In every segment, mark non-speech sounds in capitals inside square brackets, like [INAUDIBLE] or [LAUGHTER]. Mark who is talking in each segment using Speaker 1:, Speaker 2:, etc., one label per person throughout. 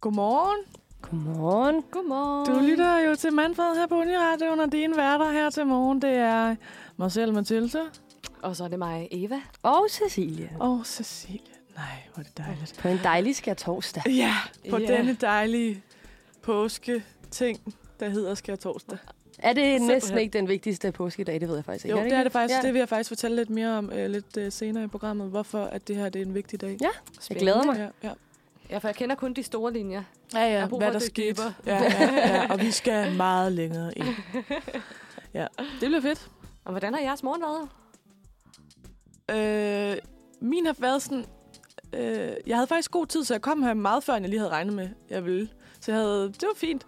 Speaker 1: Godmorgen.
Speaker 2: Godmorgen.
Speaker 3: Godmorgen.
Speaker 1: Du lytter jo til Manfred her på Uniradioen, og dine værter her til morgen, det er mig selv, Mathilde,
Speaker 3: Og så er det mig, Eva.
Speaker 2: Og Cecilie.
Speaker 1: og Cecilie. Nej, hvor er det dejligt.
Speaker 2: På en dejlig skær torsdag.
Speaker 1: Ja, på
Speaker 3: Ja.
Speaker 1: denne dejlige påske-ting, der hedder Skær Torsdag.
Speaker 2: Er det Simpelthen. næsten
Speaker 3: Simpelthen.
Speaker 2: ikke den vigtigste påskedag? Det ved jeg faktisk ikke.
Speaker 1: Jo, det er det faktisk.
Speaker 2: Ja.
Speaker 1: Det vil jeg faktisk fortælle lidt mere om øh, lidt øh, senere i programmet, hvorfor at det her det er en vigtig dag.
Speaker 2: Ja, Jeg glæder mig.
Speaker 1: Ja, ja.
Speaker 3: Ja, for jeg kender kun de store linjer.
Speaker 1: Ja,
Speaker 3: Jeg
Speaker 1: ja,
Speaker 3: har brug
Speaker 1: hvad
Speaker 3: for,
Speaker 1: der
Speaker 3: at du
Speaker 1: skete.
Speaker 3: dyber.
Speaker 1: Ja, ja, ja, og vi skal meget længere [LAUGHS] ind. Ja, det bliver fedt.
Speaker 3: Og hvordan har jeres morgen været?
Speaker 1: Øh, min har været sådan... Øh, jeg havde faktisk god tid, så jeg kom her meget før, end jeg lige havde regnet med, jeg ville. Så jeg havde, det var fint.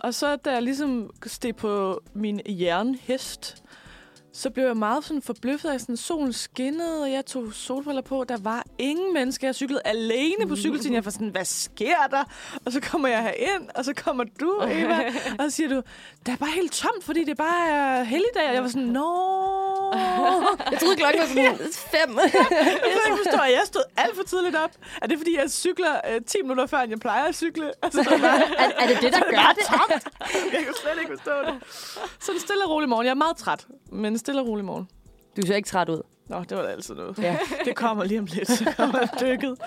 Speaker 1: Og så da jeg ligesom steg på min jernhest, så blev jeg meget sådan forbløffet af, sådan solen skinnede, og jeg tog solbriller på. Der var ingen mennesker. Jeg cyklede alene på cykeltiden. Jeg var sådan, hvad sker der? Og så kommer jeg herind, og så kommer du, Eva, og så siger du, der er bare helt tomt, fordi det bare er helligdag. Og jeg var sådan, nå.
Speaker 2: Jeg troede klokken [LAUGHS] var sådan fem.
Speaker 1: Jeg kan ikke forstå, at jeg stod alt for tidligt op. Er det, fordi jeg cykler øh, 10 minutter før, end jeg plejer at cykle? [LAUGHS] Altså, det var-
Speaker 2: er, er det det, der gør det?
Speaker 1: jeg kan slet ikke forstå det. Så en stille og rolig morgen. Jeg er meget træt, men en stille og rolig morgen.
Speaker 2: Du ser ikke træt ud.
Speaker 1: Nå, det var da altid noget.
Speaker 2: Ja.
Speaker 1: Det kommer lige om lidt. [LAUGHS] Så kommer jeg dykket.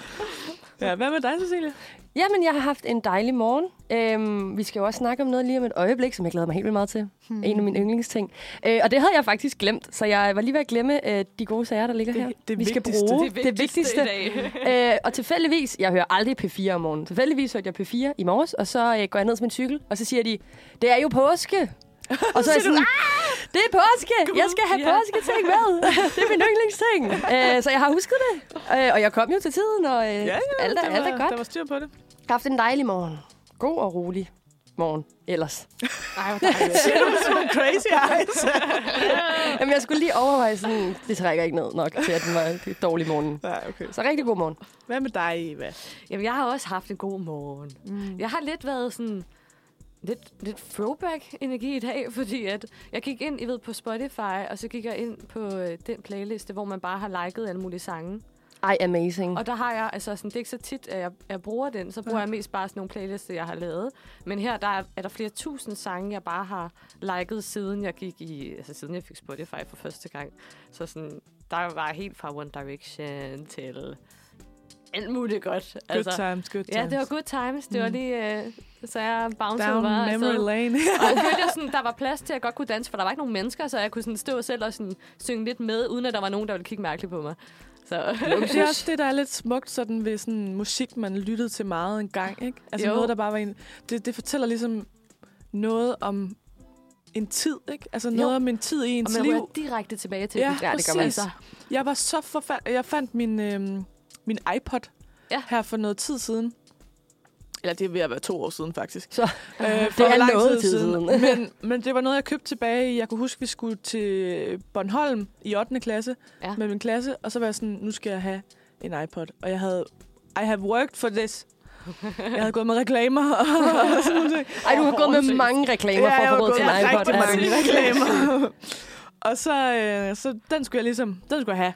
Speaker 1: Ja, hvad med dig, Cecilie?
Speaker 2: Jamen, jeg har haft en dejlig morgen. Øhm, vi skal jo også snakke om noget lige om et øjeblik, som jeg glæder mig helt vildt meget til. Hmm. En af mine yndlingsting. Øh, og det havde jeg faktisk glemt, så jeg var lige ved at glemme øh, de gode sager, der ligger
Speaker 1: Det-
Speaker 2: her.
Speaker 1: det
Speaker 2: vi skal
Speaker 1: vigtigste.
Speaker 2: bruge
Speaker 3: Det vigtigste i
Speaker 2: [LAUGHS] dag. øh, og tilfældigvis, jeg hører aldrig P4 om morgenen. Tilfældigvis hørte jeg P4 i morges, og så øh, går jeg ned til min cykel, og så siger de, det er jo påske. Og så er jeg sådan, "Ah, det er påske! Jeg skal have
Speaker 3: Ja.
Speaker 2: påsketing med! Det er min yndlingsting! Øh, så jeg har husket det, øh, og jeg kom jo til tiden, og øh, alt, er,
Speaker 1: der,
Speaker 2: alt
Speaker 1: var,
Speaker 2: er godt.
Speaker 1: der var styr på det.
Speaker 2: Jeg har haft en dejlig morgen. God og rolig morgen ellers.
Speaker 3: Ej, hvor dejligt.
Speaker 1: Siger du med sådan nogle [LAUGHS] crazy eyes?
Speaker 2: Jamen, jeg skulle lige overveje sådan, det trækker ikke ned nok til, at den var en dårlig morgen.
Speaker 1: Nej, okay.
Speaker 2: Så rigtig god morgen.
Speaker 1: Hvad med dig, Eva?
Speaker 3: Jamen, jeg har også haft en god morgen. Mm. Jeg har lidt været sådan lidt, lidt throwback-energi i dag, [LAUGHS] fordi at jeg gik ind, I ved, på Spotify, og så gik jeg ind på øh, den playliste, hvor man bare har liket alle mulige sange.
Speaker 2: Ej, amazing.
Speaker 3: Og der har jeg, altså sådan, det er ikke så tit, at jeg, jeg bruger den, så bruger jeg mest bare sådan nogle playlister, jeg har lavet. Men her der er, er der flere tusind sange, jeg bare har liket, siden jeg gik i, altså siden jeg fik Spotify for første gang. Så sådan, der var helt fra One Direction til alt muligt godt.
Speaker 1: Good altså, times, good times.
Speaker 3: ja, det var good times. Det var lige, øh, så jeg bouncede
Speaker 1: Down
Speaker 3: bare afsted.
Speaker 1: memory lane.
Speaker 3: Og jeg følte, jeg sådan, der var plads til, at jeg godt kunne danse, for der var ikke nogen mennesker, så jeg kunne sådan stå selv og sådan, synge lidt med, uden at der var nogen, der ville kigge mærkeligt på mig. Så.
Speaker 1: Det er også det, der er lidt smukt sådan ved sådan musik, man lyttede til meget en gang. Ikke? Altså jo.
Speaker 3: Jo.
Speaker 1: noget, der bare var en... Det, det fortæller ligesom noget om en tid, ikke? Altså noget jo. om en tid i
Speaker 3: Og
Speaker 1: ens
Speaker 3: man
Speaker 1: liv.
Speaker 3: ryger direkte tilbage til
Speaker 1: Ja,
Speaker 3: den.
Speaker 1: Ja, det gør man.
Speaker 3: altså.
Speaker 1: præcis. Jeg var så forfærdelig... Jeg fandt min, øhm, min iPod
Speaker 3: Ja.
Speaker 1: her for noget tid siden. Eller det er ved at være to år siden, faktisk.
Speaker 2: [LAUGHS] Så,
Speaker 1: Øh, for
Speaker 2: er
Speaker 1: lang
Speaker 2: noget tid siden.
Speaker 1: men,
Speaker 2: [LAUGHS]
Speaker 1: men det var noget, jeg købte tilbage i. Jeg kunne huske, vi skulle til Bornholm i 8. klasse ja.
Speaker 3: Ja.
Speaker 1: med min klasse. Og så var jeg sådan, nu skal jeg have en iPod. Og jeg havde... I have worked for
Speaker 2: [LAUGHS]
Speaker 1: this. Jeg havde gået med reklamer. Og sådan nogle ting.
Speaker 2: Ej, du har gået med mange reklamer for at
Speaker 1: jeg
Speaker 2: få
Speaker 1: var
Speaker 2: råd til
Speaker 1: gået
Speaker 2: en
Speaker 1: med
Speaker 2: iPod.
Speaker 1: rigtig mange
Speaker 2: Altså,
Speaker 1: reklamer.
Speaker 2: [LAUGHS]
Speaker 1: og så, øh, så den skulle jeg ligesom, den skulle jeg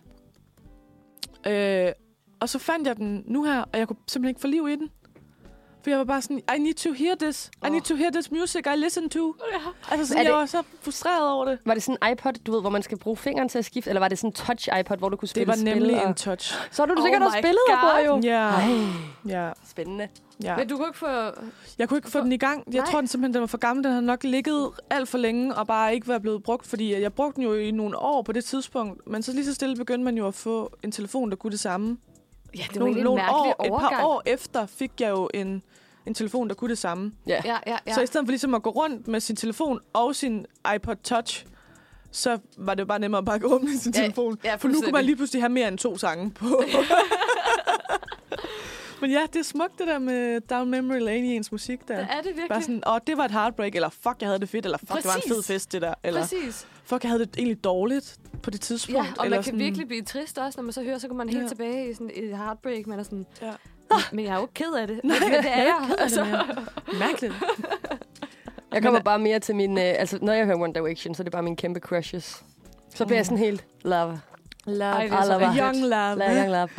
Speaker 1: have. Øh, og så fandt jeg den nu her, og jeg kunne simpelthen ikke få liv i den. For jeg var bare sådan, I need to hear this. I need to hear this music I listen to. Altså sådan,
Speaker 2: Er
Speaker 1: jeg
Speaker 2: det-
Speaker 1: var så frustreret over det.
Speaker 2: Var det sådan en iPod, du ved, hvor man skal bruge fingeren til at skifte? Eller var det sådan en touch-iPod, hvor du kunne
Speaker 1: Det
Speaker 2: spille
Speaker 1: var nemlig
Speaker 2: spil?
Speaker 1: en
Speaker 2: Og...
Speaker 1: touch.
Speaker 2: Så har du
Speaker 3: Oh
Speaker 2: sikkert også
Speaker 3: my
Speaker 2: billeder på,
Speaker 3: God.
Speaker 2: jo.
Speaker 1: Ja,
Speaker 2: Ej,
Speaker 1: ja,
Speaker 2: spændende.
Speaker 1: ja.
Speaker 3: Men du kunne ikke få...
Speaker 1: Jeg kunne ikke få den i gang. Jeg
Speaker 3: Nej.
Speaker 1: tror den simpelthen, den var for gammel. Den havde nok ligget alt for længe og bare ikke været blevet brugt, fordi jeg brugte den jo i nogle år på det tidspunkt. Men så lige så stille begyndte man jo at få en telefon, der kunne det samme.
Speaker 3: Ja, det var
Speaker 1: Nogle,
Speaker 3: egentlig en
Speaker 1: nogle
Speaker 3: mærkelig
Speaker 1: år, et
Speaker 3: overgang.
Speaker 1: par år efter fik jeg jo en, en telefon, der kunne det samme.
Speaker 3: Ja, ja, ja.
Speaker 1: Ja. Så i stedet for ligesom at gå rundt med sin telefon og sin iPod Touch, så var det jo bare nemmere at bare gå rundt med sin
Speaker 3: Ja,
Speaker 1: telefon. for
Speaker 3: ja,
Speaker 1: nu kunne man
Speaker 3: fuldstændig.
Speaker 1: lige pludselig have mere end to sange
Speaker 3: [LAUGHS]
Speaker 1: på. Men ja, det er smukt det der med Down Memory Lane i ens musik der.
Speaker 3: Det er det virkelig.
Speaker 1: Bare sådan, åh, det var et heartbreak, eller fuck, jeg havde det fedt, eller fuck, det var en
Speaker 3: Præcis.
Speaker 1: fed fest, det der. Eller
Speaker 3: Præcis.
Speaker 1: fuck, jeg havde det egentlig dårligt på det tidspunkt.
Speaker 3: Ja, og
Speaker 1: eller
Speaker 3: man kan virkelig blive trist også, når man så hører, så går man helt
Speaker 1: Ja.
Speaker 3: tilbage i sådan et heartbreak. Man er sådan,
Speaker 1: Ja.
Speaker 3: men jeg er jo ikke ked af det. Nej, men det er jeg.
Speaker 1: Altså.
Speaker 3: Altså.
Speaker 1: Mærkeligt.
Speaker 2: Jeg kommer bare mere til min... Øh, altså, når jeg hører One Direction, så er det bare mine kæmpe crushes. Så bliver jeg sådan helt love. Love,
Speaker 3: Ej, det er så
Speaker 2: Alaba.
Speaker 1: Young love.
Speaker 2: Lad Young Love.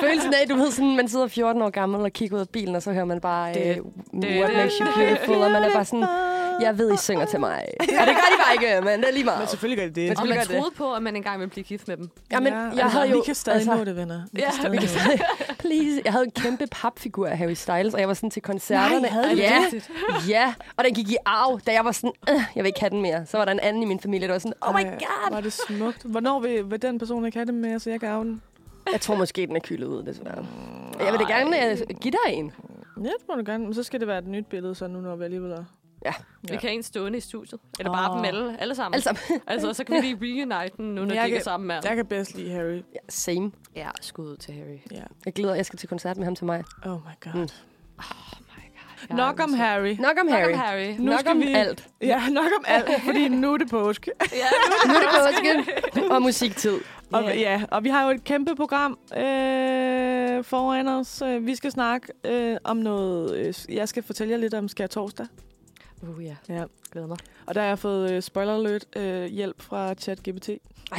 Speaker 2: Følelsen af, du ved sådan, man sidder 14 år gammel og kigger ud af bilen, og så hører man bare, det,
Speaker 3: Det-
Speaker 2: uh, what makes you beautiful, og man er bare sådan, jeg ved, I synger til mig. Og det gør de bare ikke, men det er
Speaker 1: Men
Speaker 2: lige meget.
Speaker 1: selvfølgelig gør det det.
Speaker 2: Men
Speaker 3: Og
Speaker 2: Selvfølgelig
Speaker 3: man
Speaker 2: gør det.
Speaker 3: troede på, at man engang ville blive gift med dem.
Speaker 2: Jamen, jeg havde jo...
Speaker 1: vi kan stadig
Speaker 2: altså-
Speaker 1: nå det, venner. Vi
Speaker 3: Ja,
Speaker 1: kan stadig
Speaker 3: vi
Speaker 1: nå
Speaker 3: kan
Speaker 1: det.
Speaker 2: Please. Jeg havde en kæmpe papfigur af Harry Styles, og jeg var sådan til koncerterne.
Speaker 1: Nej, havde
Speaker 3: du
Speaker 2: ja,
Speaker 3: Altså, det?
Speaker 2: ja, og den gik i arv, da jeg var sådan, øh, jeg vil ikke have den mere. Så var der en anden i min familie, der var sådan, oh my
Speaker 1: Ej,
Speaker 2: god.
Speaker 1: Var det smukt. Hvornår vil, vil den person ikke have det med, så jeg kan arve den?
Speaker 2: Jeg tror måske, den er kylet ud, desværre. Jeg vil da gerne øh, give dig en.
Speaker 1: Ja, det må du gerne. Men så skal det være et nyt billede, så nu når vi alligevel er.
Speaker 3: Vi
Speaker 1: Ja.
Speaker 3: kan have en stående i studiet. Eller bare
Speaker 1: Åh.
Speaker 3: dem alle, alle sammen.
Speaker 2: Altså,
Speaker 3: altså, så kan vi lige reunite den, nu når
Speaker 1: Jeg
Speaker 3: de ikke er
Speaker 1: kan-
Speaker 3: sammen med
Speaker 1: Jeg kan bedst lide Harry.
Speaker 2: ja, same.
Speaker 3: Ja, skud ud til Harry.
Speaker 1: Ja.
Speaker 2: Jeg glæder, jeg skal til koncert med ham til mig.
Speaker 1: Oh my god.
Speaker 2: Mm.
Speaker 3: Jeg
Speaker 1: Nok om Harry.
Speaker 2: Nok om Harry.
Speaker 3: Nok om Harry.
Speaker 1: Nu
Speaker 2: Nok
Speaker 1: skal
Speaker 2: om
Speaker 1: vi-
Speaker 2: alt.
Speaker 1: Ja, nok om alt, fordi nu er det påske.
Speaker 3: Ja,
Speaker 2: Nu er det påske og musiktid.
Speaker 1: Og, ja, og vi har jo et kæmpe program øh, foran os. Øh, Vi skal snakke øh, om noget... Øh, jeg skal fortælle jer lidt om Skær Torsdag. [LAUGHS]
Speaker 3: Uh, ja.
Speaker 1: Ja.
Speaker 3: Glæder mig.
Speaker 1: Og der har jeg fået øh, spoiler alert øh, hjælp fra ChatGPT.
Speaker 2: Ej,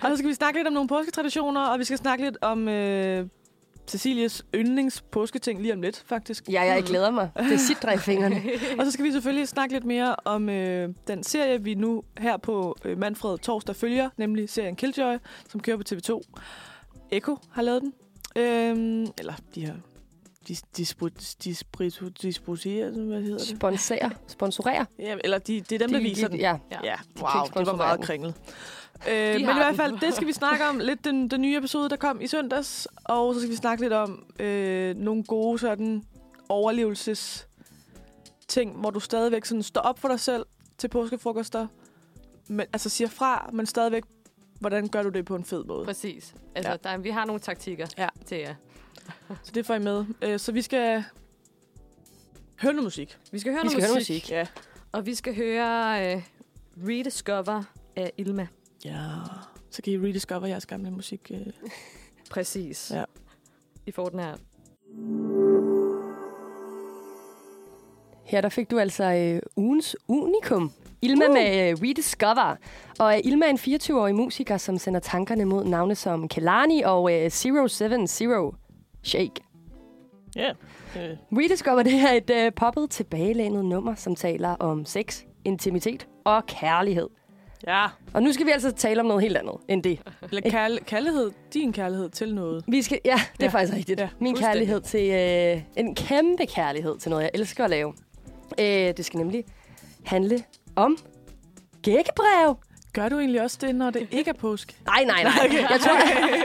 Speaker 1: Og så skal vi snakke lidt om nogle påsketraditioner, og vi skal snakke lidt om øh, Cecilies yndlings påsketing lige om lidt, faktisk.
Speaker 2: ja, jeg glæder mig. Det sidder i
Speaker 1: [LAUGHS]
Speaker 2: fingrene.
Speaker 1: Og så skal vi selvfølgelig snakke lidt mere om øh, den serie, vi nu her på øh, Manfred Torsdag følger, nemlig serien Killjoy, som kører på TV2. Eko har lavet den. Øhm, eller de her... De, de, de, de, hvad hedder det?
Speaker 2: Sponsorer. Sponsorer.
Speaker 1: Ja, eller de, det er dem, der viser den.
Speaker 2: Ja.
Speaker 3: Ja.
Speaker 1: Ja,
Speaker 2: kan
Speaker 1: wow,
Speaker 2: ikke
Speaker 1: det var
Speaker 2: sponsorere
Speaker 1: meget
Speaker 2: den.
Speaker 1: kringlet. Øh, men i
Speaker 3: har
Speaker 1: hvert
Speaker 3: den.
Speaker 1: fald, det skal vi snakke om lidt den, den nye episode, der kom i søndags. Og så skal vi snakke lidt om øh, nogle gode sådan overlevelses ting, hvor du stadigvæk sådan står op for dig selv til påskefrokoster. Men, altså siger fra, men stadigvæk, hvordan gør du det på en fed måde?
Speaker 3: [LAUGHS] Præcis. Altså, ja. der, vi har nogle taktikker
Speaker 1: Ja.
Speaker 3: ja. til jer.
Speaker 1: Så det får I med. Øh, så vi skal høre noget musik.
Speaker 3: Vi skal høre
Speaker 2: Vi
Speaker 3: noget
Speaker 2: skal høre
Speaker 3: musik,
Speaker 2: musik.
Speaker 1: Ja.
Speaker 3: og vi skal høre uh, Rediscover af Ilma.
Speaker 1: ja. Så kan I rediscover jeres gamle musik. Øh.
Speaker 3: Præcis.
Speaker 1: Ja.
Speaker 3: I får den her.
Speaker 2: Her der fik du altså øh, ugens unikum. Ilma
Speaker 1: Uh.
Speaker 2: uh. med øh, Rediscover. Og øh, Ilma er en 24-årig musiker, som sender tankerne mod navne som Kelani og øh, 070 Shake.
Speaker 1: Ja. Øh.
Speaker 2: Rediscover det er et øh, poppet tilbagelænet nummer, som taler om sex, intimitet og kærlighed.
Speaker 1: Ja.
Speaker 2: Og nu skal vi altså tale om noget helt andet end det.
Speaker 1: Eller kærl- kærlighed, din kærlighed til noget.
Speaker 2: Vi skal, ja, det er
Speaker 1: Ja.
Speaker 2: ja. faktisk rigtigt.
Speaker 1: Ja,
Speaker 2: Ja, Min
Speaker 3: fuldstændig.
Speaker 2: kærlighed til... Øh, en kæmpe kærlighed til noget, jeg elsker at lave. Øh, det skal nemlig handle om gækkebrev.
Speaker 1: Gør du egentlig også det, når det ikke er påske?
Speaker 2: Nej, nej, nej. Okay. Jeg tror,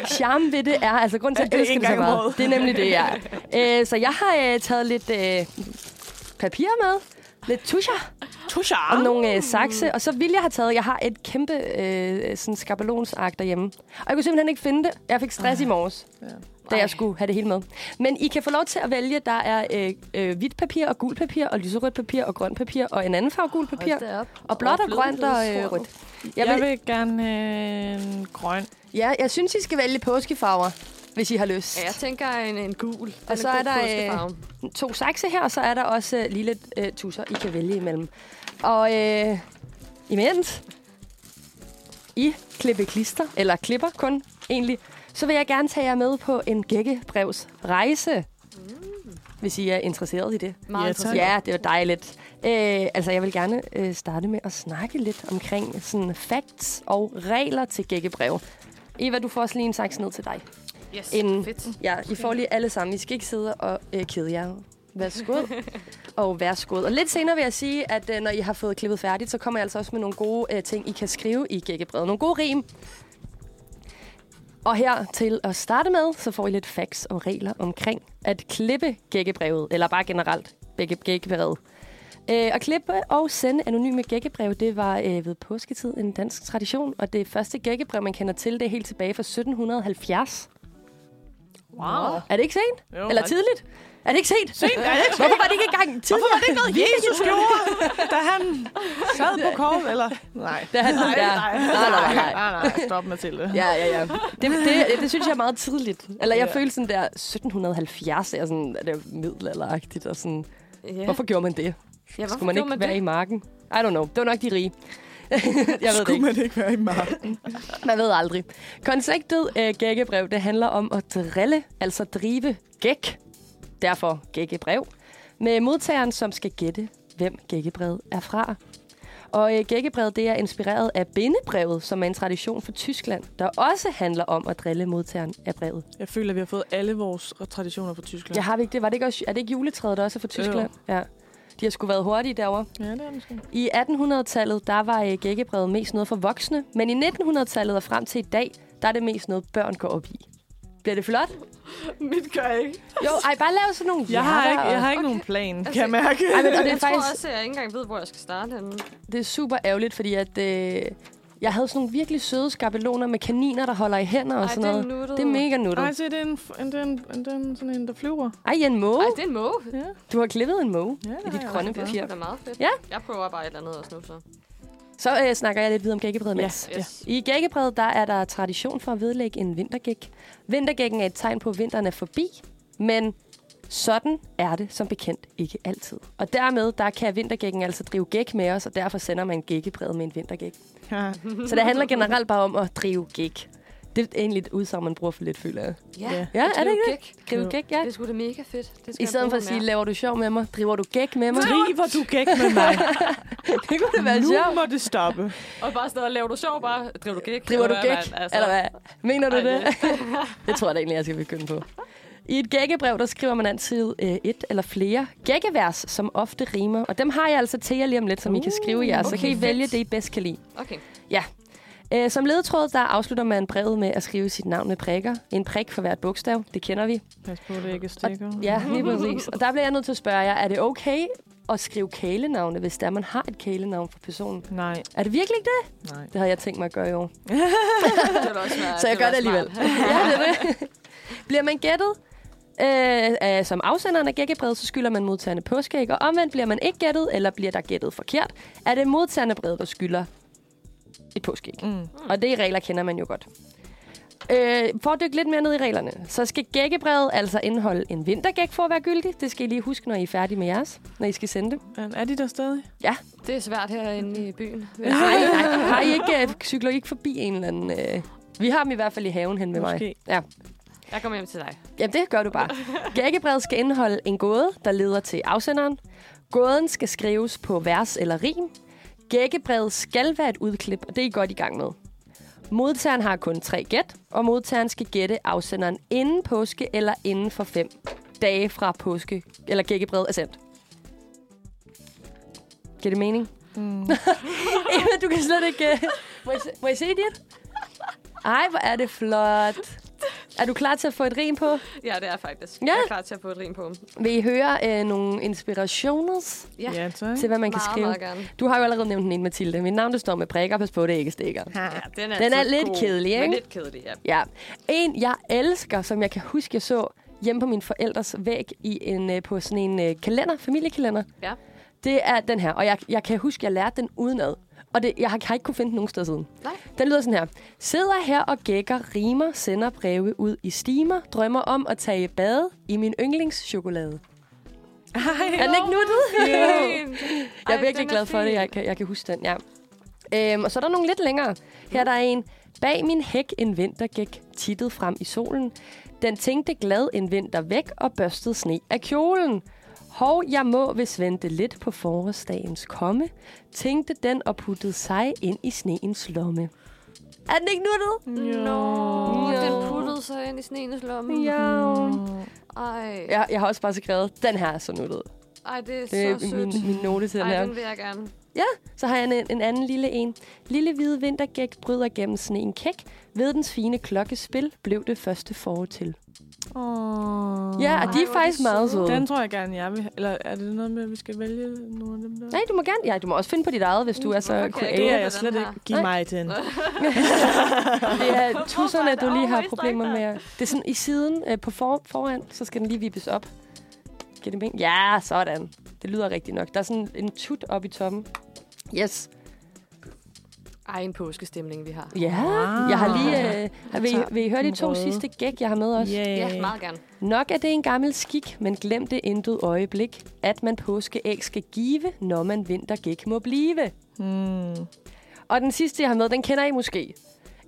Speaker 2: at charme ved det er... Altså, grund til, at
Speaker 1: Er
Speaker 2: jeg
Speaker 1: det [LAUGHS]
Speaker 2: elsker
Speaker 1: en
Speaker 2: det så
Speaker 1: gang om
Speaker 2: meget.
Speaker 1: året?
Speaker 2: Det er nemlig det,
Speaker 1: [LAUGHS]
Speaker 2: ja. Øh, så jeg har øh, taget lidt øh, papir med. Lidt tuscher
Speaker 1: Tushar!
Speaker 2: og nogle øh, sakse. Og så ville jeg have taget... Jeg har et kæmpe øh, sådan skabelonsark derhjemme. Og jeg kunne simpelthen ikke finde det. Jeg fik stress i morges.
Speaker 1: Ah. Ja.
Speaker 2: da jeg skulle have det hele med. Men I kan få lov til at vælge, der er øh, øh, hvidt papir og gult papir og lyserødt papir og grønt papir og en anden farve gult papir.
Speaker 3: op.
Speaker 2: Og blåt og
Speaker 3: Overflødigt
Speaker 2: grønt og øh,
Speaker 3: rødt.
Speaker 2: rødt.
Speaker 1: Jeg,
Speaker 2: Jeg vil,
Speaker 1: vil gerne øh, en grøn.
Speaker 2: ja, jeg synes, I skal vælge påskefarver, hvis I har lyst.
Speaker 3: Ja, jeg tænker en, en gul. Den
Speaker 2: så
Speaker 3: god
Speaker 2: er der, øh,
Speaker 3: påskefarve.
Speaker 2: To sakse her, og så er der også øh, lige lidt øh, tusser, I kan vælge imellem. Og øh, imens I klippe klister, eller klipper kun egentlig, så vil jeg gerne tage jer med på en gækkebrevs rejse. Hvis I er interesseret i det.
Speaker 1: Ja,
Speaker 3: Meget
Speaker 1: tak.
Speaker 3: interessant.
Speaker 2: Ja, det var dejligt. Øh, altså, jeg vil gerne øh, starte med at snakke lidt omkring sådan facts og regler til gækkebrev. Eva, du får også lige en saks ned til dig.
Speaker 3: Yes,
Speaker 2: En-
Speaker 3: fedt.
Speaker 2: Ja, I får lige alle sammen. I skal ikke sidde og øh, kede jer.
Speaker 3: [LAUGHS]
Speaker 2: Værsgod. og værsgod. Og lidt senere vil jeg sige, at øh, når I har fået klippet færdigt, så kommer jeg altså også med nogle gode øh, ting, I kan skrive i gækkebrevet. Nogle gode rim. Og her til at starte med, så får I lidt facts og regler omkring at klippe gækkebrevet, eller bare generelt begge gækkebrevet. Øh, at klippe og sende anonyme gækkebrev, det var øh, ved påsketid en dansk tradition, og det første gækkebrev, man kender til, det er helt tilbage fra 1770.
Speaker 1: Wow.
Speaker 2: Er det ikke sent?
Speaker 1: Jo,
Speaker 2: Eller
Speaker 1: nej.
Speaker 2: tidligt? Er det ikke sent? Sent?
Speaker 1: Er det ikke
Speaker 2: Hvorfor var det ikke engang tidligere? Hvorfor var det ikke noget
Speaker 1: Jesus gjorde, da han sad på kortet, eller? Nej.
Speaker 2: Da han-
Speaker 1: nej,
Speaker 2: ja.
Speaker 1: nej,
Speaker 2: Nej, nej, nej.
Speaker 1: nej, nej. Stop, Mathilde.
Speaker 2: Ja, ja, ja. Det, det, det synes jeg er meget tidligt. Eller jeg
Speaker 1: Ja.
Speaker 2: ja. følte sådan der 1770, er sådan, det er middelalderagtigt og sådan.
Speaker 3: Ja.
Speaker 2: Hvorfor gjorde man det?
Speaker 3: ja, hvorfor
Speaker 2: Skulle man
Speaker 3: gjorde
Speaker 2: ikke være i marken? I don't know. Det var nok de rige. [LAUGHS] jeg ved det
Speaker 1: Skulle
Speaker 2: ikke.
Speaker 1: man ikke være i marken?
Speaker 2: Man ved aldrig. Konceptet øh, gækkebrev, det handler om at drille, altså drive gæk. Derfor gækkebrev. Med modtageren, som skal gætte, hvem gækkebrevet er fra. Og øh, gækkebrevet, det er inspireret af bindebrevet, som er en tradition fra Tyskland, der også handler om at drille modtageren af brevet.
Speaker 1: Jeg føler, at vi har fået alle vores traditioner fra Tyskland.
Speaker 2: Jeg har vi ikke det. Var det ikke også, er det ikke juletræet, der også er fra Tyskland? Ja. De har sgu været hurtige derovre.
Speaker 1: ja det er måske.
Speaker 2: I 1800-tallet, der var øh, gækkebrevet mest noget for voksne, men i 1900-tallet og frem til i dag, der er det mest noget, børn går op i. Bliver det flot? [LAUGHS]
Speaker 3: Mit gør jeg ikke.
Speaker 2: Jo, ej, bare lav sådan nogle
Speaker 1: [LAUGHS] Jeg har
Speaker 2: hjerter
Speaker 1: ikke, jeg har ikke
Speaker 3: Okay.
Speaker 1: okay. nogen plan,
Speaker 3: Altså,
Speaker 1: kan jeg mærke.
Speaker 2: og- Ej, men, og det,
Speaker 3: [LAUGHS] Jeg
Speaker 2: er
Speaker 3: tror
Speaker 2: faktisk,
Speaker 3: også, at jeg ikke engang ved, hvor jeg skal starte henne.
Speaker 2: det er super ærgerligt, fordi at, øh, jeg havde sådan nogle virkelig søde skabeloner med kaniner, der holder i hænder og
Speaker 3: Ej,
Speaker 2: sådan
Speaker 3: det er
Speaker 2: noget.
Speaker 3: nuttet.
Speaker 2: Det er
Speaker 1: Nej,
Speaker 2: mega nuttet.
Speaker 1: se, det er en, en, det er en, en, det er en, sådan en, der flyver.
Speaker 2: Ej, en måge.
Speaker 3: Ej, det er en måge.
Speaker 1: Ja,
Speaker 2: Du har klippet en måge.
Speaker 1: ja
Speaker 2: dit
Speaker 1: har jeg
Speaker 2: grønne
Speaker 1: også
Speaker 2: papir.
Speaker 1: gjort.
Speaker 3: Det er meget fedt.
Speaker 2: Ja.
Speaker 3: Jeg prøver bare et eller andet også nu, så.
Speaker 2: Så øh, snakker jeg lidt videre om gækkebrevet,
Speaker 1: Ja.
Speaker 2: mens.
Speaker 3: Yes.
Speaker 2: I gækkebrevet, der er der tradition for at vedlægge en vintergæk. Vintergækken er et tegn på, at vinteren er forbi, men sådan er det som bekendt ikke altid. Og dermed, der kan vintergækken altså drive gæk med os, og derfor sender man gækkebrevet med en vintergæk.
Speaker 1: Ja.
Speaker 2: Så det handler generelt bare om at drive gæk. Det er egentlig et udsagn, man bruger for lidt, føler jeg.
Speaker 3: Ja,
Speaker 1: Ja.
Speaker 2: Ja, er det ikke
Speaker 3: gæk.
Speaker 2: Drive
Speaker 1: Jo.
Speaker 2: gæk, ja.
Speaker 3: Det er sgu da mega fedt. Det skal
Speaker 2: I
Speaker 3: jeg
Speaker 2: stedet for
Speaker 3: bruge
Speaker 2: at sige,
Speaker 3: mere.
Speaker 2: laver du sjov med mig? Driver du gæk med mig?
Speaker 1: Driver du gæk med mig?
Speaker 2: [LAUGHS] Det kunne det være
Speaker 1: nu
Speaker 2: sjovt.
Speaker 1: må det stoppe.
Speaker 3: Og bare stadig, laver du sjov, bare driver du gæk.
Speaker 2: Driver du
Speaker 3: Eller hvad, altså-
Speaker 2: gæk?
Speaker 3: mand?
Speaker 2: Eller hvad? Mener du
Speaker 3: Ej,
Speaker 2: det? [LAUGHS] det tror jeg da egentlig, jeg skal begynde på. I et gækkebrev, der skriver man altid øh, et eller flere gækkevers, som ofte rimer. Og dem har jeg altså til jer lige om lidt, som I kan skrive jer. Så
Speaker 3: Uh, okay,
Speaker 2: kan I
Speaker 3: fedt.
Speaker 2: vælge det, I bedst kan lide.
Speaker 3: Okay. [LAUGHS]
Speaker 2: Ja. Øh, Som ledetråd, der afslutter man brevet med at skrive sit navn med prikker. En prik for hvert bogstav, det kender vi.
Speaker 1: Pas på, det ikke stikker.
Speaker 2: Ja, lige præcis. Og der bliver jeg nødt til at spørge jer, er det okay at skrive kælenavne, hvis der man har et kælenavn for personen?
Speaker 1: Nej,
Speaker 2: Er det virkelig ikke det?
Speaker 1: nej.
Speaker 2: Det havde jeg tænkt mig at gøre i år.
Speaker 3: Det vil også være,
Speaker 2: Så jeg
Speaker 3: vil
Speaker 2: gør det
Speaker 3: være
Speaker 2: alligevel.
Speaker 3: smart.
Speaker 2: [LAUGHS] ja, det er det. Bliver man gættet øh, øh, som afsenderen af gækkebrevet, så skylder man modtagerne påskæg. Og omvendt bliver man ikke gættet, eller bliver der gættet forkert, er det modtagerne brevet, der skylder et påskæg.
Speaker 1: Mm.
Speaker 2: Og det i regler kender man jo godt. Øh, for at dykke lidt mere ned i reglerne, så skal gækkebrevet altså indeholde en vintergæk for at være gyldig. Det skal I lige huske, når I er færdige med jeres, når I skal sende det.
Speaker 1: Men Er de der stadig?
Speaker 3: [LAUGHS] Det er svært herinde i byen.
Speaker 2: Nej, nej, [LAUGHS] har I ikke, øh, cykler I ikke forbi en eller anden... Øh, vi har dem i hvert fald i haven hen med mig.
Speaker 1: Måske.
Speaker 2: Ja.
Speaker 3: Jeg kommer hjem til dig.
Speaker 2: Jamen, det gør du bare. Gækkebrevet skal indeholde en gåde, der leder til afsenderen. Gåden skal skrives på vers eller rim. Gækkebrevet skal være et udklip, og det er I godt i gang med. Modtageren har kun tre gæt, og modtageren skal gætte afsenderen inden påske eller inden for fem dage fra påske, eller gækkebrevet er sendt. Giver det mening?
Speaker 1: [LAUGHS] Mm.
Speaker 2: Eva, du kan slet ikke... øh, Må jeg, se- må jeg se dit? Ej, hvor er det flot. Er du klar til at få et rim på?
Speaker 3: Ja, det er jeg faktisk.
Speaker 2: Ja.
Speaker 3: Jeg er klar til at få et rim på.
Speaker 2: Vil I høre øh, nogle inspirationer
Speaker 3: Ja.
Speaker 1: Ja, tak.
Speaker 2: til, hvad man kan
Speaker 3: Mm, meget,
Speaker 2: skrive?
Speaker 3: Meget gerne.
Speaker 2: Du har jo allerede nævnt den ene, Mathilde. Mit navn, der står med prikker. Pas på, det ikke stikker.
Speaker 3: Ja, den er,
Speaker 2: Den er
Speaker 3: altid
Speaker 2: lidt
Speaker 3: god,
Speaker 2: kedelig,
Speaker 3: Men
Speaker 2: ikke?
Speaker 3: lidt kedelig, ja.
Speaker 2: Ja. En, jeg elsker, som jeg kan huske, jeg så hjemme på mine forældres væg i en, øh, på sådan en øh, kalender, familiekalender.
Speaker 3: Ja.
Speaker 2: Det er den her, og jeg, jeg kan huske, jeg lærte den udenad. Og det, jeg har, har ikke kunne finde den nogen steder siden.
Speaker 3: Nej.
Speaker 2: Den lyder sådan her. Sidder her og gækker, rimer, sender breve ud i stimer, drømmer om at tage i bade i min yndlingschokolade.
Speaker 1: Hej.
Speaker 2: Er den ikke
Speaker 3: [LAUGHS]
Speaker 2: nuttet?
Speaker 3: Fint.
Speaker 2: Jeg er
Speaker 3: Ej,
Speaker 2: virkelig
Speaker 3: den
Speaker 2: glad for det.
Speaker 3: fin.
Speaker 2: Jeg kan, jeg kan huske den, ja. Øhm, og så er der nogle lidt længere. Her er der er en. Bag min hæk en vinter gik tittet frem i solen. Den tænkte glad en vinter væk og børstede sne af kjolen. Hov, jeg må hvis vente lidt på forårsdagens komme, tænkte den og puttede sig ind i sneens lomme. Er den ikke nuttet?
Speaker 3: Nå,
Speaker 2: Jo.
Speaker 3: den puttede sig ind i sneens lomme. Ej.
Speaker 2: Jeg, jeg har også bare skrevet, den her er så nuttet.
Speaker 3: Ej, det er
Speaker 2: Det er
Speaker 3: så sødt.
Speaker 2: min, min note til den her.
Speaker 3: Ej, den vil jeg gerne.
Speaker 2: Så har jeg en, en anden lille en. Lille hvide vintergæk bryder gennem sneen kæk. Ved dens fine klokkespil blev det første forår til.
Speaker 1: Oh.
Speaker 2: Ja, og de
Speaker 3: Ej,
Speaker 2: er
Speaker 3: hvor er
Speaker 2: faktisk
Speaker 3: de
Speaker 2: meget
Speaker 3: søde.
Speaker 2: søde.
Speaker 1: Den tror jeg gerne, jeg vil. Eller er det noget med, at vi skal vælge nogle af dem der?
Speaker 2: Nej, du må gerne. Ja, du må også finde på dit eget, hvis du er så
Speaker 3: Hvorfor kan jeg
Speaker 2: kreativ.
Speaker 1: Det er
Speaker 3: Den
Speaker 1: jeg slet
Speaker 3: her.
Speaker 1: ikke. Giv
Speaker 2: Nej.
Speaker 1: mig den.
Speaker 2: Det er
Speaker 3: Hvorfor
Speaker 2: tusserne,
Speaker 3: er det
Speaker 2: du lige har
Speaker 3: always
Speaker 2: problemer
Speaker 3: like
Speaker 2: med. Det er sådan i siden øh, på for, foran, så skal den lige vippes op. Giver det mening? Ja, sådan. Det lyder rigtigt nok. Der er sådan en tut op i toppen. Yes.
Speaker 3: Ej, en påskestemning, vi har.
Speaker 2: Ja.
Speaker 1: Wow.
Speaker 2: Jeg har lige... Øh, vil, I, vil I høre de
Speaker 1: den
Speaker 2: to
Speaker 1: røde.
Speaker 2: sidste gæk, jeg har med også?
Speaker 3: Ja,
Speaker 1: Yeah.
Speaker 3: meget gerne.
Speaker 2: Nok er det en gammel skik, men glem det intet øjeblik, at man påskeæg skal give, når man vintergæk må blive.
Speaker 1: Mm.
Speaker 2: Og den sidste, jeg har med, den kender I måske.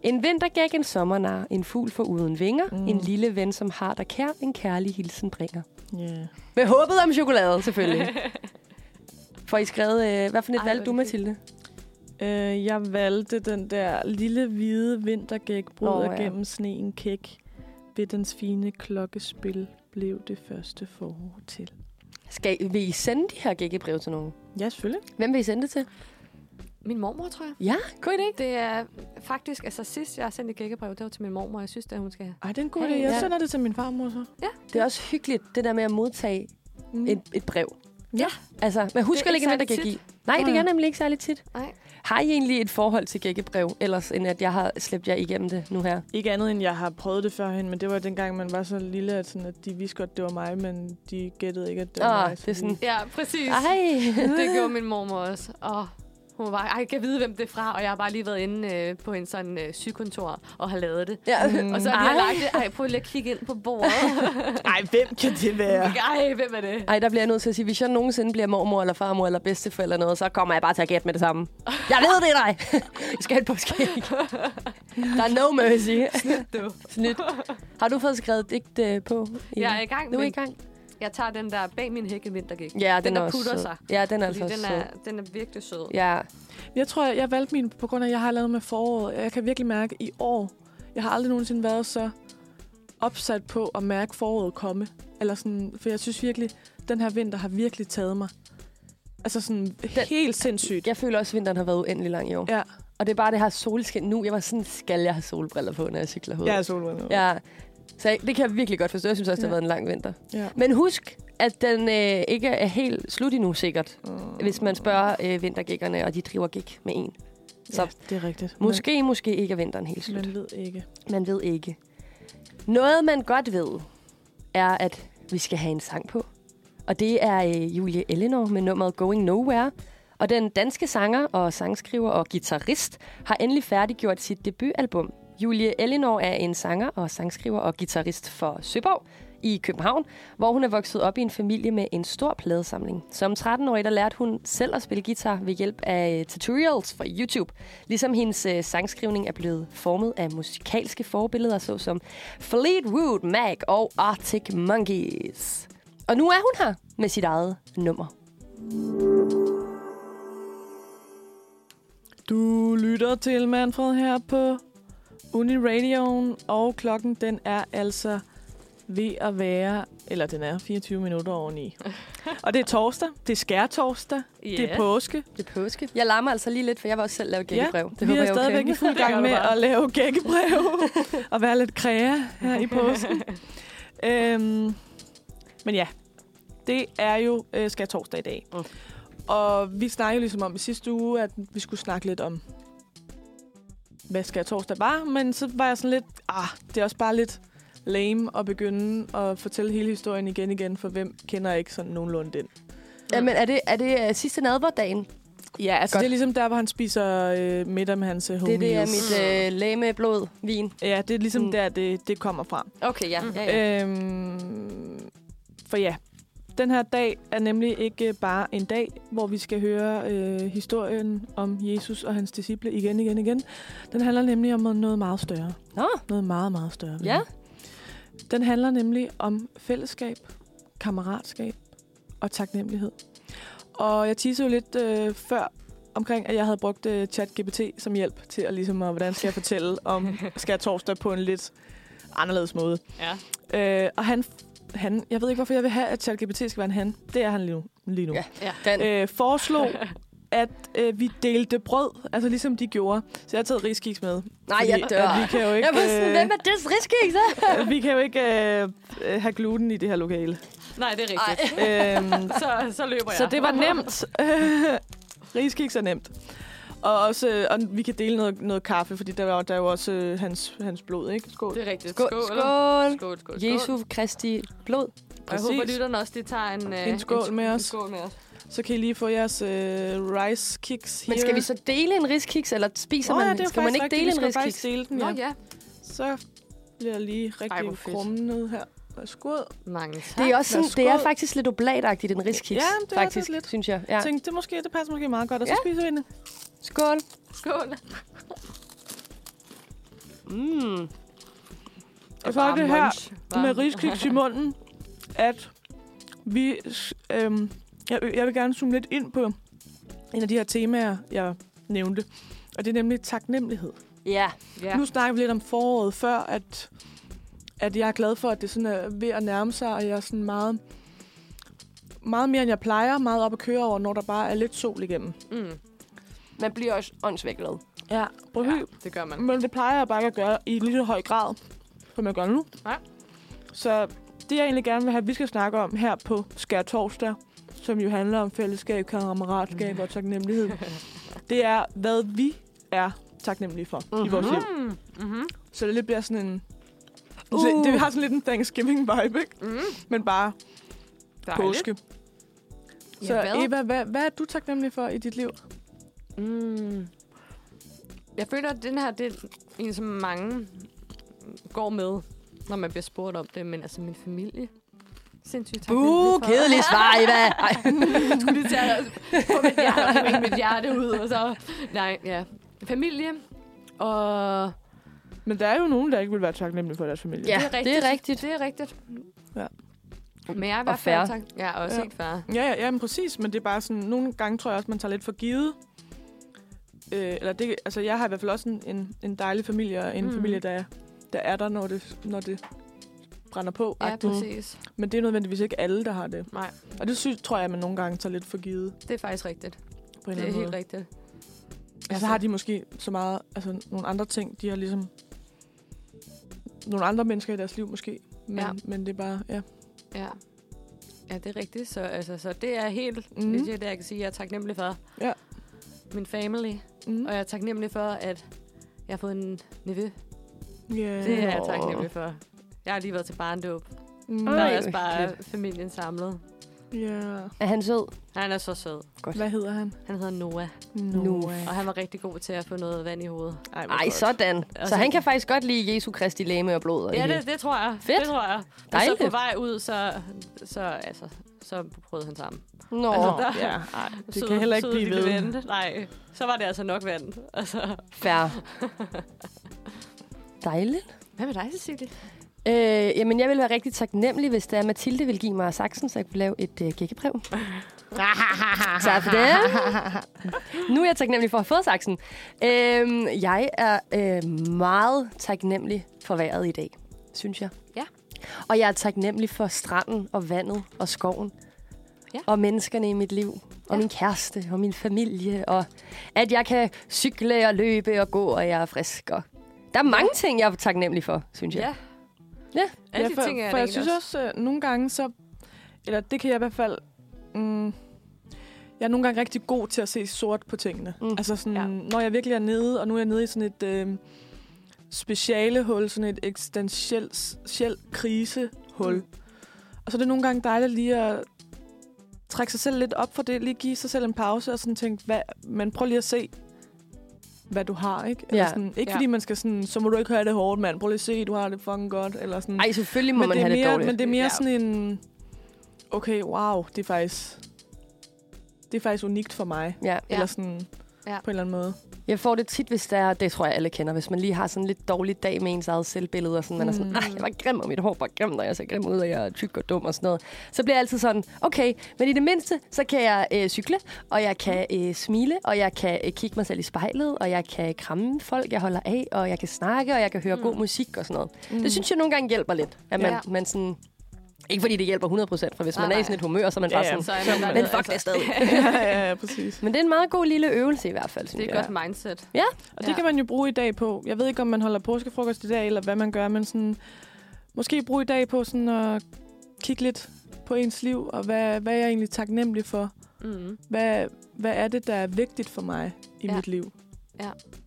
Speaker 2: En vintergæk, en sommernar, en fugl for uden vinger, mm. en lille ven, som har der kær, en kærlig hilsen bringer.
Speaker 1: Yeah.
Speaker 2: Med håbet om chokolade, selvfølgelig. [LAUGHS] Får I skrevet, øh, hvad for et
Speaker 3: Ej,
Speaker 2: valgte du,
Speaker 3: hvor er det
Speaker 2: Mathilde?
Speaker 1: Øh, jeg valgte den der lille hvide vintergæk,
Speaker 2: Åh,
Speaker 1: bryder
Speaker 2: ja.
Speaker 1: oh, ja. gennem sneen kæk. Ved dens fine klokkespil blev det første forår til.
Speaker 2: Skal, vil I sende de her gækkebrev til nogen?
Speaker 1: Ja, selvfølgelig.
Speaker 2: Hvem vil I sende det til?
Speaker 3: Min mormor, tror jeg.
Speaker 2: Ja, god idé.
Speaker 3: Det er faktisk, altså sidst jeg sendte et gækkebrev, det var til min mormor, og jeg synes, at hun skal have.
Speaker 1: Ej, det er en god
Speaker 2: Hey,
Speaker 1: idé. Jeg
Speaker 2: ja.
Speaker 1: sender det til min farmor så.
Speaker 2: Det er også hyggeligt, det der med at modtage
Speaker 1: Mm.
Speaker 2: et, et brev.
Speaker 1: Ja.
Speaker 2: Altså, men husk
Speaker 3: Det er
Speaker 2: at
Speaker 3: ikke
Speaker 2: lægge en
Speaker 3: særlig
Speaker 2: vintergæk i. Nej, det
Speaker 1: Nej.
Speaker 2: er nemlig ikke særlig tit.
Speaker 3: Nej.
Speaker 2: Har I egentlig et forhold til gækkebrev, ellers end at jeg har slæbt jer igennem det nu her?
Speaker 1: Ikke andet end, jeg har prøvet det førhen, men det var dengang, man var så lille, at, sådan, at de vidste godt, det var mig, men de gættede ikke, at det var
Speaker 2: Åh,
Speaker 1: mig.
Speaker 2: det er sådan-
Speaker 1: de-
Speaker 3: Ja, præcis.
Speaker 2: Ej,
Speaker 3: Det gjorde min mormor også. Og hun var, ej, jeg kan vide, hvem det er fra. Og jeg har bare lige været inde øh, på en sådan øh, sygekontor og har lavet det.
Speaker 2: [LAUGHS] Ja.
Speaker 3: Mm. Og så har de
Speaker 2: Ej.
Speaker 3: lagt det. Ej, prøv lige at kigge ind på bordet.
Speaker 2: [LAUGHS]
Speaker 1: Ej, hvem kan det være?
Speaker 3: Ej, hvem er det?
Speaker 2: Ej, der bliver jeg nødt til at sige, hvis jeg nogensinde bliver mormor eller farmor eller bedsteforældre eller noget, så kommer jeg bare til at gætte med det samme. Jeg ved det, er dig! [LAUGHS] Jeg skal have et påskæg. Der er no mercy. [LAUGHS] Snydt,
Speaker 3: du.
Speaker 2: Snydt. Har du fået skrevet digt øh, på? i-
Speaker 3: Jeg er i gang,
Speaker 2: Nu er I
Speaker 3: men
Speaker 2: i gang.
Speaker 3: jeg tager den der bag min hække vintergæk.
Speaker 2: Ja, den,
Speaker 3: der
Speaker 2: er også
Speaker 3: putter
Speaker 2: sød.
Speaker 3: sig.
Speaker 2: Ja, den er
Speaker 3: Fordi
Speaker 2: altså også
Speaker 3: den
Speaker 2: sød.
Speaker 3: er, den er virkelig sød.
Speaker 2: Ja,
Speaker 1: Jeg tror, jeg, jeg valgte min på grund af, at jeg har lavet med foråret. Jeg kan virkelig mærke i år, jeg har aldrig nogensinde været så opsat på at mærke foråret komme. Eller sådan, for jeg synes virkelig, den her vinter har virkelig taget mig. Altså sådan den, helt sindssygt.
Speaker 2: jeg føler også, at vinteren har været uendelig lang i år.
Speaker 1: Ja,
Speaker 2: Og det er bare det her solskin nu. Jeg var sådan, skal jeg have solbriller på, når jeg cykler herude?
Speaker 1: jeg er solvundet.
Speaker 2: ja. Så jeg, det kan jeg virkelig godt forstå. Jeg synes også, det har
Speaker 1: altså. Ja.
Speaker 2: været en lang vinter.
Speaker 1: ja.
Speaker 2: Men husk, at den øh, ikke er helt slut endnu sikkert, mm. hvis man spørger øh, vintergækkerne, og de driver gæk med en. Så
Speaker 1: ja det er rigtigt.
Speaker 2: måske, måske ikke er vinteren helt
Speaker 1: Men,
Speaker 2: slut.
Speaker 1: man ved ikke.
Speaker 2: Man ved ikke. Noget, man godt ved, er, at vi skal have en sang på. Og det er øh, Julie Eleanor med nummeret Going Nowhere. Og den danske sanger og sangskriver og guitarist har endelig færdiggjort sit debutalbum. Julie Eleanor er en sanger og sangskriver og guitarist for Søborg i København, hvor hun er vokset op i en familie med en stor pladesamling. Som 13-årig der lærte hun selv at spille guitar ved hjælp af øh, tutorials fra YouTube, ligesom hendes øh, sangskrivning er blevet formet af musikalske forbilleder, såsom Fleetwood Mac og Arctic Monkeys. Og nu er hun her med sit eget nummer.
Speaker 1: Du lytter til Manfred her på Uniradioen, og klokken den er altså ved at være, eller den er 24 minutter oveni. og det er torsdag, det er skærtorsdag, yeah. det er
Speaker 3: [LAUGHS]
Speaker 1: påske.
Speaker 2: Det er påske. Jeg larmer altså lige lidt, for jeg var også selv lavet gækkebrev.
Speaker 1: det vi er stadigvæk i [LAUGHS] fuld gang med at lave gækkebrev og være lidt kræa her i [LAUGHS] påsken. øhm, men ja, det er jo øh, skal torsdag i dag.
Speaker 3: Mm.
Speaker 1: Og vi snakkede ligesom om i sidste uge, at vi skulle snakke lidt om, hvad skal torsdag var. Men så var jeg sådan lidt, ah, det er også bare lidt lame at begynde at fortælle hele historien igen igen, for hvem kender ikke sådan nogenlunde den?
Speaker 2: Jamen, er det, er det øh, sidste nadverdagen?
Speaker 1: Ja, altså
Speaker 2: Godt.
Speaker 1: det er ligesom der, hvor han spiser øh, middag med hans øh,
Speaker 2: Det er
Speaker 1: homies.
Speaker 2: det er mit øh, læme blod vin.
Speaker 1: Ja, det er ligesom
Speaker 2: Mm.
Speaker 1: mm. der, det, det kommer fra.
Speaker 2: Okay, ja. ja,
Speaker 1: Øh,
Speaker 2: ja.
Speaker 1: Øhm, for ja, den her dag er nemlig ikke bare en dag, hvor vi skal høre øh, historien om Jesus og hans disciple igen, igen, igen. Den handler nemlig om noget meget større.
Speaker 2: Nå,
Speaker 1: Noget meget, meget større. venner.
Speaker 2: ja.
Speaker 1: Den handler nemlig om fællesskab, kammeratskab og taknemmelighed. Og jeg teasede jo lidt øh, før omkring, at jeg havde brugt øh, ChatGPT som hjælp til at ligesom, at, hvordan skal jeg fortælle om
Speaker 2: [LAUGHS]
Speaker 1: skær torsdag på en lidt anderledes måde.
Speaker 3: Ja.
Speaker 1: Øh, og han, han, jeg ved ikke, hvorfor jeg vil have, at ChatGPT skal være en han. Det er han lige nu. Lige nu.
Speaker 2: Ja.
Speaker 3: Ja.
Speaker 2: Den.
Speaker 1: Øh, foreslog, at øh, vi delte brød, altså ligesom de gjorde. Så jeg har taget riskiks med.
Speaker 2: Nej,
Speaker 1: fordi
Speaker 2: jeg dør.
Speaker 1: at Vi kan jo ikke,
Speaker 2: Jeg var sådan, hvem er det riskiks, så?
Speaker 1: øh, [LAUGHS] vi kan jo ikke øh, øh, have gluten i det her lokale.
Speaker 3: Nej, det er rigtigt.
Speaker 2: Ej.
Speaker 1: øhm,
Speaker 3: Så, så løber jeg.
Speaker 1: så det var nemt. [LAUGHS] Riskiks er nemt. Og, også, øh, og vi kan dele noget, noget kaffe, fordi der var der er jo også øh, hans, hans blod, ikke? Skål.
Speaker 3: Det er rigtigt.
Speaker 2: Skål.
Speaker 3: Skål.
Speaker 2: Skål.
Speaker 3: Skål, skål, skål.
Speaker 2: Jesu Kristi blod.
Speaker 3: Og jeg
Speaker 1: Præcis.
Speaker 3: håber, lytterne også lige tager en, øh,
Speaker 1: En skål med os.
Speaker 3: En skål med os.
Speaker 1: Så kan I lige få jeres øh, rice kicks
Speaker 2: Men skal vi så dele en riskiks, eller spiser
Speaker 1: Åh
Speaker 2: man?
Speaker 1: ja, det er
Speaker 2: skal
Speaker 1: faktisk
Speaker 2: man ikke
Speaker 1: rigtigt.
Speaker 2: dele
Speaker 1: Vi
Speaker 2: en
Speaker 1: skal faktisk
Speaker 2: riskiks?
Speaker 1: dele den,
Speaker 3: Nå
Speaker 1: ja.
Speaker 3: ja.
Speaker 1: Så bliver jeg lige
Speaker 3: Ej, hvor
Speaker 1: rigtig
Speaker 3: fedt.
Speaker 1: krummet her. Værsgod.
Speaker 3: Mange tak.
Speaker 2: Det er, også sådan,
Speaker 1: Værsgo.
Speaker 2: det er faktisk lidt oblatagtigt, en risk
Speaker 1: Ja, det er det
Speaker 2: faktisk,
Speaker 1: lidt.
Speaker 2: synes jeg. Ja.
Speaker 1: Ja. Tænkte, det, måske, det passer måske meget godt, og så
Speaker 2: Ja.
Speaker 1: spiser vi en.
Speaker 2: Skål.
Speaker 3: Skål.
Speaker 2: Mm.
Speaker 1: Jeg får det her med riskiks i munden, at vi... s- Øhm, jeg, jeg vil gerne zoome lidt ind på en af de her temaer, jeg nævnte. Og det er nemlig taknemmelighed.
Speaker 2: Ja.
Speaker 3: Ja.
Speaker 1: Ja. Nu snakker vi lidt om foråret før, at, at jeg er glad for, at det sådan er ved at nærme sig, og jeg er sådan meget, meget mere, end jeg plejer, meget op at køre over, når der bare er lidt sol igennem.
Speaker 3: Mm.
Speaker 2: Man bliver også åndssvagt glad.
Speaker 1: Ja, prøv
Speaker 3: ja,
Speaker 1: ja.
Speaker 3: det gør man.
Speaker 1: Men det plejer jeg bare ikke at gøre i lige så høj grad, som jeg gør nu.
Speaker 3: Nej.
Speaker 1: Så det, jeg egentlig gerne vil have, at vi skal snakke om her på Skær Torsdag, som jo handler om fællesskab, kammeratskab og [LAUGHS] taknemmelighed, det er, hvad vi er taknemmelige for mm-hmm. i vores liv.
Speaker 3: Mm. Mm-hmm.
Speaker 1: Så det lidt bliver sådan en... Uh. Det, det har sådan lidt en Thanksgiving-vibe, ikke?
Speaker 3: Mm.
Speaker 1: Men bare Dejligt. påske. Så
Speaker 3: Ja, hvad?
Speaker 1: Eva, hvad, hvad er du taknemmelig for i dit liv?
Speaker 3: Mm. Jeg føler, at den her, det er en, som mange går med, når man bliver spurgt om det, men altså min familie. Sindssygt
Speaker 2: Buh, kedeligt svar,
Speaker 3: [LAUGHS]
Speaker 2: Eva. Ej.
Speaker 3: Skulle lige tage på mit hjerte, på mit hjerte ud, og så... Nej, ja. Familie, og...
Speaker 1: Men der er jo nogen, der ikke vil være taknemmelige for deres familie.
Speaker 2: Ja,
Speaker 3: det er rigtigt.
Speaker 2: det er rigtigt.
Speaker 3: Det er rigtigt.
Speaker 1: Ja.
Speaker 3: Men jeg er i
Speaker 2: Og
Speaker 3: hvert fald...
Speaker 2: fair.
Speaker 3: tak- Ja, også
Speaker 1: Ja.
Speaker 3: ja. helt færre.
Speaker 1: Ja, ja, ja men præcis, men det er bare sådan, nogle gange tror jeg også, man tager lidt for givet. Øh, eller det, altså, jeg har i hvert fald også en, en, en dejlig familie, og en
Speaker 3: Mm.
Speaker 1: mm. familie, der, der er der, når det, når det brænder på.
Speaker 3: Ja,
Speaker 1: agtigt.
Speaker 3: præcis.
Speaker 1: Men det er nødvendigvis ikke alle, der har det.
Speaker 3: Nej,
Speaker 1: Og det synes, tror jeg, man nogle gange tager lidt for givet.
Speaker 3: det er faktisk rigtigt.
Speaker 1: På en eller
Speaker 3: Det er
Speaker 1: anden
Speaker 3: helt
Speaker 1: måde.
Speaker 3: rigtigt.
Speaker 1: Altså, så har de måske så meget, altså nogle andre ting, de har ligesom nogle andre mennesker i deres liv måske. Men,
Speaker 3: Ja.
Speaker 1: ja. men det er bare, ja.
Speaker 3: Ja. Ja, det er rigtigt. Så, altså, så det er helt mm.
Speaker 1: Mhm.
Speaker 3: legit, at jeg kan sige, at jeg er taknemmelig for
Speaker 1: Ja.
Speaker 3: min family.
Speaker 2: Mhm.
Speaker 1: Mm.
Speaker 3: Og jeg er taknemmelig for, at jeg har fået en nevø.
Speaker 1: Yeah.
Speaker 3: Det er jeg taknemmelig for. Jeg har lige været til barndåb.
Speaker 1: Mm.
Speaker 3: Der
Speaker 2: Ej,
Speaker 3: er også
Speaker 2: hvor
Speaker 3: bare
Speaker 2: hyggeligt.
Speaker 3: familien samlet.
Speaker 1: Yeah.
Speaker 2: Er han sød?
Speaker 3: Han er så sød.
Speaker 1: Hvad hedder han?
Speaker 3: Han hedder Noah,
Speaker 2: Noah.
Speaker 3: og han var rigtig god til at få noget vand i hovedet.
Speaker 1: hvor
Speaker 2: Ej,
Speaker 1: godt.
Speaker 2: sådan. Så
Speaker 3: Altså-
Speaker 2: han kan faktisk godt lide Jesu Kristi læme og blod. Og
Speaker 3: Ja,
Speaker 2: hele.
Speaker 3: det, det tror jeg.
Speaker 2: Fedt.
Speaker 3: Det tror jeg. Og så
Speaker 2: Dejligt.
Speaker 3: på vej ud, så, så, altså, så prøvede han sammen.
Speaker 2: Nå,
Speaker 3: Altså,
Speaker 1: Åh,
Speaker 3: der-
Speaker 1: [LAUGHS] ja. Ej, det kan heller ikke blive ved.
Speaker 3: Vand. Nej, så var det altså nok vand. Altså. [LAUGHS]
Speaker 2: fair. Dejligt.
Speaker 3: Hvad med dig, Cecilie?
Speaker 2: Øh, jamen, jeg ville være rigtig taknemmelig, hvis det er, Mathilde ville give mig saksen, så jeg kunne lave et øh,
Speaker 3: [LAUGHS]
Speaker 2: gækkebrev. tak for det. Nu er jeg taknemmelig for at have fået saksen. Øhm, jeg er øh, meget taknemmelig for vejret i dag, synes jeg.
Speaker 3: Ja.
Speaker 2: Og jeg er taknemmelig for stranden og vandet og skoven.
Speaker 3: Ja.
Speaker 2: Og menneskerne i mit liv. Og
Speaker 3: Ja.
Speaker 2: min kæreste og min familie. Og at jeg kan cykle og løbe og gå, og jeg er frisk. Og der er mange ting, jeg er taknemmelig for, synes jeg. Ja.
Speaker 3: Alle
Speaker 1: ja,
Speaker 3: de
Speaker 1: for,
Speaker 3: ting er
Speaker 1: for
Speaker 3: der
Speaker 1: jeg
Speaker 3: egentlig
Speaker 1: synes også, øh, nogle gange så... Eller det kan jeg i hvert fald... Mm, jeg er nogle gange rigtig god til at se sort på tingene.
Speaker 2: Mm.
Speaker 1: Mm. Altså sådan,
Speaker 3: Ja.
Speaker 1: ja. når jeg virkelig er nede, og nu er jeg nede i sådan et øh, specialehul, sådan et eksistentielt krisehul. Mm. Og så er det nogle gange dejligt lige at trække sig selv lidt op for det, lige give sig selv en pause og sådan tænke, hvad, men prøv lige at se, hvad du har, ikke? Eller
Speaker 2: Ja.
Speaker 1: sådan, ikke
Speaker 3: Ja.
Speaker 1: fordi man skal sådan, så må du ikke have det hårdt, mand. Prøv lige at se, du har det fucking godt. Eller sådan.
Speaker 2: Ej, selvfølgelig må man
Speaker 1: det er
Speaker 2: have
Speaker 1: mere,
Speaker 2: det dårligt.
Speaker 1: Mm. Men det er mere
Speaker 3: Ja.
Speaker 1: ja. sådan en... Okay, wow, det er faktisk... Det er faktisk unikt for mig.
Speaker 2: Ja.
Speaker 1: Ja. Eller sådan...
Speaker 3: Ja.
Speaker 1: Ja. På en eller anden måde.
Speaker 2: Jeg får det tit, hvis der er, det tror jeg alle kender, hvis man lige har sådan en lidt dårlig dag med ens eget selvbillede, og sådan, man er sådan,
Speaker 1: Mm.
Speaker 2: nej, jeg var grim, og mit hår var grimt, og jeg ser grim ud, og jeg er tyk og dum og sådan noget. Så bliver jeg altid sådan, okay, men i det mindste, så kan jeg øh, cykle, og jeg kan øh, smile, og jeg kan øh, kigge mig selv i spejlet, og jeg kan kramme folk, jeg holder af, og jeg kan snakke, og jeg kan høre mm. god musik og sådan noget. Mm. Det synes jeg nogle gange hjælper lidt, at man,
Speaker 3: Ja.
Speaker 2: ja. man sådan... Ikke fordi det hjælper 100%, for hvis
Speaker 3: Nej,
Speaker 2: man er
Speaker 3: nej.
Speaker 2: i sådan et humør, så er man bare
Speaker 1: Ja, ja.
Speaker 2: sådan...
Speaker 3: Så er
Speaker 1: Så-
Speaker 3: man der
Speaker 2: Men
Speaker 3: nede,
Speaker 2: fuck det
Speaker 3: [LAUGHS]
Speaker 2: stadig.
Speaker 1: ja, ja, ja, præcis.
Speaker 2: Men det er en meget god lille øvelse i hvert fald,
Speaker 3: Det
Speaker 2: synes
Speaker 3: er et
Speaker 2: jeg.
Speaker 3: godt mindset.
Speaker 2: Ja,
Speaker 1: Og det
Speaker 3: Ja.
Speaker 1: ja. kan man jo bruge i dag på. Jeg ved ikke, om man holder påskefrokost i dag, eller hvad man gør, men sådan... Måske bruge i dag på sådan at kigge lidt på ens liv, og hvad, hvad er jeg egentlig taknemmelig for?
Speaker 3: Mm.
Speaker 1: Hvad, hvad er det, der er vigtigt for mig i
Speaker 3: Ja.
Speaker 1: ja. mit liv?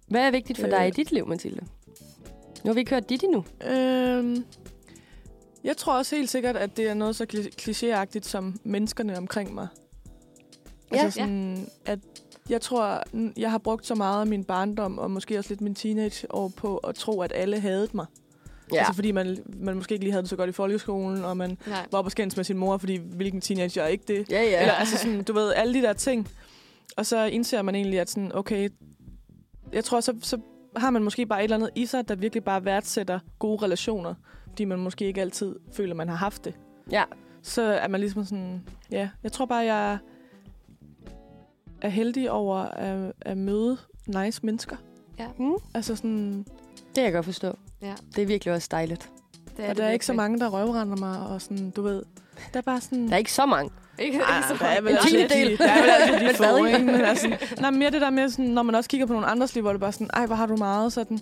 Speaker 2: Hvad er vigtigt for dig
Speaker 1: Øh.
Speaker 2: i dit liv, Mathilde? Nu har vi ikke hørt dit endnu.
Speaker 1: Øhm, jeg tror også helt sikkert, at det er noget så kli- klichéagtigt som menneskerne omkring mig.
Speaker 2: Ja.
Speaker 1: altså sådan, at jeg tror, n- jeg har brugt så meget af min barndom, og måske også lidt min teenageår på at tro, at alle havde mig.
Speaker 2: Ja.
Speaker 1: Altså fordi man, man måske ikke lige havde det så godt i folkeskolen, og man
Speaker 3: Nej.
Speaker 1: var op og skændes med sin mor, fordi hvilken teenager er ikke det?
Speaker 2: Ja, ja.
Speaker 1: Eller altså sådan, du ved, alle de der ting. Og så indser man egentlig, at sådan, okay, jeg tror, så, så har man måske bare et eller andet i sig, der virkelig bare værdsætter gode relationer, fordi man måske ikke altid føler, man har haft det.
Speaker 2: Ja.
Speaker 1: Så er man ligesom sådan, ja, jeg tror bare, jeg er heldig over at, at møde nice mennesker.
Speaker 2: Mm.
Speaker 1: Altså sådan,
Speaker 2: Det kan jeg godt forstå.
Speaker 3: Ja.
Speaker 2: Det er virkelig også dejligt.
Speaker 3: Det
Speaker 1: og der er ikke så
Speaker 3: virkelig.
Speaker 1: mange, der røvrender mig, og sådan, du ved, der er bare sådan...
Speaker 2: Der er ikke så mange.
Speaker 3: Ikke, ikke
Speaker 1: Ej,
Speaker 3: så
Speaker 1: der er vel
Speaker 2: En
Speaker 1: også
Speaker 2: tiende
Speaker 1: altid-
Speaker 2: del.
Speaker 1: Der er vel
Speaker 3: [LAUGHS]
Speaker 1: altid de
Speaker 2: Men stadig.
Speaker 1: få, ikke? [LAUGHS] Men altså, nej, mere det der med, sådan, når man også kigger på nogle andres liv, hvor det bare sådan, ej, hvor har du meget sådan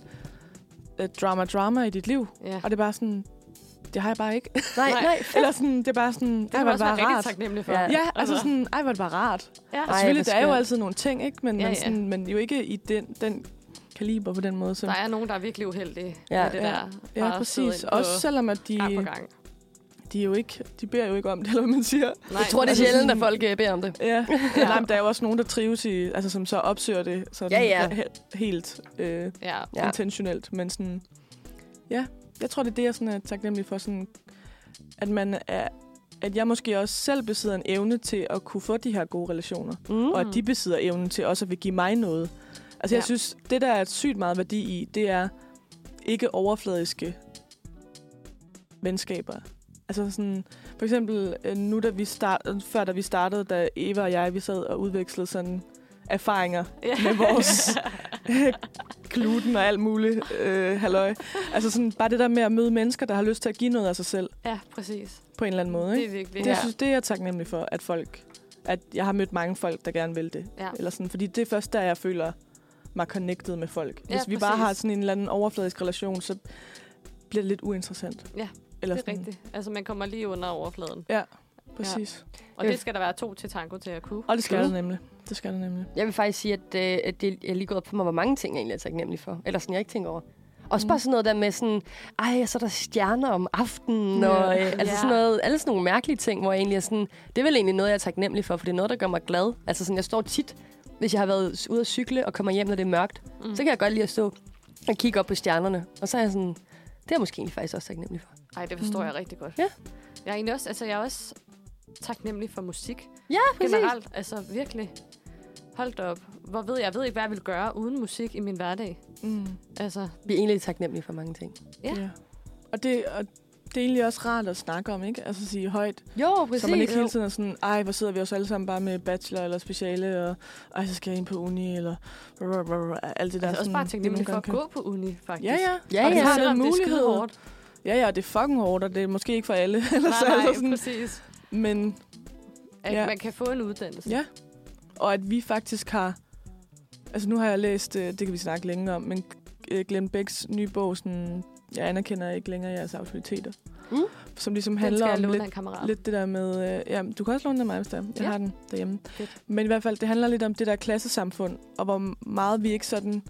Speaker 1: øh, drama, drama i dit liv.
Speaker 3: Ja.
Speaker 1: Og det er bare sådan, det har jeg bare ikke. [LAUGHS]
Speaker 2: Nej,
Speaker 3: Nej.
Speaker 2: nej.
Speaker 1: Eller sådan, det er bare sådan,
Speaker 3: Det
Speaker 1: ej,
Speaker 3: kan
Speaker 1: hvor er det
Speaker 3: man også være
Speaker 1: bare
Speaker 3: rigtig
Speaker 1: rart.
Speaker 3: taknemmelig for.
Speaker 2: Ja.
Speaker 1: Ja, altså
Speaker 3: Altså.
Speaker 1: sådan, ej, hvor er det bare rart.
Speaker 3: ja.
Speaker 1: Og
Speaker 2: Ej,
Speaker 1: selvfølgelig,
Speaker 2: hvor
Speaker 1: der er jo
Speaker 2: skønt.
Speaker 1: altid nogle ting, ikke? Men,
Speaker 3: Ja,
Speaker 1: ja, men,
Speaker 3: ja.
Speaker 1: sådan, men jo ikke i den, den kaliber på den måde. Som,
Speaker 3: Der er nogen, der er virkelig uheldige
Speaker 2: Ja.
Speaker 3: ja. med det
Speaker 1: Ja.
Speaker 3: der.
Speaker 1: ja,
Speaker 3: Bare
Speaker 1: præcis.
Speaker 3: sidde ind på-
Speaker 1: Også selvom, at de,
Speaker 3: gang på gang.
Speaker 1: de, er jo ikke, de beder jo ikke om det, eller hvad man siger.
Speaker 3: Nej,
Speaker 2: Jeg tror, det er
Speaker 1: altså
Speaker 2: sjældent, at
Speaker 1: sådan-
Speaker 2: folk øh, beder om det.
Speaker 1: Ja, ja. Nej, men der er jo også nogen, der trives i, altså som så opsøger det sådan
Speaker 2: Ja, ja.
Speaker 1: he- helt øh,
Speaker 3: Ja.
Speaker 2: Ja.
Speaker 1: ja. intentionelt, men sådan, ja, jeg tror, det er det, jeg sådan er taknemmelig for, sådan, at man er, at jeg måske også selv besidder en evne til at kunne få de her gode relationer,
Speaker 2: Mm.
Speaker 1: mm. og at de besidder evnen til også at vil give mig noget. Altså, ja.
Speaker 3: Ja.
Speaker 1: jeg synes, det der er sygt meget værdi i, det er ikke overfladiske venskaber. Altså sådan, for eksempel øh, nu, da vi start, øh, før da vi startede, da Eva og jeg, vi sad og udvekslede sådan erfaringer
Speaker 3: Ja.
Speaker 1: [LAUGHS] med vores gluten og alt muligt øh, halløj. Altså sådan, bare det der med at møde mennesker, der har lyst til at give noget af sig selv
Speaker 3: [LAUGHS] ja, præcis.
Speaker 1: på en eller anden måde.
Speaker 3: Det
Speaker 1: Ikke?
Speaker 3: er virkelig.
Speaker 1: Det, jeg synes, det er jeg taknemmelig for, at folk, at jeg har mødt mange folk, der gerne vil det.
Speaker 3: Ja.
Speaker 1: Eller sådan, fordi det er først der, jeg føler mig connected med folk. Hvis
Speaker 3: Ja,
Speaker 1: vi bare
Speaker 3: præcis.
Speaker 1: har sådan en eller anden overfladisk relation, så bliver det lidt uinteressant.
Speaker 3: Ja,
Speaker 1: eller
Speaker 3: det er
Speaker 1: sådan,
Speaker 3: rigtigt. Altså, man kommer lige under overfladen.
Speaker 1: Præcis. Ja.
Speaker 3: Og det skal der være to til tango til at kunne.
Speaker 1: Og det skal
Speaker 2: True.
Speaker 1: det nemlig. Det skal det nemlig.
Speaker 2: Jeg vil faktisk sige, at, øh, at det er lige gået op for mig, hvor mange ting jeg egentlig er taknemmelig for. Eller sådan, jeg ikke tænker over. Også mm. bare sådan noget der med sådan, ej, så er der stjerner om aftenen,
Speaker 1: Ja.
Speaker 2: og øh, altså
Speaker 3: Ja.
Speaker 2: sådan noget, alle sådan nogle mærkelige ting, hvor jeg egentlig er sådan, det er vel egentlig noget, jeg er taknemmelig for, for det er noget, der gør mig glad. Altså sådan, jeg står tit, hvis jeg har været ude at cykle og kommer hjem, når det er mørkt, mm. så kan jeg godt lide at stå og kigge op på stjernerne. Og så er jeg sådan, det er jeg måske egentlig faktisk også taknemmelig for.
Speaker 3: Nej, det
Speaker 1: Mhm.
Speaker 3: forstår mm. jeg rigtig godt.
Speaker 2: Ja.
Speaker 3: Jeg er egentlig også, altså, jeg er også taknemmelig for musik.
Speaker 2: Ja, præcis.
Speaker 3: Generelt, altså virkelig. Hold da op. Hvor ved jeg, jeg ved ikke, hvad jeg ville gøre uden musik i min hverdag.
Speaker 1: Mm.
Speaker 3: Altså,
Speaker 2: Vi er egentlig taknemmelige for mange ting.
Speaker 3: Ja.
Speaker 1: Og, det, og det er egentlig også rart at snakke om, ikke? Altså sige højt.
Speaker 2: Jo,
Speaker 1: Præcis, så man ikke hele tiden er sådan, ej, hvor sidder vi også alle sammen bare med bachelor eller speciale, og ej, så skal jeg ind på uni, eller alt det der.
Speaker 3: altså også
Speaker 1: sådan,
Speaker 3: bare
Speaker 1: det, man
Speaker 3: taknemmelig for
Speaker 1: godt
Speaker 3: at
Speaker 1: kan.
Speaker 3: gå på uni, faktisk.
Speaker 1: Ja, ja.
Speaker 2: Ja,
Speaker 1: og
Speaker 2: ja.
Speaker 1: Det har
Speaker 3: Selvom
Speaker 1: den
Speaker 3: det er
Speaker 1: mulighed.
Speaker 3: skide hårdt.
Speaker 1: Ja, ja, og det er fucking hårdt, og det er måske ikke for alle. [LAUGHS] Eller
Speaker 3: Nej,
Speaker 1: så,
Speaker 3: nej,
Speaker 1: altså sådan.
Speaker 3: præcis.
Speaker 1: Men,
Speaker 3: At ja.
Speaker 1: Ja.
Speaker 3: man kan få en uddannelse.
Speaker 1: ja. Og at vi faktisk har... Altså, nu har jeg læst, øh, det kan vi snakke længe om, men øh, Glenn Becks nye bog, sådan, jeg anerkender ikke længere jeres autoriteter.
Speaker 2: Mm.
Speaker 1: Som ligesom
Speaker 3: Den
Speaker 1: handler
Speaker 3: skal jeg
Speaker 1: om
Speaker 3: låne
Speaker 1: lidt
Speaker 3: af en kammerat.
Speaker 1: Lidt det der med... Øh, ja, du kan også låne den af mig, hvis der. er. Jeg
Speaker 3: Ja.
Speaker 1: ja. har den derhjemme.
Speaker 3: Fedt.
Speaker 1: Men i hvert fald, det handler lidt om det der klassesamfund, og hvor meget vi ikke sådan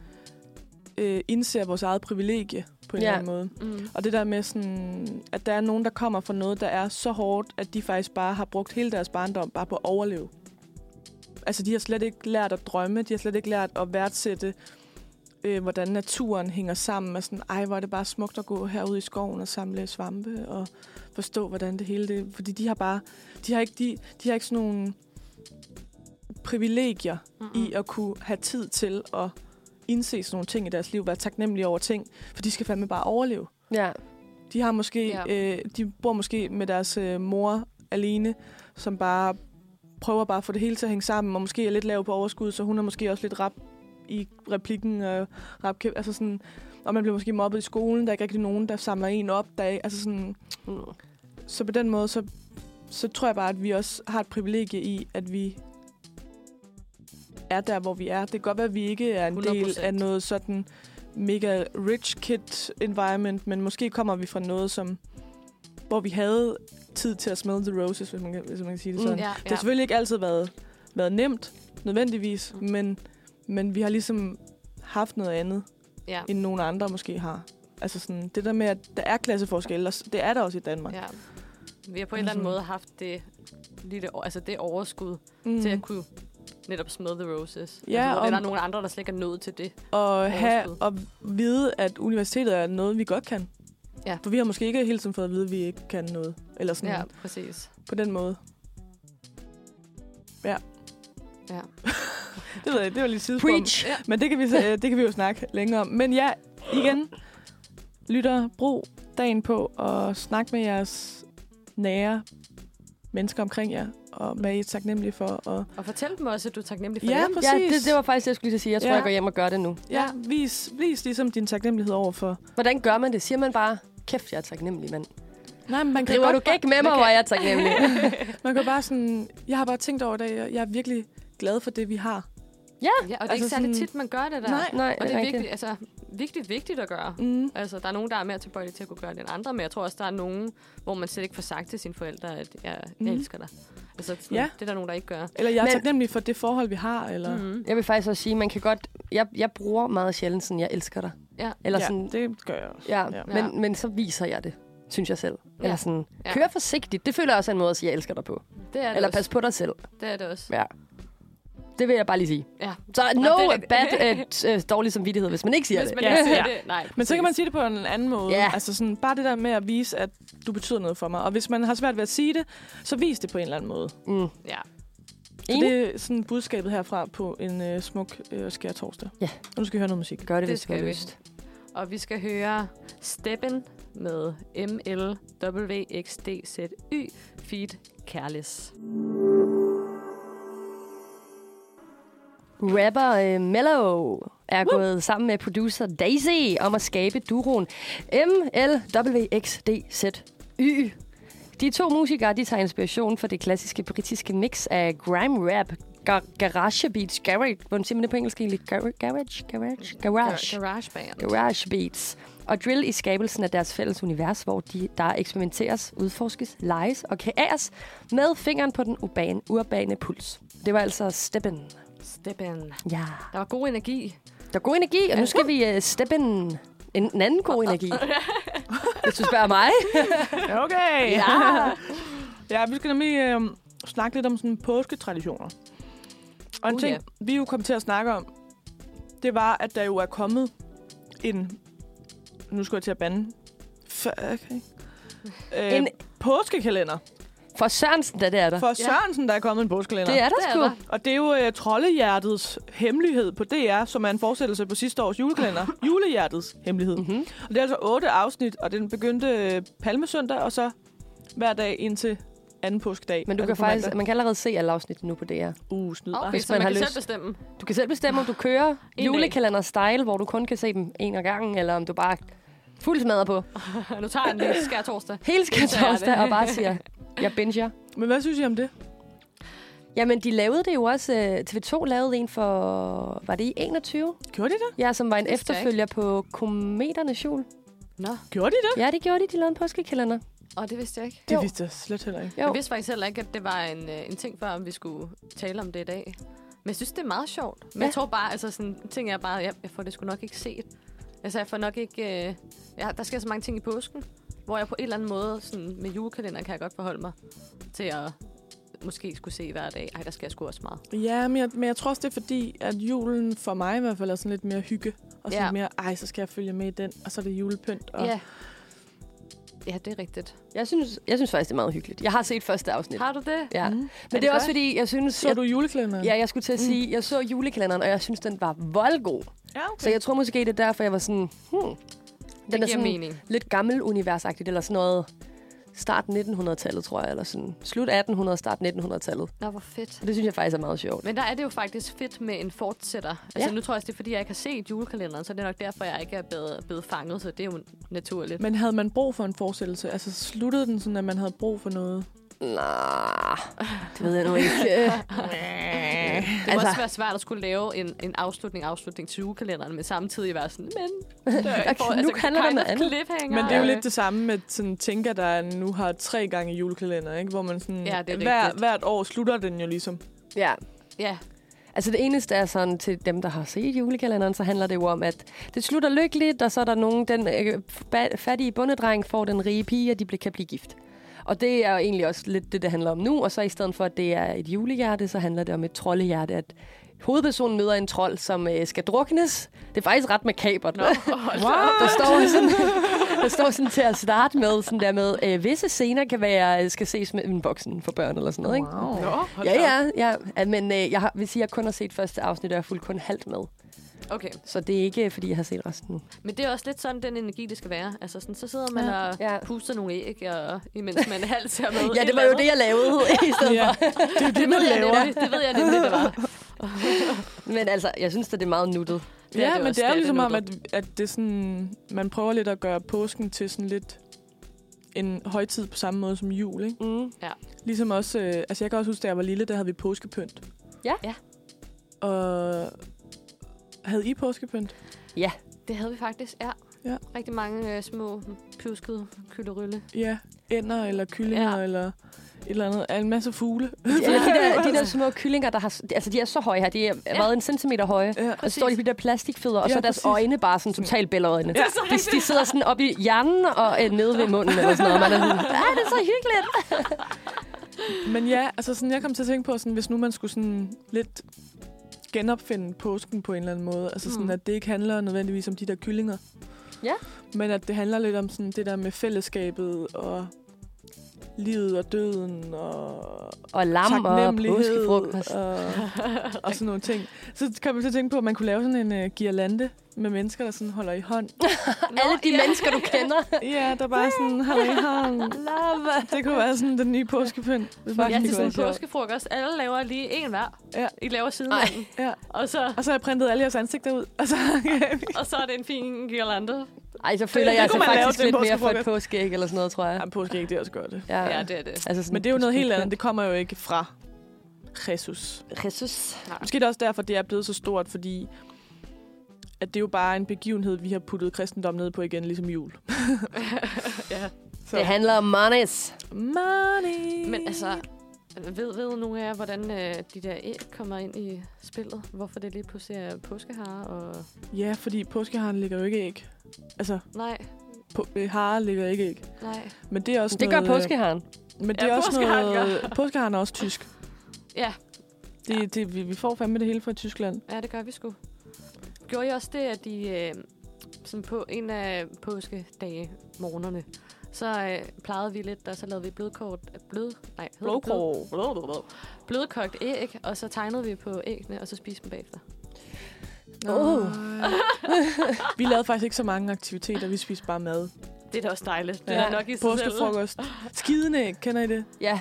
Speaker 1: øh, indser vores eget privilegie på en
Speaker 2: Ja.
Speaker 1: eller anden måde.
Speaker 3: Mm.
Speaker 1: Og det der med, sådan, at der er nogen, der kommer fra noget, der er så hårdt, at de faktisk bare har brugt hele deres barndom bare på at overleve. Altså, de har slet ikke lært at drømme, de har slet ikke lært at værdsætte, øh, hvordan naturen hænger sammen. Og sådan, ej, hvor er det bare smukt at gå herude i skoven og samle svampe og forstå, hvordan det hele det... Fordi de har bare... De har ikke, de, de har ikke sådan nogle privilegier
Speaker 3: Mm-mm.
Speaker 1: i at kunne have tid til at indse sådan nogle ting i deres liv, være taknemmelige over ting, for de skal fandme bare overleve.
Speaker 2: Ja,
Speaker 1: De har måske,
Speaker 3: Ja.
Speaker 1: ja. øh, de bor måske med deres øh, mor alene, som bare prøver bare at få det hele til at hænge sammen, og måske er lidt lav på overskud, så hun er måske også lidt rap i replikken, og rap, altså sådan, og man bliver måske mobbet i skolen, der er ikke rigtig nogen, der samler en op, der er, altså sådan,
Speaker 2: Mm.
Speaker 1: så på den måde, så, så tror jeg bare, at vi også har et privilegie i, at vi er der, hvor vi er. Det kan godt være, at vi ikke er en 100%. del
Speaker 3: 100%.
Speaker 1: af noget sådan mega rich kid environment, men måske kommer vi fra noget, som hvor vi havde tid til at smell the roses, hvis man kan, hvis man kan sige det
Speaker 2: Mm.
Speaker 1: sådan. Mm,
Speaker 3: Ja,
Speaker 1: Det har
Speaker 3: ja.
Speaker 1: selvfølgelig ikke altid været, været nemt, nødvendigvis,
Speaker 3: Mm.
Speaker 1: mm. men, men vi har ligesom haft noget andet,
Speaker 3: ja.
Speaker 1: end nogen andre måske har. Altså sådan, det der med, at der er klasseforskelle, og s- det er der også i Danmark.
Speaker 3: Ja. Vi har på en eller anden
Speaker 1: Mhm.
Speaker 3: måde haft det, lille, o- altså det overskud mm.
Speaker 1: Mm.
Speaker 3: til at kunne netop smell the roses.
Speaker 1: Ja,
Speaker 3: altså, hvor
Speaker 1: og-
Speaker 3: der er nogle andre, der slet ikke er nået til det.
Speaker 1: og have
Speaker 3: Overskud.
Speaker 1: og vide, at universitetet er noget, vi godt kan.
Speaker 3: Ja.
Speaker 1: For vi har måske ikke hele tiden fået at vide, at vi ikke kan noget. Eller sådan
Speaker 3: Ja,
Speaker 1: ja.
Speaker 3: præcis.
Speaker 1: på den måde. Ja.
Speaker 3: Ja.
Speaker 1: [LAUGHS] det ved jeg, det var lige et sidespor.
Speaker 2: Preach!
Speaker 3: Ja.
Speaker 1: Men det kan, vi, så- øh, det kan vi jo snakke længere om. Men ja, igen, lytter, brug dagen på at snakke med jeres nære mennesker omkring jer, og hvad I er taknemmelige for. Og
Speaker 3: Og fortæl dem også, at du er taknemmelig for
Speaker 1: Ja,
Speaker 3: dem.
Speaker 2: Ja,
Speaker 1: præcis.
Speaker 2: det, det var faktisk det, jeg skulle lige til at sige. Jeg tror,
Speaker 1: Ja.
Speaker 2: jeg går hjem og gør det nu.
Speaker 1: ja, vis, vis ligesom din taknemmelighed over for...
Speaker 2: Hvordan gør man det? Siger man bare, kæft, jeg er taknemmelig, mand.
Speaker 1: Nej, men man kan,
Speaker 2: Driver
Speaker 1: godt,
Speaker 2: du gæk med mig,
Speaker 3: man
Speaker 2: hvor jeg er
Speaker 3: [LAUGHS]
Speaker 2: taknemmelig?
Speaker 1: man kan bare sådan... Jeg har bare tænkt over det, og jeg er virkelig glad for det, vi har.
Speaker 3: Ja, og det er
Speaker 1: Altså
Speaker 3: ikke særlig
Speaker 1: sådan-
Speaker 3: tit, man gør det der.
Speaker 1: Nej.
Speaker 2: Nej,
Speaker 3: Og det er
Speaker 2: rigtigt.
Speaker 3: virkelig, altså, virkelig vigtigt at gøre.
Speaker 1: Mm.
Speaker 3: Altså, der er nogen, der er mere tilbøjelige til at kunne gøre det end andre, men jeg tror også, der er nogen, hvor man slet ikke får sagt til sine forældre, at jeg, jeg
Speaker 1: Mhm.
Speaker 3: elsker dig. Altså, sådan,
Speaker 1: Ja.
Speaker 3: ja. det er der nogen, der ikke gør.
Speaker 1: Eller jeg er
Speaker 2: Men-
Speaker 1: men... taknemmelig for det forhold, vi har. Eller...
Speaker 3: Mm.
Speaker 2: Jeg vil faktisk også sige, man kan godt... Jeg, jeg bruger meget sjældent sådan, jeg elsker dig.
Speaker 3: Ja.
Speaker 2: Eller
Speaker 1: ja,
Speaker 2: sådan,
Speaker 1: det gør jeg også.
Speaker 2: ja,
Speaker 1: ja.
Speaker 2: Men, men så viser jeg det, synes jeg selv. Ja. Eller
Speaker 3: Ja.
Speaker 2: sådan,
Speaker 3: Ja.
Speaker 2: kør forsigtigt. Det føler jeg også er en måde at sige, jeg elsker dig på.
Speaker 3: Det er det
Speaker 2: Eller
Speaker 3: også.
Speaker 2: pas på dig selv.
Speaker 3: Det er det også.
Speaker 2: Ja. Det vil jeg bare lige sige.
Speaker 3: Ja.
Speaker 2: Så no
Speaker 3: det er
Speaker 2: Nå,
Speaker 3: rigtigt.
Speaker 2: bad, uh, t- dårlig samvittighed, hvis man ikke siger
Speaker 3: Hvis
Speaker 2: det.
Speaker 3: man
Speaker 1: Ja.
Speaker 3: ikke siger
Speaker 1: Ja.
Speaker 3: det, nej.
Speaker 1: Men så kan man
Speaker 3: præcis.
Speaker 1: sige det på en anden måde.
Speaker 2: Ja.
Speaker 1: Altså sådan, bare det der med at vise, at du betyder noget for mig. Og hvis man har svært ved at sige det, så vis det på en eller anden måde. Så
Speaker 2: Mm.
Speaker 3: Ja.
Speaker 2: Enig.
Speaker 1: det er sådan budskabet herfra på en øh, smuk øh, skær torsdag.
Speaker 2: Ja.
Speaker 1: Og nu skal vi høre noget musik.
Speaker 2: Gør det,
Speaker 3: Det
Speaker 2: hvis du har
Speaker 3: skal vi.
Speaker 2: lyst.
Speaker 3: Og vi skal høre Steppen med MLWXDZY Feed Careless.
Speaker 2: Rapper øh, Mellow er Woo! gået sammen med producer Daisy om at skabe duroen MLWXDZY. De to musikere de tager inspiration fra det klassiske britiske mix af grime rap, gar- garage beats, garage, hvordan siger man det på engelsk egentlig? Gar- garage, garage, garage.
Speaker 3: Garage Band.
Speaker 2: Garage Beats og drill i skabelsen af deres fælles univers, hvor de, der eksperimenteres, udforskes, leges og kæres med fingeren på den urbane, urbane puls. Det var altså Steppen.
Speaker 3: Steppen.
Speaker 2: Ja.
Speaker 3: Der var god energi.
Speaker 2: Der er god energi, og nu skal vi uh, Steppen. En, en anden god
Speaker 3: [LAUGHS]
Speaker 2: energi. Hvis du spørger mig.
Speaker 1: Okay.
Speaker 2: Ja.
Speaker 1: [LAUGHS] ja, vi skal nemlig øh, snakke lidt om sådan påsketraditioner. Og en
Speaker 3: Uh,
Speaker 1: ting, vi jo kom til at snakke om, det var, at der jo er kommet en... Nu skal jeg til at bande. F- okay. Øh,
Speaker 2: En-
Speaker 1: en påskekalender.
Speaker 2: For Sørensen, da det er der.
Speaker 1: For Sørensen, der er kommet en påskekalender.
Speaker 2: Det er der
Speaker 3: Det er
Speaker 2: sgu.
Speaker 3: der.
Speaker 1: Og det er jo uh, Troldehjertets hemmelighed på DR, som er en fortsættelse på sidste års
Speaker 2: [LAUGHS]
Speaker 1: julekalender. Julehjertets hemmelighed.
Speaker 2: Mhm.
Speaker 1: Mm-hmm. Og det er altså otte afsnit, og den begyndte øh, palmesøndag, og så hver dag indtil anden påskedag.
Speaker 2: Men du kan
Speaker 1: Altså på
Speaker 2: faktisk,
Speaker 1: mandag.
Speaker 2: man kan allerede se alle afsnitten nu på DR.
Speaker 1: Uh, snyd.
Speaker 3: Okay,
Speaker 2: Hvis
Speaker 3: så
Speaker 2: man
Speaker 3: man,
Speaker 2: har
Speaker 3: kan
Speaker 2: lyst.
Speaker 3: selv bestemme.
Speaker 2: Du kan selv bestemme, om du kører
Speaker 3: dag.
Speaker 2: julekalender-style, hvor du kun kan se dem en af gangen, eller om du bare fuldt smadrer på.
Speaker 3: Nu tager jeg en lille skær torsdag.
Speaker 2: hele
Speaker 3: Det
Speaker 2: skærtorsdag
Speaker 3: er det.
Speaker 2: og bare siger, jeg binger.
Speaker 1: Men hvad synes I om det?
Speaker 2: Jamen, de lavede det jo også. øh, TV2 lavede en for, var det i 21?
Speaker 1: Gjorde de det?
Speaker 2: Ja, som var en
Speaker 3: Det vidste jeg
Speaker 2: efterfølger på Kometernes jul.
Speaker 3: Nå,
Speaker 1: Gjorde de det?
Speaker 2: Ja, det gjorde de. De lavede en påskekalender.
Speaker 3: og det vidste jeg ikke.
Speaker 1: Det
Speaker 2: Jo.
Speaker 1: vidste jeg slet heller ikke.
Speaker 2: Jo.
Speaker 3: Jeg vidste faktisk heller ikke, at det var en, øh, en ting før, om vi skulle tale om det i dag. Men jeg synes, det er meget sjovt. Men ja.
Speaker 2: Ja.
Speaker 3: jeg tror bare, altså sådan, ting er bare, jeg, jeg får det sgu nok ikke set. Altså, jeg får nok ikke... Øh, ja, der sker så mange ting i påsken, hvor jeg på en eller anden måde, sådan, med julekalenderen kan jeg godt forholde mig til at måske skulle se hver dag. Ej, der sker sgu også meget.
Speaker 1: Ja, men jeg, men jeg tror også, det er fordi, at julen for mig i hvert fald er sådan lidt mere hygge. Og sådan
Speaker 3: Ja.
Speaker 1: ja. mere, ej, så skal jeg følge med i den, og så er det julepynt. Og...
Speaker 3: Ja, det er rigtigt.
Speaker 2: Jeg synes, jeg synes faktisk, det er meget hyggeligt. Jeg har set første afsnit.
Speaker 3: Har du det?
Speaker 2: Ja.
Speaker 1: Mm.
Speaker 2: Men
Speaker 3: det
Speaker 2: det er også
Speaker 3: godt?
Speaker 2: fordi, jeg synes...
Speaker 1: Så
Speaker 2: jeg,
Speaker 1: du julekalenderen?
Speaker 2: Ja, jeg skulle til at sige, jeg så julekalenderen, og jeg synes, den var voldgod.
Speaker 1: ja okay.
Speaker 2: Så jeg tror måske, det er derfor, jeg var sådan, hmm,
Speaker 3: Det
Speaker 2: Den er
Speaker 3: giver
Speaker 2: sådan-
Speaker 3: mening.
Speaker 2: lidt gammel universagtigt, eller sådan noget start 1900-tallet, tror jeg, eller sådan slut 1800, start 1900-tallet.
Speaker 3: Nå, hvor fedt.
Speaker 2: Og det synes jeg faktisk er meget sjovt.
Speaker 3: Men der er det jo faktisk fedt med en fortsætter. Altså
Speaker 2: Ja.
Speaker 3: ja. nu tror jeg også, det er fordi, jeg ikke har set julekalenderen, så det er nok derfor, jeg ikke er blevet, blevet fanget, så det er jo naturligt.
Speaker 1: Men havde man brug for en fortsættelse? Altså sluttede den sådan, at man havde brug for noget?
Speaker 2: Nah, det ved jeg nu ikke. Øh,
Speaker 3: Det
Speaker 2: altså-
Speaker 3: må altså... også være svært at skulle lave en, en afslutning, afslutning til julekalenderen, men samtidig være sådan,
Speaker 2: [LAUGHS]
Speaker 3: men...
Speaker 2: Okay, nu
Speaker 3: altså,
Speaker 2: handler det om noget andet.
Speaker 1: Men det er jo lidt det samme med sådan Tinka, der nu har tre gange julekalender, ikke? Hvor man sådan,
Speaker 3: Ja, det er
Speaker 1: hver,
Speaker 3: rigtigt.
Speaker 1: hvert år slutter den jo ligesom.
Speaker 2: ja.
Speaker 3: Ja,
Speaker 2: Altså det eneste er sådan, til dem, der har set julekalenderen, så handler det jo om, at det slutter lykkeligt, og så er der nogen, den øh, fa- fattige bundedreng får den rige pige, og de bl- kan blive gift. Og det er jo egentlig også lidt det, det handler om nu. Og så i stedet for, at det er et julehjerte, så handler det om et troldehjerte. At hovedpersonen møder en trold, som øh, skal druknes. Det er faktisk ret makabert. No. [LAUGHS] Der står sådan, der står sådan til at starte med, sådan der med, øh, visse scener kan være, øh, skal ses med en voksen for børn eller sådan noget. Ikke?
Speaker 3: Nå, hold
Speaker 2: Ja,
Speaker 3: da
Speaker 2: ja, ja. ja men øh, jeg har, vil sige, at jeg kun har set første afsnit, og jeg er fuldt kun halvt med.
Speaker 3: op. Okay.
Speaker 2: Så det er ikke, øh, fordi jeg har set resten nu.
Speaker 3: Men det er også lidt sådan, den energi, det skal være. Altså, sådan, så sidder man ja. og
Speaker 2: Ja.
Speaker 3: puster nogle æg, og, imens man halvt ser med.
Speaker 2: [LAUGHS] Ja, det var jo det, jeg
Speaker 1: [LAUGHS]
Speaker 2: lavede i stedet
Speaker 1: Ja.
Speaker 2: ja.
Speaker 1: Det er jo det,
Speaker 3: det
Speaker 1: man
Speaker 3: ved jeg
Speaker 1: laver.
Speaker 3: nemlig, det ved jeg
Speaker 2: [LAUGHS]
Speaker 3: nemlig, det var.
Speaker 2: for. Men altså, jeg synes, at det er meget nuttet.
Speaker 1: Ja, ja men
Speaker 3: også.
Speaker 1: det er jo ligesom om,
Speaker 3: nuttet.
Speaker 1: at, at det er sådan, man prøver lidt at gøre påsken til sådan lidt en højtid på samme måde som jul, ikke?
Speaker 2: Mm.
Speaker 1: Ligesom også, øh, altså jeg kan også huske, da jeg var lille, der havde vi påskepynt.
Speaker 2: Ja.
Speaker 3: Ja.
Speaker 1: Og havde I påskepynt?
Speaker 3: Det havde vi faktisk, ja.
Speaker 1: Ja.
Speaker 3: Rigtig mange øh, små pjuskede kylderylle.
Speaker 1: Ja. Ænder eller kyllinger ja. eller et eller andet. En masse fugle.
Speaker 2: Ja, de, der, de der små kyllinger, der har, altså, de er så høje her. De er ja. været en centimeter høje.
Speaker 1: [LAUGHS] Ja.
Speaker 2: Og så står de på de der plastikfødder, og
Speaker 1: Øh, Ja,
Speaker 2: så er deres
Speaker 1: præcis.
Speaker 2: øjne bare sådan totalt bællerøjne.
Speaker 1: Ja.
Speaker 2: De, de sidder sådan op i hjernen og øh, nede ved munden eller sådan noget. Man er sådan, ah, det er så hyggeligt.
Speaker 1: Men ja, altså sådan, jeg kom til at tænke på, sådan, hvis nu man skulle sådan lidt genopfinde påsken på en eller anden måde. Altså sådan,
Speaker 3: Mm.
Speaker 1: mm. at det ikke handler nødvendigvis om de der kyllinger.
Speaker 2: Ja.
Speaker 1: Men at det handler lidt om sådan det der med fællesskabet og livet og døden og
Speaker 2: Og lam og
Speaker 1: taknemmelighed
Speaker 2: påskefrokost.
Speaker 1: og, og sådan nogle ting. Så kom jeg til at tænke på, at man kunne lave sådan en uh, girlande med mennesker, der sådan holder i hånd.
Speaker 2: Alle de mennesker, du
Speaker 1: [LAUGHS]
Speaker 2: kender.
Speaker 1: ja, der bare sådan
Speaker 3: [LAUGHS]
Speaker 1: holder i hånd.
Speaker 2: Love.
Speaker 1: Det kunne være sådan den nye påskepynt. Hvis
Speaker 2: Fuck,
Speaker 1: man
Speaker 3: Ja,
Speaker 1: kunne
Speaker 3: til sådan
Speaker 1: være
Speaker 3: en
Speaker 1: sjov.
Speaker 3: påskefrokost. Alle laver lige en hver.
Speaker 1: Ja.
Speaker 3: I laver siden
Speaker 2: Ej.
Speaker 3: af den.
Speaker 1: Ja.
Speaker 3: og så,
Speaker 1: Og så har jeg printet alle jeres ansigter ud. Og så, [LAUGHS]
Speaker 3: og så er det en fin girlande.
Speaker 2: Ej, så føler
Speaker 1: det
Speaker 2: jeg
Speaker 1: kunne
Speaker 2: altså
Speaker 1: man lave
Speaker 2: faktisk
Speaker 1: til en
Speaker 2: lidt mere for et
Speaker 1: påskefrokost.
Speaker 2: påskeæg eller sådan noget, tror jeg.
Speaker 1: Jamen, påskeæg, det er også godt.
Speaker 2: Ja,
Speaker 3: Ja, det er det.
Speaker 2: Altså sådan,
Speaker 1: Men det er jo noget helt andet. Det kommer jo ikke fra Jesus.
Speaker 2: Jesus.
Speaker 1: Måske er det også derfor, det er blevet så stort, fordi at det er jo bare en begivenhed, vi har puttet kristendom ned på igen, ligesom jul.
Speaker 3: [LAUGHS] ja.
Speaker 1: Så.
Speaker 2: Det handler om monies.
Speaker 1: Money.
Speaker 3: Men altså, ved, ved nogle af jer, hvordan øh, de der æg kommer ind i spillet? Hvorfor det lige pludselig er påskehare og...
Speaker 1: Ja, fordi påskeharen ligger jo ikke æg. Altså,
Speaker 3: Nej,
Speaker 1: på, øh, hare ligger ikke æg.
Speaker 3: nej.
Speaker 1: Men det er også
Speaker 2: Det gør
Speaker 1: noget, øh,
Speaker 2: påskeharen.
Speaker 1: Men det
Speaker 3: Ja,
Speaker 1: er også
Speaker 3: påskeharen [LAUGHS]
Speaker 1: noget... Påskeharen er også tysk.
Speaker 3: Ja.
Speaker 1: Det, det, vi, vi får fandme det hele fra Tyskland.
Speaker 3: Ja, det gør vi sgu. Gjorde I også det, at de øh, sådan på en af påskedage morgenerne, så øh, plejede vi lidt, og så lavede vi blødkort, blød, nej, hedder det blød,
Speaker 1: Blodkrog.
Speaker 3: blødkogt æg, og så tegnede vi på æggene, og så spiste dem bagefter. [LAUGHS]
Speaker 2: Åh.
Speaker 1: [LAUGHS] vi lavede faktisk ikke så mange aktiviteter. Vi spiste bare mad.
Speaker 3: Det er da også dejligt. Det
Speaker 1: Ja.
Speaker 3: ja. er nok i sig selv.
Speaker 1: Påskefrokost. Skidende æg, kender I det?
Speaker 2: Ja,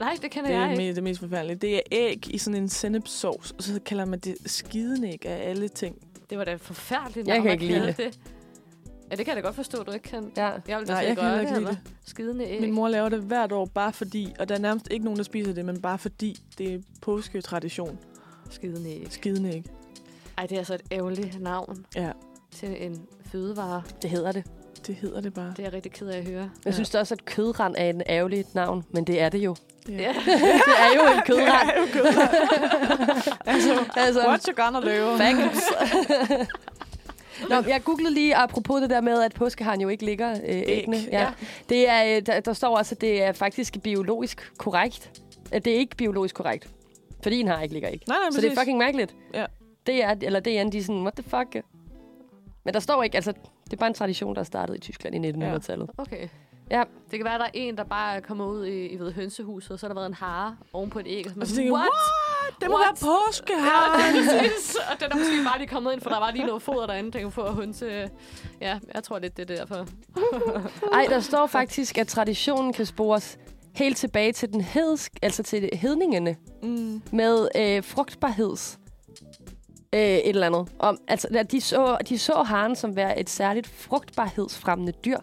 Speaker 3: Nej, det kender
Speaker 1: Det er
Speaker 3: jeg ikke.
Speaker 1: me- det mest forfærdelige. Det er æg i sådan en sennepsovs, og så kalder man det skidende æg af alle ting.
Speaker 3: Det var da forfærdeligt.
Speaker 2: Jeg
Speaker 3: navn
Speaker 2: kan
Speaker 3: at
Speaker 2: ikke lide
Speaker 3: kalde det. Ja, det kan jeg da godt forstå, du ikke kan.
Speaker 2: ja.
Speaker 3: Jeg vil da
Speaker 1: Nej,
Speaker 3: slet
Speaker 1: jeg kan
Speaker 3: røre
Speaker 1: heller ikke lide
Speaker 3: eller? Skidende æg.
Speaker 1: Min mor laver det hvert år bare fordi, og der er nærmest ikke nogen, der spiser det, men bare fordi det er påsketradition.
Speaker 3: Skidende æg.
Speaker 1: Skidende æg.
Speaker 3: Ej, det er altså et ærgerligt navn
Speaker 1: Ja,
Speaker 3: til en fødevare.
Speaker 2: Det hedder det.
Speaker 1: det hedder det bare.
Speaker 3: Det er jeg rigtig ked af at høre.
Speaker 2: Jeg synes da også, at kødrand er en ærgerlig navn, men det er det
Speaker 1: [LAUGHS]
Speaker 2: jo.
Speaker 3: Ja.
Speaker 2: [LAUGHS] Det er jo en kødrand.
Speaker 1: Det er jo kødrand. altså,
Speaker 2: [LAUGHS] altså,
Speaker 1: what you gonna do? [LAUGHS]
Speaker 2: facts. Nå, jeg googlede lige apropos det der med, at påskeharen jo ikke ligger øh, æggene.
Speaker 3: ja.
Speaker 2: Det er, øh, der, der står også, at det er faktisk biologisk korrekt. At det er ikke biologisk korrekt, fordi en har ikke ligger æg.
Speaker 1: Nej, nej,
Speaker 2: Så
Speaker 1: præcis.
Speaker 2: det er fucking mærkeligt.
Speaker 1: Ja.
Speaker 2: Det er, eller DN, de er sådan, what the fuck? Men der står ikke, altså, det er bare en tradition, der startede i Tyskland i 1900-tallet.
Speaker 3: Okay.
Speaker 2: Ja.
Speaker 3: Det kan være, at der er en, der bare kommer ud i, I ved, hønsehuset, og så har der været en hare oven på et æg. Og,
Speaker 1: Og så tænker jeg, what? Det må
Speaker 3: What?
Speaker 1: være påske
Speaker 3: Ja,
Speaker 1: her.
Speaker 3: præcis. og den er måske bare lige kommet ind, for der var lige noget foder derinde, tænker for at hønse. Ja, jeg tror lidt, det er derfor.
Speaker 2: Ej, der står faktisk, at traditionen kan spores helt tilbage til den hedsk, altså til hedningerne,
Speaker 1: Mm.
Speaker 2: med øh, frugtbarheds øh, et eller andet. Om, altså, at de så, de så haren som være et særligt frugtbarhedsfremmende dyr.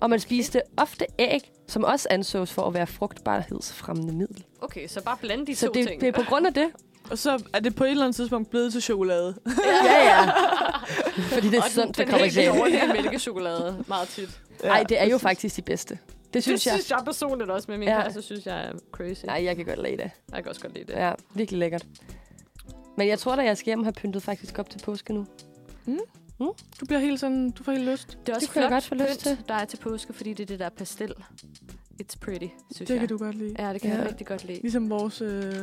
Speaker 2: Og man spiste ofte æg, som også ansås for at være frugtbarhedsfremmende middel.
Speaker 3: Okay, så bare blande de
Speaker 2: Så
Speaker 3: to
Speaker 2: det,
Speaker 3: ting.
Speaker 2: det er på grund af
Speaker 3: [LAUGHS]
Speaker 2: det,
Speaker 1: Og så er det på et eller andet tidspunkt blevet til chokolade.
Speaker 2: Ja, ja.
Speaker 3: [LAUGHS]
Speaker 2: Fordi det er sundt, det
Speaker 3: den,
Speaker 2: kommer
Speaker 3: den
Speaker 2: ikke
Speaker 3: helt
Speaker 2: af.
Speaker 3: [LAUGHS] dårlige mælkechokolade meget tit.
Speaker 2: Nej, det er jo faktisk de bedste. Det
Speaker 3: Det
Speaker 2: synes jeg.
Speaker 3: synes jeg personligt også, men min
Speaker 2: Ja.
Speaker 3: ja. kæreste synes jeg er crazy.
Speaker 2: Nej, jeg kan godt lide det.
Speaker 3: Jeg kan også godt lide det.
Speaker 2: Ja, virkelig lækkert. Men jeg tror da, jeg skal hjem og have pyntet faktisk op til påske nu.
Speaker 1: Du bliver helt sådan, du får helt lyst.
Speaker 3: Det er også
Speaker 2: kunne jeg
Speaker 3: flot
Speaker 2: godt få lyst
Speaker 3: pynt, der er til påske, fordi det er det der pastel. It's pretty, synes
Speaker 1: Det
Speaker 3: jeg.
Speaker 1: kan du godt lide.
Speaker 3: Ja, det kan ja.
Speaker 1: Ja.
Speaker 3: jeg rigtig godt lide.
Speaker 1: Ligesom vores, øh,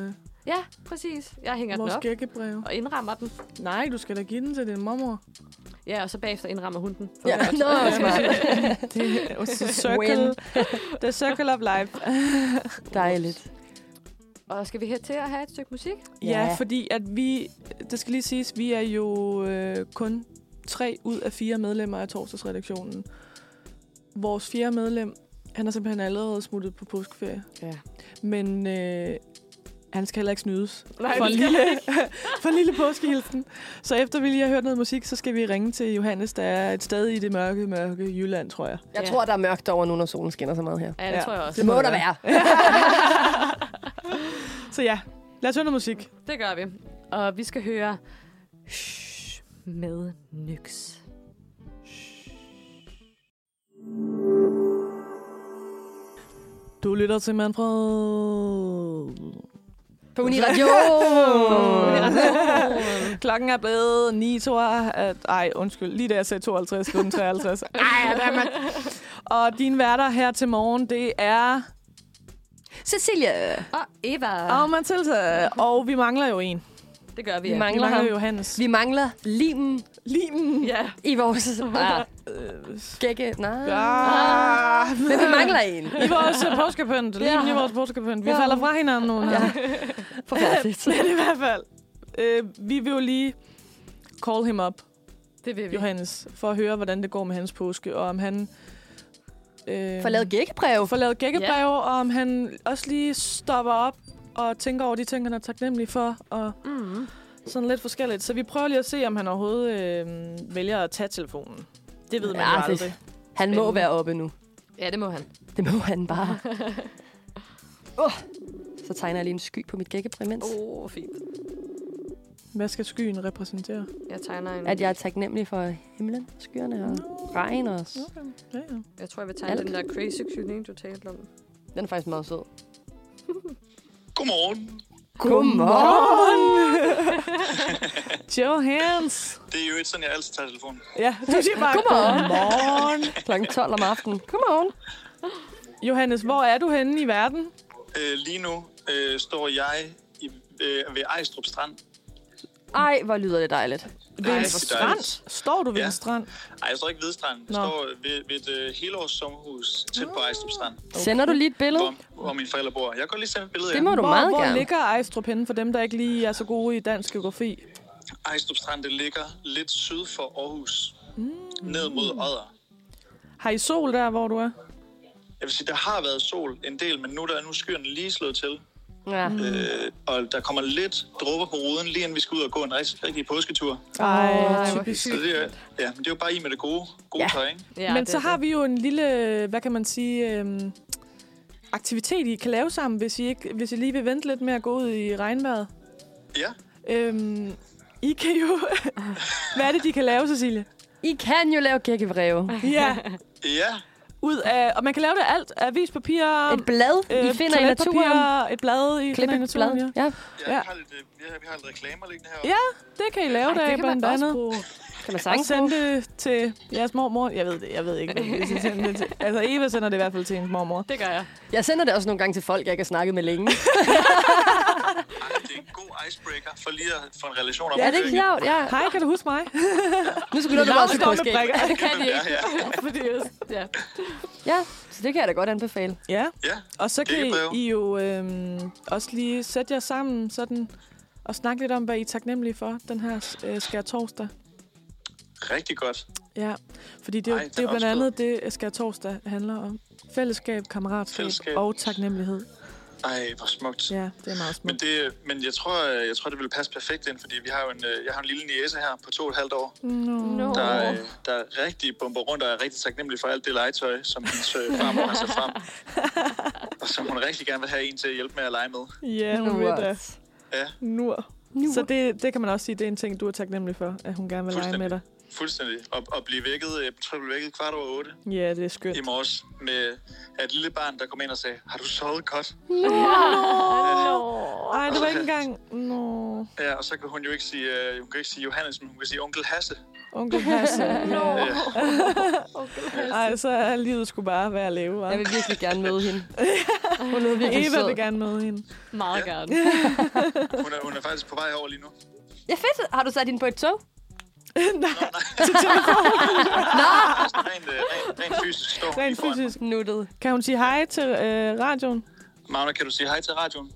Speaker 3: Ja, præcis. Jeg hænger
Speaker 1: vores
Speaker 3: den op
Speaker 1: gækkebreve.
Speaker 3: og indrammer den.
Speaker 1: Nej, du skal da give den til din mormor.
Speaker 3: Ja, og så bagefter indrammer hun den.
Speaker 2: Ja.
Speaker 1: [LAUGHS]
Speaker 2: Nå,
Speaker 1: Ja,
Speaker 2: smart.
Speaker 1: det er
Speaker 2: Win.
Speaker 1: circle. The circle of life. [LAUGHS]
Speaker 2: Dejligt.
Speaker 3: [LAUGHS] Og skal vi her til at have et stykke musik?
Speaker 1: Ja,
Speaker 2: Ja.
Speaker 1: ja, fordi at vi, det skal lige siges, vi er jo øh, kun tre ud af fire medlemmer af torsdagsredaktionen. Vores fjerde medlem, han er simpelthen allerede smuttet på påskeferie.
Speaker 3: Ja.
Speaker 1: Men øh, han skal heller ikke snydes
Speaker 3: Nej,
Speaker 1: for, en
Speaker 3: det skal
Speaker 1: lille, [LAUGHS] for en lille påskehilsen. Så efter vi lige har hørt noget musik, så skal vi ringe til Johannes, der er et sted i det mørke, mørke Jylland, tror jeg.
Speaker 2: Jeg
Speaker 3: Ja.
Speaker 2: tror, der er mørkt over nu, når solen skinner så meget her.
Speaker 3: Ja, det
Speaker 1: Ja.
Speaker 3: tror jeg også.
Speaker 2: Det må
Speaker 1: må
Speaker 2: der
Speaker 1: der
Speaker 2: være.
Speaker 1: Så ja, lad os høre noget musik.
Speaker 3: [LAUGHS] Det gør vi. Og vi skal høre Shh med Nyx.
Speaker 1: Du lytter til Manfred.
Speaker 2: På Uniradio.
Speaker 3: altså
Speaker 1: Klokken er blevet 9, tror jeg. Ej, undskyld. Lige da jeg sagde 52, blev den
Speaker 2: [LAUGHS]
Speaker 1: 53. Ej, dammit. Og dine værter her til morgen, det er
Speaker 2: Cecilie.
Speaker 3: [LAUGHS] Og Eva.
Speaker 2: Ah.
Speaker 1: Alma Tilsa. Og vi mangler jo en.
Speaker 3: Det gør
Speaker 2: Vi
Speaker 3: vi. ja.
Speaker 1: Vi
Speaker 2: mangler
Speaker 1: mangler
Speaker 2: ham.
Speaker 1: Johannes.
Speaker 2: Vi mangler limen
Speaker 1: Limen.
Speaker 3: Ja.
Speaker 2: i [LAUGHS] vores... Ah, skægge. Nej.
Speaker 1: Ah.
Speaker 2: Men vi mangler en.
Speaker 1: I vores øh, påskepynt. Limen i vores påskepynt. Vi
Speaker 2: Ja.
Speaker 1: falder fra hinanden nu.
Speaker 2: Ja. [LAUGHS] Forfærdeligt.
Speaker 1: Men i hvert fald. Øh, vi vil jo lige call him up.
Speaker 3: Det vil vi.
Speaker 1: Johannes, for at høre, hvordan det går med hans påske, og om han... Øh,
Speaker 2: Får lavet gækkebrev.
Speaker 1: får lavet gækkebreve, og om han også lige stopper op og tænker over de ting, han er taknemmelig for, og
Speaker 3: Mm.
Speaker 1: sådan lidt forskelligt. Så vi prøver lige at se, om han overhovedet øh, vælger at tage telefonen. Det ved man
Speaker 2: Ja,
Speaker 1: ja,
Speaker 2: det-
Speaker 1: jo aldrig.
Speaker 2: Han må
Speaker 3: Spændende.
Speaker 2: være oppe nu.
Speaker 3: Ja, det må han.
Speaker 2: Det må han [LAUGHS] bare. Oh. Så tegner jeg lige en sky på mit gækkebrev, mens
Speaker 3: Åh, oh, fint.
Speaker 1: Hvad skal skyen repræsentere?
Speaker 3: Jeg tegner en...
Speaker 2: at jeg er taknemmelig for himlen, skyerne og regn også.
Speaker 1: Okay. Ja, ja.
Speaker 3: Jeg tror, jeg vil tegne
Speaker 2: Alt.
Speaker 3: den der crazy kylling, du talte om.
Speaker 2: Den er faktisk meget sød.
Speaker 4: Godmorgen.
Speaker 2: Godmorgen!
Speaker 1: Johannes!
Speaker 4: Det er jo ikke sådan, jeg altid tager telefonen.
Speaker 1: Ja, du siger bare,
Speaker 2: Godmorgen.
Speaker 1: godmorgen.
Speaker 2: [LAUGHS] Klokken 12 om aftenen. Godmorgen.
Speaker 1: Johannes, hvor er du henne i verden?
Speaker 4: Øh, lige nu øh, står jeg i, øh, ved Ejstrup Strand.
Speaker 2: Ej, hvor lyder det dejligt.
Speaker 1: Ved en
Speaker 4: hvor
Speaker 1: strand?
Speaker 4: dejligt.
Speaker 1: Står du ved
Speaker 4: Ja.
Speaker 1: en strand?
Speaker 4: Nej, jeg står ikke ved stranden. Jeg
Speaker 1: Nå.
Speaker 4: står ved, ved et øh, helårs sommerhus tæt på Ejstrup Strand,
Speaker 2: Sender du lige et billede?
Speaker 4: hvor, hvor mine forældre bor. Jeg kan godt lige sende et billede
Speaker 2: Det må du
Speaker 1: Hvor,
Speaker 2: meget
Speaker 1: hvor
Speaker 2: gerne.
Speaker 1: ligger Ejstrup henne, for dem, der ikke lige er så gode i dansk geografi?
Speaker 4: Ejstrup Strand, det ligger lidt syd for Aarhus. Mm. Ned mod Odder.
Speaker 1: Har I sol der, hvor du er?
Speaker 4: Jeg vil sige, der har været sol en del, men nu der er nu skyerne lige slået til.
Speaker 2: Ja.
Speaker 4: Øh, og der kommer lidt dråber på ruden, lige inden vi skal ud og gå en rigtig, rigtig påsketur.
Speaker 1: Ej,
Speaker 3: hvor
Speaker 1: typisk.
Speaker 4: Så det, er- ja, men det er jo bare i med det gode, gode
Speaker 2: Ja.
Speaker 4: ja. tøj, ikke?
Speaker 3: Ja,
Speaker 1: Men så har vi jo en lille, hvad kan man sige, øhm, aktivitet, I kan lave sammen, hvis I, ikke, hvis I lige vil vente lidt med at gå ud i regnvejret.
Speaker 4: Ja,
Speaker 1: Øhm, I kan jo...
Speaker 2: [LAUGHS]
Speaker 1: hvad er det, de kan lave, Cecilie?
Speaker 2: I kan jo lave gækkebreve.
Speaker 1: Ja,
Speaker 4: ja.
Speaker 1: ud af... Og man kan lave det alt. Avispapir...
Speaker 2: Et blad, I finder i naturen.
Speaker 1: Øh, toiletpapir, Et blad, I
Speaker 2: Klip
Speaker 1: finder i
Speaker 2: et
Speaker 1: naturen.
Speaker 2: blad.
Speaker 1: Ja.
Speaker 2: Ja,
Speaker 4: Ja,
Speaker 1: Ja.
Speaker 4: Vi, har lidt, øh, vi, har, vi har lidt reklamer liggende heroppe.
Speaker 1: ja, det kan I lave
Speaker 2: det
Speaker 1: der
Speaker 2: kan man
Speaker 1: blandt
Speaker 2: da også
Speaker 1: andet.
Speaker 2: kan man
Speaker 1: Og
Speaker 2: sagtens bruge.
Speaker 1: sende det til jeres mormor. Jeg ved det, jeg ved ikke, hvad
Speaker 2: [LAUGHS]
Speaker 1: jeg skal sende det til. Altså, Eva sender det i hvert fald til hendes mormor.
Speaker 3: Det gør jeg.
Speaker 2: Jeg sender det også nogle gange til folk, jeg ikke har snakket med længe.
Speaker 4: Ej, det er en god icebreaker for lige at få en relation op.
Speaker 2: er det ikke sjovt? Ja.
Speaker 1: Hej, kan du huske mig?
Speaker 2: Nu skal du også også på skæg.
Speaker 1: Lavstommebrikker.
Speaker 3: Det kan de
Speaker 4: Ja,
Speaker 3: ikke.
Speaker 4: ja.
Speaker 3: Fordi, ja.
Speaker 2: Ja, så det kan jeg da godt anbefale.
Speaker 1: Ja,
Speaker 4: ja.
Speaker 1: og så kan
Speaker 4: Gækkebreve.
Speaker 1: I jo øhm, også lige sætte jer sammen sådan, og snakke lidt om, hvad I er taknemmelige for den her øh, skær torsdag.
Speaker 4: Rigtig godt.
Speaker 1: Ja, fordi det er, jo,
Speaker 4: Ej, den
Speaker 1: det er jo
Speaker 4: er
Speaker 1: blandt
Speaker 4: også
Speaker 1: andet det, skær torsdag handler om. Fællesskab, kammeratskab Fællesskab.
Speaker 4: Fællesskab.
Speaker 1: og taknemmelighed.
Speaker 4: Ej, hvor smukt. Ja.
Speaker 1: Ja, det er meget
Speaker 4: Men,
Speaker 1: smukt.
Speaker 4: det, men jeg, tror, øh, jeg tror, det vil passe perfekt ind, fordi vi har jo en, øh, jeg har en lille niece her på to og et halvt år,
Speaker 1: No.
Speaker 4: der, øh, der er rigtig bomber rundt og er rigtig taknemmelig for alt det legetøj, som hendes øh, farmor har sat frem. Og som hun rigtig gerne vil have en til at hjælpe med at lege med.
Speaker 1: Ja, hun ved det.
Speaker 4: Ja,
Speaker 1: Nur. Så det, det kan man også sige, det er en ting, du er taknemmelig for, at hun gerne vil lege med dig.
Speaker 4: Fuldstændig. Og, og blive vækket, jeg tror, jeg blev vækket kvart over otte
Speaker 1: Ja, det er skønt.
Speaker 4: i morges med et lille barn, der kom ind og sagde, har du sovet godt?
Speaker 1: Ej, det var ikke engang... Nå,
Speaker 4: Ja, og så kan hun jo ikke sige, øh, hun kan ikke sige Johannes, men hun kan sige onkel Hasse.
Speaker 1: onkel Hasse.
Speaker 4: Oh. Øh,
Speaker 1: Ej, så er livet skulle bare være at leve.
Speaker 2: Jeg
Speaker 1: hva'?
Speaker 2: vil virkelig gerne møde
Speaker 1: [LAUGHS]
Speaker 2: hende. Hun er virkelig
Speaker 1: Eva vil gerne møde hende.
Speaker 3: Meget
Speaker 4: Ja.
Speaker 3: gerne.
Speaker 4: hun, er, hun er faktisk på vej over lige nu.
Speaker 2: Ja, fedt. Har du sat hende på et tog?
Speaker 4: Nå, nej. altså, rent, øh, rent, rent fysisk står hun
Speaker 1: Rent
Speaker 4: lige foran mig.
Speaker 1: fysisk.
Speaker 2: Nuttet.
Speaker 1: Kan hun sige hej til øh, radioen?
Speaker 4: Magne, kan du sige hej til radioen?
Speaker 5: Hej,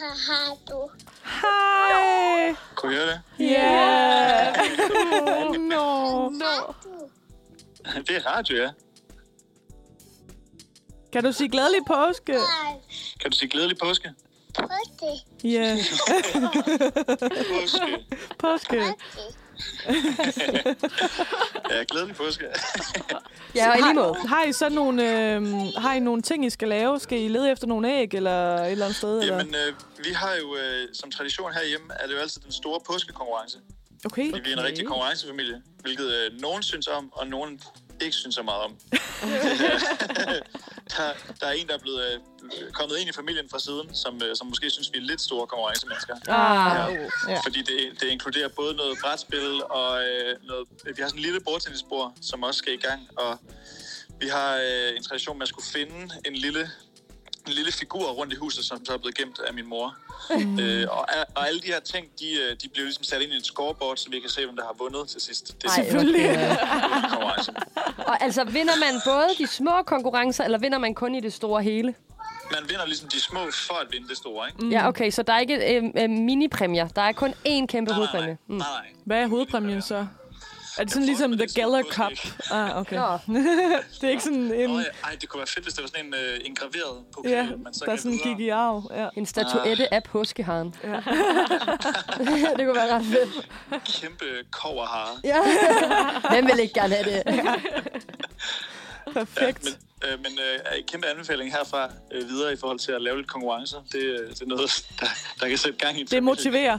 Speaker 5: hej, hej, du.
Speaker 1: Hej!
Speaker 4: Kunne I høre det? [LAUGHS]
Speaker 1: Yeah! [LAUGHS] Nå.
Speaker 5: Hej, du.
Speaker 4: Det er radio, ja.
Speaker 1: Kan du sige glædelig påske?
Speaker 5: Hej,
Speaker 4: Kan du sige glædelig påske?
Speaker 5: putte,
Speaker 1: Ja, yeah.
Speaker 4: Påske.
Speaker 1: påske.
Speaker 5: putte.
Speaker 4: Ja, glædelig påske.
Speaker 2: Ja, og i lige måde.
Speaker 1: Har, har I så nogle, øh, har I nogle ting, I skal lave? Skal I lede efter nogle æg eller et eller andet sted? Eller?
Speaker 4: Jamen, øh, vi har jo øh, som tradition herhjemme, er det jo altid den store påskekonkurrence.
Speaker 1: Okay.
Speaker 4: Fordi vi er en rigtig konkurrencefamilie, hvilket øh, nogen synes om, og nogen ikke synes så meget om. der, der er en, der er blevet øh, kommet ind i familien fra siden, som, øh, som måske synes, vi er lidt store konkurrencemennesker.
Speaker 1: Ah,
Speaker 4: Ja.
Speaker 1: ja.
Speaker 4: Fordi det, det inkluderer både noget brætspil og øh, noget... Vi har sådan en lille bordtennisbord, som også skal i gang, og vi har øh, en tradition med at skulle finde en lille en lille figur rundt i huset, som så er blevet gemt af min mor.
Speaker 1: Mm.
Speaker 4: Øh, og, a- og alle de her ting, de, øh, de bliver ligesom sat ind i et scoreboard, så vi kan se, hvem der har vundet til sidst. Det er
Speaker 2: Ej,
Speaker 4: sådan
Speaker 1: selvfølgelig.
Speaker 4: en konkurrence.
Speaker 2: Og altså, vinder man både de små konkurrencer, eller vinder man kun i det store hele?
Speaker 4: Man vinder ligesom de små for at vinde det store, ikke?
Speaker 2: Mm. Ja, okay, så der er ikke øh, øh, minipræmier. Der er kun én kæmpe
Speaker 4: Nej, nej, nej.
Speaker 2: hovedpræmie.
Speaker 4: nej, nej.
Speaker 1: Hvad er hovedpræmien så? Er det sådan ligesom The Gala Cup? Ah, okay.
Speaker 2: Nå.
Speaker 1: Det er ikke sådan en...
Speaker 4: Nå, ja, Ej, det kunne være fedt, hvis det var sådan en, øh, en graveret pokal,
Speaker 1: Ja,
Speaker 4: man så
Speaker 1: der
Speaker 4: kan
Speaker 1: sådan
Speaker 4: videre.
Speaker 1: gik i arv. Ja.
Speaker 2: En statuette af påskeharen. Ja. [LAUGHS] det kunne være ret fedt.
Speaker 4: Kæmpe koverhare.
Speaker 2: Ja. Hvem vil ikke gerne have det?
Speaker 1: Perfekt.
Speaker 4: Men, øh, men øh, er en kæmpe anbefaling herfra øh, videre i forhold til at lave lidt konkurrencer. Det, øh, det er noget, [LAUGHS] der, der kan sætte gang i en
Speaker 1: Det
Speaker 4: familie.
Speaker 1: motiverer.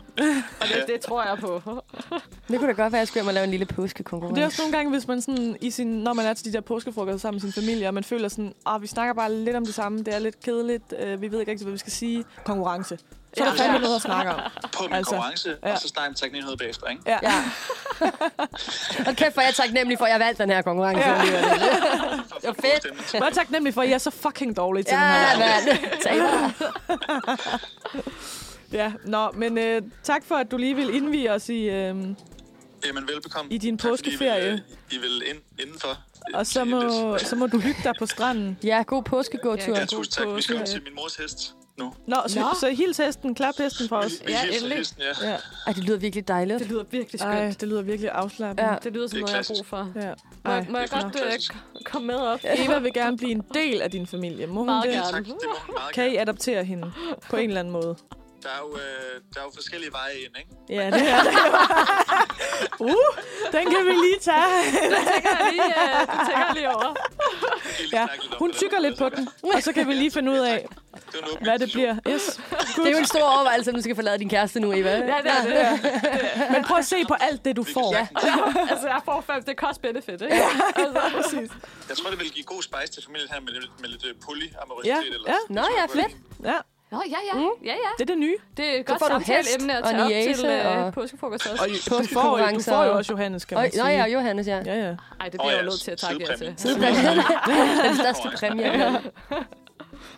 Speaker 3: Og det, det tror jeg på.
Speaker 2: Det kunne da godt være, at jeg skulle hjem og lave en lille
Speaker 1: Det er
Speaker 2: påskekonkurrence.
Speaker 1: også nogle gange, hvis man sådan, i sin, når man er til de der påskefrokoster sammen med sin familie, og man føler sådan, at vi snakker bare lidt om det samme, det er lidt kedeligt, øh, vi ved ikke rigtig, hvad vi skal sige. Konkurrence. Så er der
Speaker 4: Ja.
Speaker 1: fandme noget at snakke om.
Speaker 4: På min
Speaker 1: Altså,
Speaker 4: altså, konkurrence,
Speaker 1: ja.
Speaker 4: ja. og så snakker vi teknikhed bagefter, ikke?
Speaker 1: Ja.
Speaker 2: Ja. og kæft, for jeg er taknemmelig for, at jeg valgte den her konkurrence.
Speaker 1: Ja.
Speaker 2: Ja,
Speaker 4: Det var
Speaker 2: fedt.
Speaker 1: Jeg er taknemmelig for, at I er så fucking dårlige til den her.
Speaker 2: ja mand. Taber.
Speaker 1: Ja, nå, men øh, tak for, at du lige vil indvige os i... Øh,
Speaker 4: Jamen, velbekomme.
Speaker 1: I din
Speaker 4: Tak, fordi
Speaker 1: påskeferie.
Speaker 4: I vil, øh, I vil ind, indenfor. øh,
Speaker 1: og så
Speaker 4: lige
Speaker 1: må,
Speaker 4: lidt.
Speaker 1: så må du hygge dig på stranden.
Speaker 2: ja, god påskegåtur.
Speaker 4: Ja, tusind tak. Vi skal
Speaker 1: påske.
Speaker 4: ud til min mors hest nu.
Speaker 1: Nå, så,
Speaker 3: Nå.
Speaker 1: så hils hesten, klap hesten for os.
Speaker 4: Vi
Speaker 3: Ja,
Speaker 4: hilser
Speaker 3: endelig.
Speaker 4: hesten, ja.
Speaker 1: Ja.
Speaker 2: Ej, det lyder virkelig dejligt.
Speaker 3: Det lyder virkelig
Speaker 1: Ej,
Speaker 3: skønt.
Speaker 1: det lyder virkelig afslappende.
Speaker 2: Ja.
Speaker 3: Det lyder som
Speaker 4: Det
Speaker 3: noget,
Speaker 4: er
Speaker 3: jeg har
Speaker 4: klassisk.
Speaker 3: brug for.
Speaker 1: ja.
Speaker 3: Må,
Speaker 1: Ej.
Speaker 3: må jeg
Speaker 4: Det er
Speaker 3: godt
Speaker 4: sådan
Speaker 3: øh,
Speaker 4: klassisk.
Speaker 3: k- komme med op?
Speaker 1: Eva vil gerne blive en del af din familie. Må hun
Speaker 3: Meget
Speaker 1: det?
Speaker 4: Ja,
Speaker 3: gerne.
Speaker 4: tak. Det må hun meget
Speaker 1: Kan I
Speaker 4: gerne.
Speaker 1: adoptere hende på en eller anden måde?
Speaker 4: Der er jo, øh, der er jo forskellige veje ind, ikke?
Speaker 1: Ja, det er
Speaker 2: [LAUGHS]
Speaker 1: det. uh, den kan vi lige tage.
Speaker 3: tænker jeg lige, øh, [LAUGHS] det tænker jeg lige over.
Speaker 4: Vi kan lige
Speaker 1: Ja,
Speaker 4: snakke lidt om,
Speaker 1: hun
Speaker 4: hvordan
Speaker 1: tykker
Speaker 4: det
Speaker 1: lidt på
Speaker 4: er.
Speaker 1: den, og så kan vi lige finde ud af,
Speaker 4: Det var en åben
Speaker 1: hvad det
Speaker 4: invitation.
Speaker 1: bliver. Yes.
Speaker 2: Det er jo en stor overvejelse, om du skal forlade din kæreste nu, Eva.
Speaker 3: Ja, det er det.
Speaker 1: Men prøv at se på alt det, du får.
Speaker 4: Ja.
Speaker 3: Altså, jeg får fem. Det er cost-benefit, ikke? Altså.
Speaker 4: Jeg tror, det vil give god spice til familien her med, lidt- med lidt øh,
Speaker 1: Ja,
Speaker 4: polyamorøsitet. eller
Speaker 1: ja.
Speaker 4: sådan.
Speaker 2: Nå,
Speaker 4: Det tror
Speaker 2: ja,
Speaker 4: jeg kunne
Speaker 2: fedt.
Speaker 1: Ja,
Speaker 3: Nå, ja, ja. Ja, ja.
Speaker 1: det er det nye.
Speaker 3: Det er et godt
Speaker 2: får du
Speaker 3: samtaleemne at
Speaker 2: hest og
Speaker 3: tage op
Speaker 2: niæse
Speaker 3: til øh,
Speaker 2: og-
Speaker 3: påskefrokost også.
Speaker 1: Og du får, jo, du får jo også Johannes, kan
Speaker 2: Øj,
Speaker 1: man sige.
Speaker 2: Nå ja, Johannes, ja.
Speaker 1: Ja, ja.
Speaker 3: Ej, det
Speaker 4: Åh,
Speaker 3: bliver jeg
Speaker 4: ja,
Speaker 3: jo nødt til at takke jer til.
Speaker 4: sidepræmie.
Speaker 2: [LAUGHS] Den største præmie.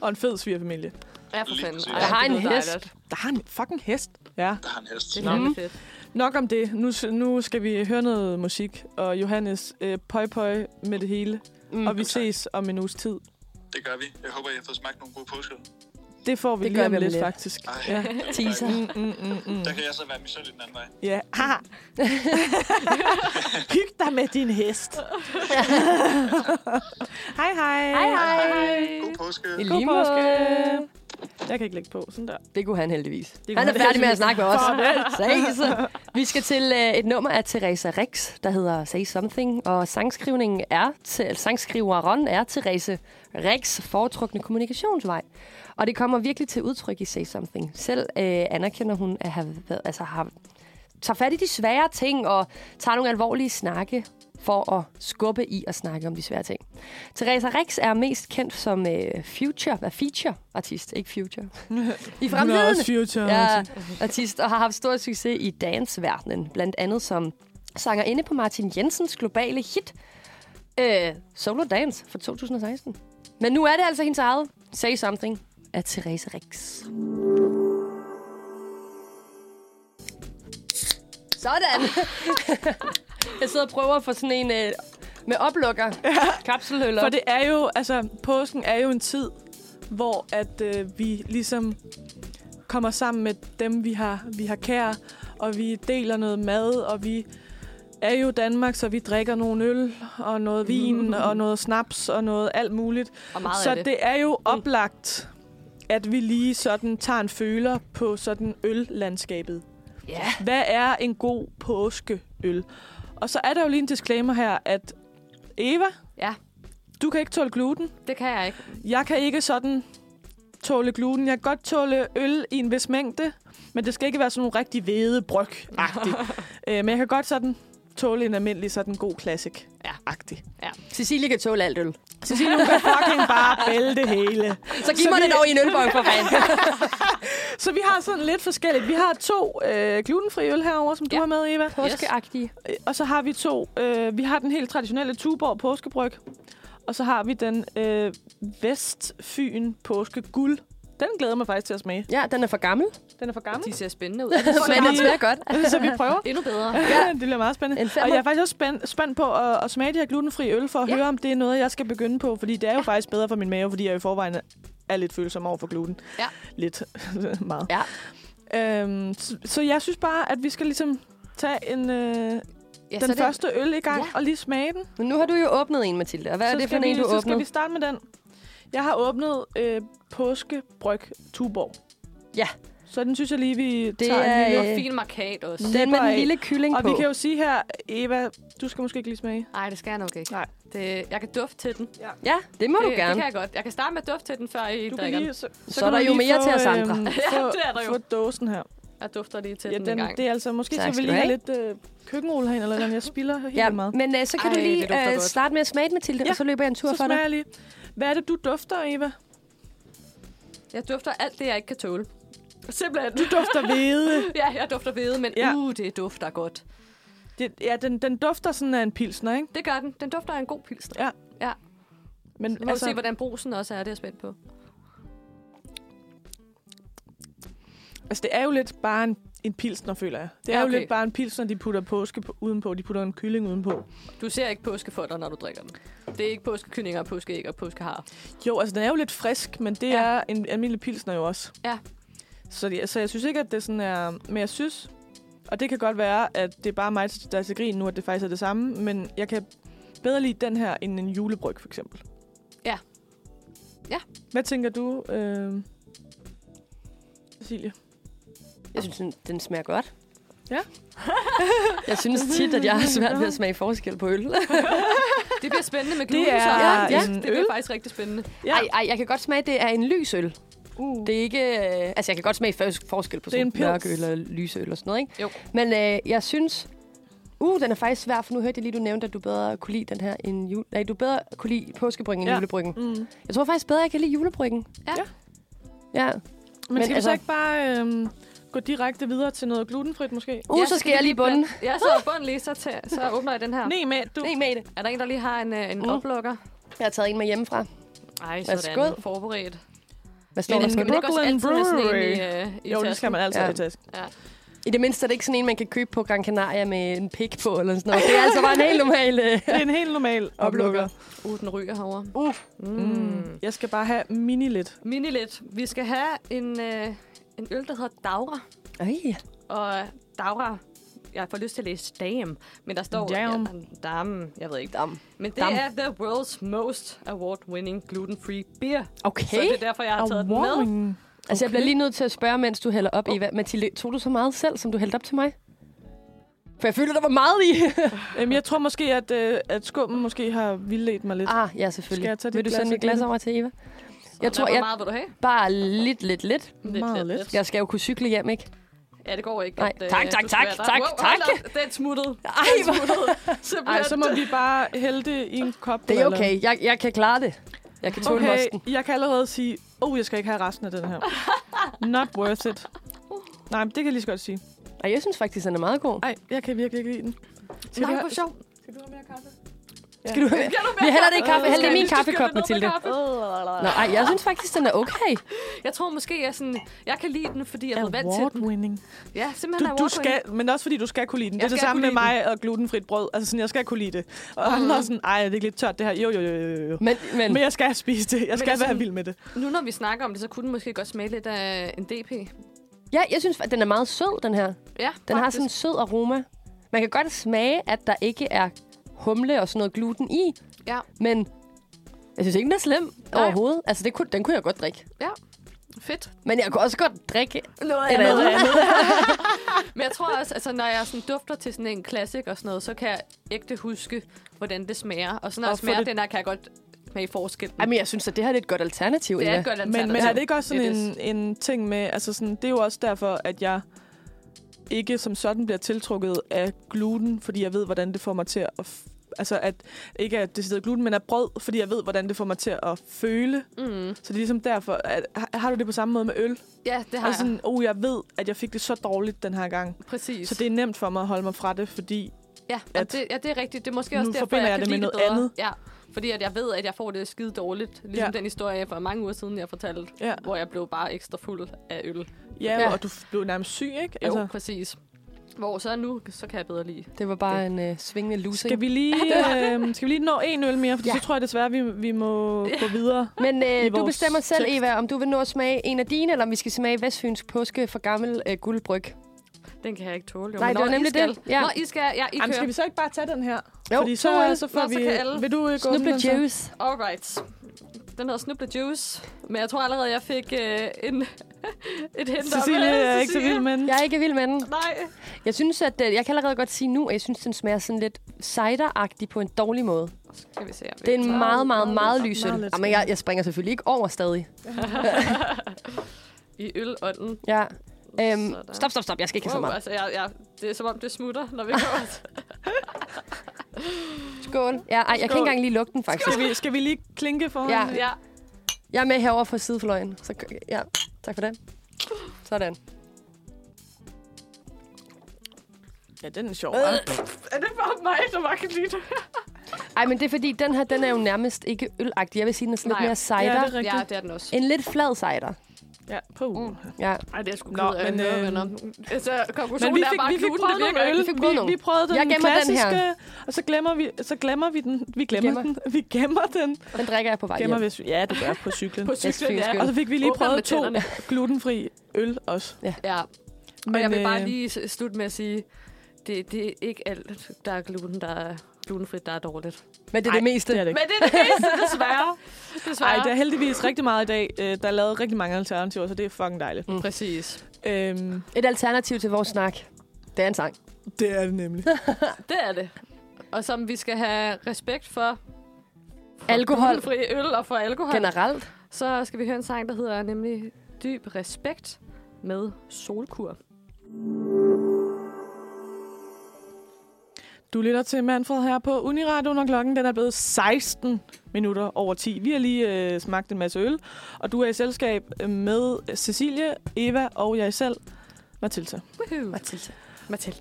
Speaker 1: Og en fed svigerfamilie.
Speaker 3: Ja, for
Speaker 4: Lige
Speaker 3: fanden.
Speaker 4: præcis.
Speaker 3: Ej,
Speaker 2: Jeg har
Speaker 3: det
Speaker 2: en
Speaker 3: lyder
Speaker 2: hest.
Speaker 3: dejligt.
Speaker 1: Der har en fucking hest. Ja.
Speaker 4: Der har en hest.
Speaker 3: Det er fandme fedt.
Speaker 1: Nok om det. Nu, nu skal vi høre noget musik. Og Johannes, øh, pøj pøj med det hele. Mm, og vi ses om en uges tid.
Speaker 4: Det gør vi. Jeg håber, I har fået smagt nogle gode påsker.
Speaker 1: Det får vi
Speaker 2: Det
Speaker 1: det lige
Speaker 2: gør
Speaker 1: om
Speaker 2: vi om
Speaker 1: lidt,
Speaker 2: lidt.
Speaker 1: faktisk.
Speaker 4: Ej,
Speaker 1: Ja.
Speaker 4: det var
Speaker 2: Teaser.
Speaker 4: dejligt.
Speaker 1: Mm, mm, mm.
Speaker 4: Der kan jeg så være misundelig den anden vej.
Speaker 1: [LAUGHS] Ja. Haha. Hyg dig med din hest. [LAUGHS] hej, hej.
Speaker 2: Hej, hej.
Speaker 4: God påske.
Speaker 2: I
Speaker 1: God
Speaker 2: lige
Speaker 1: påske.
Speaker 2: måde.
Speaker 1: Jeg kan ikke lægge på. Sådan der.
Speaker 2: Det kunne han heldigvis.
Speaker 1: kunne
Speaker 2: han er
Speaker 1: han
Speaker 2: færdig med at
Speaker 1: heldigvis.
Speaker 2: snakke med os. Ses. Vi skal til øh, et nummer af Teresa Rex, der hedder Say Something, og sangskrivningen er til, sangskriveren er Therese Rex foretrukne kommunikationsvej. Og det kommer virkelig til udtryk i Say Something. Selv øh, anerkender hun at have været, altså har tager fat i de svære ting og tager nogle alvorlige snakke for at skubbe i at snakke om de svære ting. Teresa Rex er mest kendt som øh, future, hvad feature artist, ikke future.
Speaker 1: [LAUGHS]
Speaker 2: I
Speaker 1: Hun er
Speaker 2: fremtiden
Speaker 1: også future.
Speaker 2: ja, artist og har haft stor succes i dansverdenen, blandt andet som sangerinde på Martin Jensens globale hit øh, Solo Dance fra 2016. Men nu er det altså hendes eget Say Something af Therese Rix. Sådan! [LAUGHS] Jeg sidder og prøver at få sådan en øh, med [LAUGHS] oplukker. Kapselhøller.
Speaker 1: For det er jo, altså, påsken er jo en tid, hvor at øh, vi ligesom kommer sammen med dem, vi har, vi har kære, og vi deler noget mad, og vi er jo Danmark, så vi drikker nogle øl, og noget
Speaker 3: [LAUGHS]
Speaker 1: vin, og noget snaps, og noget alt muligt.
Speaker 3: Og meget
Speaker 1: så
Speaker 3: af
Speaker 1: det.
Speaker 3: det. Mm.
Speaker 1: det er jo oplagt, at vi lige sådan tager en føler på sådan øllandskabet.
Speaker 3: Ja.
Speaker 1: Hvad er en god påskeøl? Og så er der jo lige en disclaimer her, at Eva,
Speaker 3: Ja.
Speaker 1: du kan ikke tåle gluten.
Speaker 3: Det kan jeg ikke.
Speaker 1: Jeg kan ikke sådan tåle gluten. Jeg kan godt tåle øl i en vis mængde, men det skal ikke være sådan nogle rigtig hvede bryg
Speaker 3: [LAUGHS]
Speaker 1: øh, Men jeg kan godt sådan tåle en almindelig sådan god classic agtig
Speaker 2: Cecilie kan tåle alt øl.
Speaker 1: Cecilie, hun kan fucking bare bælte det hele.
Speaker 2: Så giv mig det dog i en ølbong for fanden.
Speaker 1: Så vi har sådan lidt forskelligt. Vi har to øh, glutenfri øl herover, som du
Speaker 3: Ja.
Speaker 1: har med, Eva.
Speaker 2: [LAUGHS] Påskeagtige.
Speaker 1: Øh, Og så har vi to. Øh, vi har den helt traditionelle Tuborg påskebryg. Og så har vi den øh, Vestfyn påske guld. Den glæder jeg mig faktisk til at smage.
Speaker 2: Ja, den er for gammel.
Speaker 1: Den er for gammel.
Speaker 3: De [LAUGHS] ser spændende ud.
Speaker 2: Men den smager godt.
Speaker 1: så vi prøver.
Speaker 3: Endnu bedre.
Speaker 1: Ja, [LAUGHS] det bliver meget
Speaker 2: En
Speaker 1: spændende.
Speaker 2: femmer.
Speaker 1: Og jeg er faktisk også spændt, spændt på at, at smage de her glutenfri øl, for at
Speaker 2: Ja.
Speaker 1: ja. høre, om det er noget, jeg skal begynde på. Fordi det er jo ja. faktisk bedre for min mave, fordi jeg i forvejen er lidt følsom over for gluten.
Speaker 3: Ja.
Speaker 1: Lidt. [LAUGHS] meget.
Speaker 2: Ja.
Speaker 1: Øhm, så, så jeg synes bare, at vi skal ligesom tage en, øh,
Speaker 3: Ja,
Speaker 1: den
Speaker 3: så det-
Speaker 1: første øl i gang
Speaker 3: Ja.
Speaker 1: og lige smage den.
Speaker 2: Men nu har du jo åbnet en, Mathilde. Og hvad er det for
Speaker 1: skal
Speaker 2: en,
Speaker 1: vi,
Speaker 2: du
Speaker 1: Så skal vi
Speaker 2: åbnede?
Speaker 1: starte med den. Jeg har åbnet øh, påskebryg Tuborg.
Speaker 2: Ja.
Speaker 1: Så den synes jeg lige, vi det tager en
Speaker 2: er,
Speaker 3: Det
Speaker 1: lille...
Speaker 2: øh,
Speaker 3: var fin markat også.
Speaker 2: Den med
Speaker 1: slipper
Speaker 2: den
Speaker 1: af.
Speaker 2: lille kylling
Speaker 1: Og
Speaker 2: på.
Speaker 1: vi kan jo sige her, Eva, du skal måske ikke lige smage.
Speaker 3: Nej, det skal jeg nok ikke.
Speaker 1: Nej.
Speaker 3: Det, jeg kan dufte til den.
Speaker 2: Ja, det må
Speaker 3: det,
Speaker 2: du gerne.
Speaker 3: Det kan jeg godt. Jeg kan starte med at dufte til den, før
Speaker 1: Du
Speaker 3: I
Speaker 1: kan
Speaker 3: drikker
Speaker 1: lige,
Speaker 3: den.
Speaker 1: så,
Speaker 2: Så
Speaker 1: kan
Speaker 2: er der
Speaker 1: du lige
Speaker 2: jo mere
Speaker 1: få,
Speaker 2: til os andre. [LAUGHS]
Speaker 1: øhm,
Speaker 3: Ja,
Speaker 1: få,
Speaker 3: det er der jo.
Speaker 1: Få dåsen her.
Speaker 3: Jeg dufter lige til
Speaker 1: Ja,
Speaker 3: den, en
Speaker 1: den,
Speaker 3: gang.
Speaker 1: det er altså, måske
Speaker 2: Tak
Speaker 1: skal vi
Speaker 2: skal
Speaker 1: lige
Speaker 2: du
Speaker 1: have
Speaker 2: have.
Speaker 1: lidt øh, køkkenrulle herinde, eller den, jeg spilder helt
Speaker 2: Ja,
Speaker 1: ja, meget.
Speaker 2: men øh, så kan Ej,
Speaker 3: Ej,
Speaker 2: du
Speaker 3: det dufter
Speaker 2: lige øh,
Speaker 3: godt.
Speaker 2: starte med at smage den, Mathilde, ja.
Speaker 1: Ja.
Speaker 2: og så løber jeg en tur
Speaker 1: Så
Speaker 2: for dig.
Speaker 1: smager jeg lige. Hvad er det, du dufter, Eva?
Speaker 3: Jeg dufter alt det, jeg ikke kan tåle. Simpelthen. [LAUGHS]
Speaker 1: Du dufter hvede.
Speaker 3: Ja, jeg dufter hvede, men
Speaker 1: Ja.
Speaker 3: ja. uh, det dufter godt.
Speaker 1: Det, ja, den, den dufter sådan af en pilsner, ikke?
Speaker 3: Det gør den. Den dufter af en god pilsner.
Speaker 1: Ja.
Speaker 3: Ja.
Speaker 1: Men
Speaker 3: Nu må altså, se, hvordan brusen også er. Det er jeg spændt på.
Speaker 1: Altså, det er jo lidt bare en, en pilsner, føler jeg. Det er
Speaker 3: Ja,
Speaker 1: okay. jo
Speaker 3: okay.
Speaker 1: lidt bare en pilsner, de putter påske på, udenpå. De putter en kylling udenpå.
Speaker 3: Du ser ikke påskefotter, når du drikker dem. Det er ikke påskekyllinger, og påskeæg og påskehar.
Speaker 1: Jo, altså, den er jo lidt frisk, men det
Speaker 3: Ja.
Speaker 1: ja. er en almindelig pilsner jo også.
Speaker 3: Ja.
Speaker 1: Så, det, så jeg synes ikke, at det sådan er... Men jeg synes... Og det kan godt være, at det er bare mig, der er til grin nu, at det faktisk er det samme. Men jeg kan bedre lide den her, end en julebryg, for eksempel.
Speaker 3: Ja. Ja.
Speaker 1: Hvad tænker du, øh... Cecilie?
Speaker 2: Jeg synes, den, den smager godt.
Speaker 1: Ja.
Speaker 2: jeg synes tit, at jeg har svært ved at smage forskel på øl.
Speaker 3: Det bliver spændende med
Speaker 1: [LAUGHS]
Speaker 3: gluten,
Speaker 1: Det er
Speaker 3: så.
Speaker 2: ja,
Speaker 1: en
Speaker 3: Det
Speaker 1: øl.
Speaker 3: bliver faktisk rigtig spændende.
Speaker 1: Ja.
Speaker 2: Ej, ej, jeg kan godt smage, at det er en lys øl.
Speaker 1: uh.
Speaker 2: Det er ikke... Øh, altså, jeg kan godt smage fors- forskel på
Speaker 1: Det er
Speaker 2: sådan
Speaker 1: en pils.
Speaker 2: mørk øl og lys øl og sådan noget, ikke?
Speaker 3: Jo.
Speaker 2: Men øh, jeg synes... Uh, den er faktisk svær, for nu hørte jeg lige, du nævnte, at du bedre kunne lide den her end jul... Nej, du bedre kunne lide påskebryggen end ja.
Speaker 1: Ja.
Speaker 2: julebryggen.
Speaker 1: Mm.
Speaker 2: Jeg tror faktisk bedre, jeg kan lide julebryggen.
Speaker 3: Ja.
Speaker 2: Ja.
Speaker 1: Men,
Speaker 2: Men
Speaker 1: men skal altså... vi
Speaker 2: altså-
Speaker 1: så ikke bare øhm, gå direkte videre til noget glutenfrit måske?
Speaker 2: Uh, ja, så skal jeg lige bunden.
Speaker 3: Ja, så er bunden lige, så, til, så åbner jeg den her.
Speaker 1: Nej, med du.
Speaker 2: Nej, med det.
Speaker 3: Er der en, der lige har en, øh, en
Speaker 1: Uh.
Speaker 2: Mm.
Speaker 3: oplukker?
Speaker 2: Jeg har taget en med hjemmefra.
Speaker 3: Ej,
Speaker 2: Værsgo.
Speaker 3: sådan. Forberedt.
Speaker 2: Hvad står
Speaker 3: Men
Speaker 2: der
Speaker 3: den
Speaker 2: på
Speaker 3: skal man
Speaker 2: den?
Speaker 1: Brooklyn
Speaker 3: ikke også altid have sådan en i,
Speaker 1: Brewery.
Speaker 3: øh, i
Speaker 1: Jo, det
Speaker 3: tasken?
Speaker 1: skal man altid
Speaker 2: Ja.
Speaker 1: ja. i tasken.
Speaker 2: I det mindste er det ikke sådan en, man kan købe på Gran Canaria med en pik på eller sådan noget. Det er altså bare en helt normal... Øh.
Speaker 1: Det er en helt
Speaker 2: [LAUGHS]
Speaker 1: normal oplukker.
Speaker 3: Uh, den ryger herovre.
Speaker 2: Uh.
Speaker 3: Mm.
Speaker 1: Jeg skal bare have mini lidt.
Speaker 3: Mini lidt. Vi skal have en, øh, en øl, der hedder Dagra.
Speaker 2: Ej.
Speaker 3: Og Dagra, jeg får lyst til at læse dam, men der står...
Speaker 1: Dam.
Speaker 3: Ja, dam, jeg ved ikke.
Speaker 2: Dam.
Speaker 3: Men det
Speaker 2: Dam.
Speaker 3: er the world's most award-winning gluten-free beer. Så
Speaker 2: Okay.
Speaker 3: det er derfor, jeg har taget den med.
Speaker 2: Altså, jeg bliver lige nødt til at spørge, mens du hælder op, Eva. Mathilde, tog du så meget selv, som du hældte op til mig? For jeg føler, der var meget i.
Speaker 1: Øhm, jeg tror måske, at, øh, at skummen måske har vildledt mig lidt. Ah.
Speaker 2: ah, ja, selvfølgelig.
Speaker 1: Skal jeg tage dit
Speaker 2: Vil du
Speaker 1: glas
Speaker 2: sende mit
Speaker 1: og give
Speaker 2: glas
Speaker 1: det?
Speaker 2: over til Eva?
Speaker 3: Så
Speaker 2: Jeg tror,
Speaker 3: hvor
Speaker 2: jeg-
Speaker 3: meget vil du have?
Speaker 2: Bare lidt, lidt, lidt.
Speaker 1: Meget lidt.
Speaker 2: Jeg skal jo kunne cykle hjem, ikke?
Speaker 3: Ja, det går ikke.
Speaker 2: Nej.
Speaker 3: øh,
Speaker 2: Tak, tak,
Speaker 3: du skal
Speaker 2: tak,
Speaker 3: være der.
Speaker 2: tak,
Speaker 3: Wow,
Speaker 2: tak.
Speaker 3: hold op, Den
Speaker 2: [LAUGHS]
Speaker 3: smuttede.
Speaker 2: Ej,
Speaker 3: Den
Speaker 2: hvor-
Speaker 3: smuttede. Simpelthen.
Speaker 1: Ej, så må vi bare hælde det i en kop.
Speaker 2: Det er
Speaker 1: eller-
Speaker 2: okay. Jeg, jeg kan klare det. Jeg kan tåle okay.
Speaker 1: Okay,
Speaker 2: mosten.
Speaker 1: jeg kan allerede sige, oh, jeg skal ikke have resten af den
Speaker 2: [LAUGHS]
Speaker 1: her. Not worth it. Nej, men det kan jeg lige så godt sige.
Speaker 2: Og jeg synes faktisk, den er meget god.
Speaker 1: Nej, jeg kan virkelig ikke lide den. Skal
Speaker 3: Nej,
Speaker 1: du have-
Speaker 3: hvor sjovt.
Speaker 2: Skal du høre? Vi hælder det i kaffe. Hæld det i min kaffekop, Mathilde. Nå, ej, jeg synes faktisk, den er okay.
Speaker 3: Jeg tror måske, jeg, sådan, jeg kan lide den, fordi jeg er vant til den.
Speaker 1: Award-winning.
Speaker 3: Ja, simpelthen er
Speaker 1: Du, du
Speaker 3: award-winning.
Speaker 1: skal, men også fordi du skal kunne lide den.
Speaker 3: Jeg
Speaker 1: det er det
Speaker 3: skal
Speaker 1: samme
Speaker 3: kunne
Speaker 1: med
Speaker 3: lide
Speaker 1: mig og glutenfrit brød. Altså sådan, jeg skal kunne lide det. Og mm. andre er sådan, ej, er det ikke lidt tørt det her? Jo, jo, jo, jo, jo.
Speaker 2: Men, men,
Speaker 1: Men jeg skal spise det. Jeg skal være
Speaker 3: altså,
Speaker 1: vild med det.
Speaker 3: Nu når vi snakker om det, så kunne den måske godt smage lidt af en DP.
Speaker 2: ja, jeg synes, at den er meget sød, den her.
Speaker 3: Ja,
Speaker 2: Den har sådan en sød aroma. Man kan godt smage, at der ikke er humle og sådan noget gluten i.
Speaker 3: Ja.
Speaker 2: Men jeg synes ikke, den er slem Nej. overhovedet. Altså, det kunne, den kunne jeg godt drikke.
Speaker 3: Fedt.
Speaker 2: Men jeg kunne også godt drikke
Speaker 3: Noget
Speaker 2: et andet. andet.
Speaker 3: Men jeg tror også, altså, når jeg sådan dufter til sådan en klassik og sådan noget, så kan jeg ægte huske, hvordan det smager. Og så når
Speaker 1: Og
Speaker 3: jeg
Speaker 1: få
Speaker 3: smager
Speaker 1: det-
Speaker 3: den her, kan jeg godt smage forskellen.
Speaker 2: Jamen, jeg synes, at det her er et godt alternativ,
Speaker 3: det er
Speaker 2: Eva.
Speaker 3: et godt
Speaker 1: Men,
Speaker 3: alternativ.
Speaker 1: men er det ikke også sådan
Speaker 3: It is.
Speaker 1: en, en ting med, altså sådan, det er jo også derfor, at jeg ikke som sådan bliver tiltrukket af gluten, fordi jeg ved, hvordan det får mig til at... F- altså at, ikke at det sidder gluten, men af brød, fordi jeg ved, hvordan det får mig til at føle.
Speaker 3: Mm.
Speaker 1: Så det er ligesom derfor, at, har, har du det på samme måde med øl?
Speaker 3: Ja, det har
Speaker 1: Altså
Speaker 3: altså, jeg.
Speaker 1: sådan, oh, jeg ved, at jeg fik det så dårligt den her gang.
Speaker 3: Præcis.
Speaker 1: Så det er nemt for mig at holde mig fra det, fordi...
Speaker 3: Ja,
Speaker 1: at-
Speaker 3: at det, ja, det er rigtigt. Det er måske
Speaker 1: Nu
Speaker 3: også derfor,
Speaker 1: forbinder
Speaker 3: jeg,
Speaker 1: jeg det
Speaker 3: kan
Speaker 1: med
Speaker 3: lide det
Speaker 1: noget
Speaker 3: bedre.
Speaker 1: andet.
Speaker 3: Ja, fordi at jeg ved, at jeg får det skide dårligt. Ligesom
Speaker 1: Ja.
Speaker 3: ja. den historie jeg for mange uger siden, jeg fortalte,
Speaker 1: Ja.
Speaker 3: ja. hvor jeg blev bare ekstra fuld af øl. Jo,
Speaker 1: Ja,
Speaker 2: Ja.
Speaker 1: ja. og du f- blev nærmest syg, ikke?
Speaker 3: altså. præcis. Hvor så nu, så kan jeg bedre lide.
Speaker 2: Det var bare en øh, svingende lussing.
Speaker 1: skal, vi lige, øh, skal vi lige nå en øl mere? Fordi
Speaker 2: Ja.
Speaker 1: ja. så tror jeg desværre, vi, vi må gå videre.
Speaker 2: Men
Speaker 1: i
Speaker 2: øh, du
Speaker 1: vores
Speaker 2: bestemmer selv,
Speaker 1: tekst.
Speaker 2: Eva, om du vil nå at smage en af dine, eller om vi skal smage Vestfynsk påske for gammel øh, guldbryg.
Speaker 3: Den kan jeg ikke tåle. Jo.
Speaker 2: Nej,
Speaker 3: Men
Speaker 2: det var
Speaker 3: når I
Speaker 2: nemlig
Speaker 3: skal,
Speaker 2: det. Ja.
Speaker 3: Når I skal, ja, I
Speaker 1: Jamen,
Speaker 3: kører.
Speaker 1: skal vi så ikke bare tage den her?
Speaker 2: Jo,
Speaker 1: Fordi
Speaker 2: to
Speaker 1: så,
Speaker 2: øl.
Speaker 1: så får
Speaker 3: Nå,
Speaker 1: vi...
Speaker 3: så kan alle.
Speaker 1: Vil du øh, gå
Speaker 2: Snuble
Speaker 1: den så?
Speaker 2: juice.
Speaker 3: Alright. Den hedder Snuble Juice, men jeg tror allerede, jeg fik øh, en, [LAUGHS] et hint om...
Speaker 1: Cecilie
Speaker 3: øh,
Speaker 1: er ikke så vild med den.
Speaker 2: Jeg er ikke vild med den.
Speaker 3: Nej.
Speaker 2: Jeg synes, at øh, jeg kan allerede godt sige nu, at jeg synes, den smager sådan lidt cideragtig på en dårlig måde.
Speaker 3: Skal vi se, om vi
Speaker 2: Det er en
Speaker 3: klarer
Speaker 2: meget, meget, meget
Speaker 1: lidt-
Speaker 2: lys
Speaker 1: meget
Speaker 2: øl.
Speaker 1: lidt
Speaker 2: Jamen, jeg, jeg springer selvfølgelig ikke over stadig.
Speaker 3: I ølånden.
Speaker 2: Ja. Øhm,
Speaker 3: Sådan.
Speaker 2: stop, stop, stop. Jeg skal ikke have så
Speaker 3: Wow,
Speaker 2: meget.
Speaker 3: altså, jeg, jeg, det er som om, det smutter, når
Speaker 1: [LAUGHS]
Speaker 3: vi går.
Speaker 2: Skål. Ja, ej, jeg kan ikke engang lige lugte den, faktisk.
Speaker 1: Skal vi, skal vi lige klinke for
Speaker 2: Ja.
Speaker 1: hende?
Speaker 3: ja.
Speaker 2: Jeg er med herover for sidefløjen. Så, k- ja, tak for det. Sådan.
Speaker 1: ja, den er sjov. hva'?
Speaker 3: Øh, Er det bare mig, der bare kan lide det?
Speaker 2: Ej, men det er fordi, den her, den er jo nærmest ikke ølagtig. Jeg vil sige, den er sådan lidt
Speaker 3: Nej.
Speaker 2: mere
Speaker 1: Ja, det
Speaker 2: cider.
Speaker 1: er rigtigt.
Speaker 3: Ja, det er den også.
Speaker 2: En lidt flad cider.
Speaker 1: Ja, puh.
Speaker 3: Mm.
Speaker 2: Ja.
Speaker 3: Ej, det er sgu
Speaker 1: Nå,
Speaker 3: ked af
Speaker 1: men,
Speaker 3: at høre,
Speaker 1: øh,
Speaker 3: venner. Altså,
Speaker 1: Men
Speaker 3: konklusionen
Speaker 1: vi
Speaker 3: er
Speaker 1: fik,
Speaker 3: bare,
Speaker 1: vi fik
Speaker 3: gluten,
Speaker 1: prøvet
Speaker 3: det
Speaker 1: nogle
Speaker 3: virker
Speaker 1: øl.
Speaker 2: Vi
Speaker 3: ikke.
Speaker 2: fik prøvet nogle.
Speaker 1: Vi, vi prøvede den
Speaker 2: Jeg gemmer den her.
Speaker 1: klassiske, og så glemmer vi, så glemmer vi den. Vi glemmer,
Speaker 2: gemmer.
Speaker 1: den. Vi gemmer den.
Speaker 2: Den drikker jeg på vej
Speaker 1: Gemmer
Speaker 2: hjem.
Speaker 1: vi, ja, det gør på cyklen.
Speaker 3: [LAUGHS] På cyklen,
Speaker 2: Vestfynsk
Speaker 3: ja.
Speaker 2: øl.
Speaker 1: og så fik vi lige
Speaker 3: Åbner
Speaker 1: prøvet
Speaker 3: med
Speaker 1: to
Speaker 3: tænderne.
Speaker 1: glutenfri øl også.
Speaker 3: Ja,
Speaker 1: Men,
Speaker 3: og jeg vil bare
Speaker 1: øh,
Speaker 3: lige s- slutte med at sige, det, det er ikke alt, der er gluten, der er glutenfrit, der er dårligt.
Speaker 2: Men det er det
Speaker 1: Ej,
Speaker 2: meste.
Speaker 1: Det er det
Speaker 3: Men
Speaker 1: ikke.
Speaker 3: det er det meste, desværre. desværre.
Speaker 1: [LAUGHS] Ej, der er heldigvis rigtig meget i dag. Øh, Der er lavet rigtig mange alternativer, så det er fucking dejligt.
Speaker 3: Mm. Præcis.
Speaker 1: Øhm,
Speaker 2: Et alternativ til vores snak. Det er en sang.
Speaker 1: det er det nemlig.
Speaker 3: Det er det. Og som vi skal have respekt for, for
Speaker 2: Alkohol.
Speaker 3: Fri øl og for alkohol.
Speaker 2: Generelt.
Speaker 3: Så skal vi høre en sang, der hedder nemlig Dyb Respekt med Solkur.
Speaker 1: [LAUGHS] Du lytter til Manfred her på Uniradio, når klokken den er blevet 16 minutter over 10. Vi har lige øh, smagt en masse øl, og du er i selskab øh, med Cecilie, Eva og jeg selv, Mathilda.
Speaker 2: [LAUGHS]
Speaker 3: Woohoo.
Speaker 2: Mathilde.
Speaker 3: Mathilde.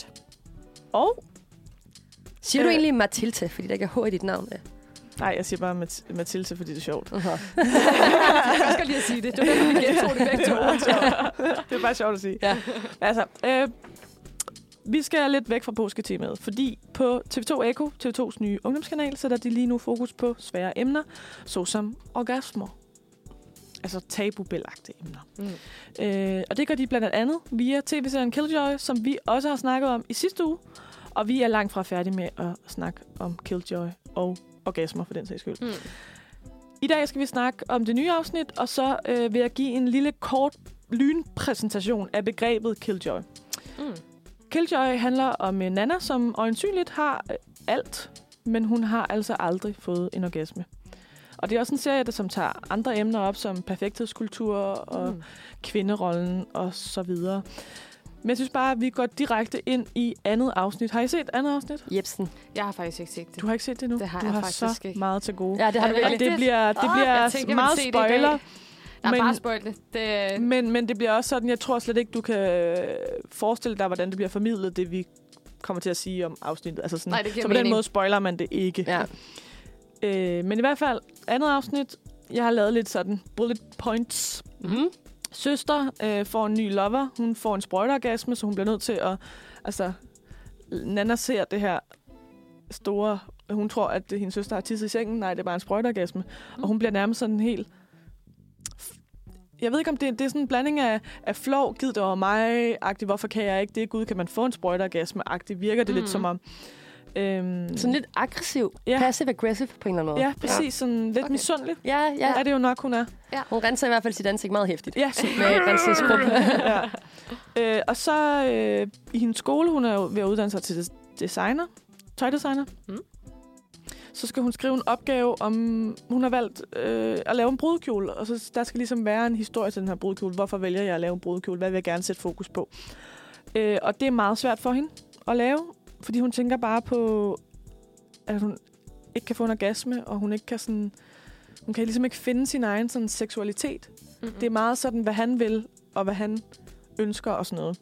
Speaker 1: Og,
Speaker 2: Siger du
Speaker 1: Øh.
Speaker 2: egentlig Mathilde, fordi der ikke er H i dit navn? Ja.
Speaker 1: nej, jeg siger bare Mat- Mathilda, fordi det er
Speaker 3: [LAUGHS]
Speaker 1: sjovt. [LAUGHS]
Speaker 3: Jeg skal lige at sige det. Det var derfor, vi gentog det begge to.
Speaker 1: [LAUGHS] Det er bare sjovt at sige. Ja. Altså, øh, vi skal lidt væk fra påsketemaet, fordi på TV2 Eko, TV2's nye ungdomskanal, sætter de lige nu fokus på svære emner, såsom orgasmer. Altså tabubelagte emner. Mm. Øh, og det gør de blandt andet via tv-serien Killjoy, som vi også har snakket om i sidste uge. Og vi er langt fra færdige med at snakke om Killjoy og orgasmer for den sags skyld. Mm. I dag skal vi snakke om det nye afsnit, og så øh, vil jeg give en lille kort lynpræsentation af begrebet Killjoy.
Speaker 3: Mm.
Speaker 1: Killjoy handler om øh, Nana, som øjensynligt har øh, alt, men hun har altså aldrig fået en orgasme. Og det er også en serie, der som tager andre emner op, som perfekthedskultur og mm. kvinderollen og så videre. Men jeg synes bare, at vi går direkte ind i andet afsnit. Har I set andet afsnit?
Speaker 2: Jebsen.
Speaker 3: Jeg har faktisk ikke set det.
Speaker 1: Du har ikke set det nu.
Speaker 3: Det har
Speaker 1: du
Speaker 3: jeg
Speaker 1: har
Speaker 3: faktisk
Speaker 1: så
Speaker 3: ikke.
Speaker 1: meget til gode.
Speaker 2: Ja, det har
Speaker 3: Er
Speaker 2: du
Speaker 3: det
Speaker 2: virkelig.
Speaker 3: rigtigt?
Speaker 1: Det bliver, det
Speaker 3: Åh,
Speaker 1: bliver
Speaker 3: jeg tænkte, jeg
Speaker 1: meget
Speaker 3: ville se det i
Speaker 1: spoiler,
Speaker 3: dag. Der er
Speaker 1: Men-
Speaker 3: bare spoilt det. det
Speaker 1: men, men det bliver også sådan, jeg tror slet ikke, du kan øh, forestille dig, hvordan det bliver formidlet, det vi kommer til at sige om afsnittet. Altså sådan,
Speaker 3: Nej, det giver
Speaker 1: så på den
Speaker 3: mening.
Speaker 1: måde spoiler man det ikke.
Speaker 2: Ja.
Speaker 1: Øh, men i hvert fald, andet afsnit, jeg har lavet lidt sådan bullet points
Speaker 2: Mm-hmm.
Speaker 1: søster øh, får en ny lover. Hun får en sprøjteorgasme, så hun bliver nødt til at... Altså, Nana ser det her store... Hun tror, at det, hendes søster har tisset i sengen. Nej, det er bare en sprøjteorgasme. Mm. Og hun bliver nærmest sådan helt... Jeg ved ikke, om det, det er sådan en blanding af, af flov, giv det over mig, agtig, hvorfor kan jeg ikke det, gud, kan man få en sprøjteorgasme, agtig, virker det mm. lidt som om... Øhm,
Speaker 2: Sådan lidt aggressiv.
Speaker 1: Ja.
Speaker 2: Ja. Passive-aggressive på en eller anden måde.
Speaker 1: Ja, præcis, ja. sådan lidt okay.
Speaker 2: Okay.
Speaker 1: misundelig.
Speaker 2: Ja, ja.
Speaker 1: Ja. Er det jo nok, hun er.
Speaker 2: Hun renser i hvert fald sit ansigt meget hæftigt.
Speaker 1: Ja, så
Speaker 2: Med renseskrub.
Speaker 1: ja. øh, og så øh, i hendes skole, hun er jo ved at uddanne sig til des- designer, tøjdesigner.
Speaker 3: Mm.
Speaker 1: Mm. Så skal hun skrive en opgave om, hun har valgt øh, at lave en brudekjole, og så der skal ligesom være en historie til den her brudekjole. Hvorfor vælger jeg at lave en brudekjole? Hvad vil jeg gerne sætte fokus på? Øh, og det er meget svært for hende at lave, fordi hun tænker bare på, at hun ikke kan få en orgasme, og hun ikke kan sådan, hun kan ligesom ikke finde sin egen sådan seksualitet.
Speaker 3: Mm-mm.
Speaker 1: Det er meget sådan, hvad han vil, og hvad han ønsker og sådan noget.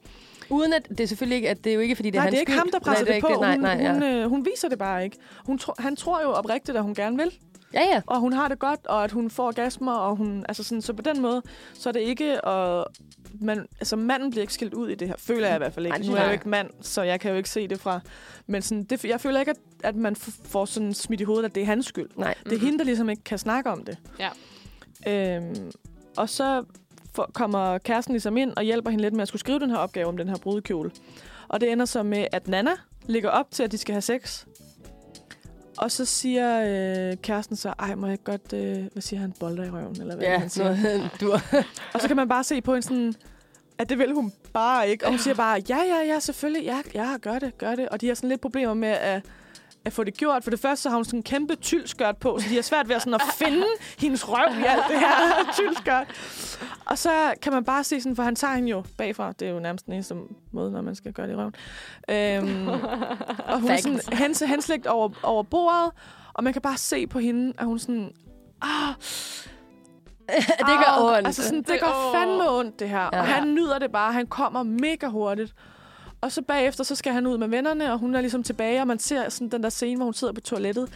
Speaker 2: Uden at, det er selvfølgelig ikke, at det er jo ikke, fordi det er
Speaker 1: nej,
Speaker 2: hans
Speaker 1: det er ikke
Speaker 2: skyld.
Speaker 1: ham, der presser
Speaker 2: nej,
Speaker 1: det,
Speaker 2: er
Speaker 1: det på.
Speaker 2: ikke Nej,
Speaker 1: hun,
Speaker 2: nej, ja.
Speaker 1: hun, øh, hun viser det bare ikke. Hun tro, han tror jo oprigtigt, at hun gerne vil,
Speaker 2: ja, ja.
Speaker 1: og hun har det godt, og at hun får orgasmer, og hun, altså sådan, så på den måde, så er det ikke, og man, altså manden bliver ikke skilt ud i det her, føler jeg i hvert fald ikke.
Speaker 2: Nej, det
Speaker 1: nu
Speaker 2: synes
Speaker 1: er jeg jo
Speaker 2: jeg
Speaker 1: ikke mand, så jeg kan jo ikke se det fra, men sådan, det, jeg føler ikke, at, at man f- får sådan smidt i hovedet, at det er hans skyld.
Speaker 2: Nej.
Speaker 1: Det er hende, der ligesom ikke kan snakke om det.
Speaker 3: Ja.
Speaker 1: Øhm, og så for, kommer kæresten ligesom ind og hjælper hende lidt med at skulle skrive den her opgave om den her brudekjole. Og det ender så med, at Nana ligger op til, at de skal have sex. Og så siger øh, kæresten så, ej, må jeg ikke godt, øh, hvad siger han, bolder i røven, eller hvad
Speaker 2: Ja,
Speaker 1: ja, han siger.
Speaker 2: [LAUGHS] noget, du
Speaker 1: Og så kan man bare se på en sådan, at det vil hun bare ikke. Og hun siger bare, ja, ja, ja, selvfølgelig, ja, ja, gør det, gør det. Og de har sådan lidt problemer med at, at få det gjort. For det første, så har hun sådan en kæmpe tyldskørt på, så de har svært ved at, sådan at
Speaker 2: [LAUGHS]
Speaker 1: finde hendes røv i alt det her [LAUGHS] tyldskørt. Og så kan man bare se sådan, for han tager hende jo bagfra. Det er jo nærmest den eneste måde, når man skal gøre det i røven. Øhm, og hun er
Speaker 2: Facts.
Speaker 1: sådan hens, henslægt over, over bordet, og man kan bare se på hende, at hun sådan, ah,
Speaker 2: [LAUGHS] det gør
Speaker 1: Au.
Speaker 2: ondt.
Speaker 1: Altså sådan, det
Speaker 3: Det-
Speaker 1: gør
Speaker 3: åh.
Speaker 1: fandme ondt, det her. Ja.
Speaker 2: Ja.
Speaker 1: Og han nyder det bare. Han kommer mega hurtigt. Og så bagefter, så skal han ud med vennerne, og hun er ligesom tilbage, og man ser sådan den der scene, hvor hun sidder på toilettet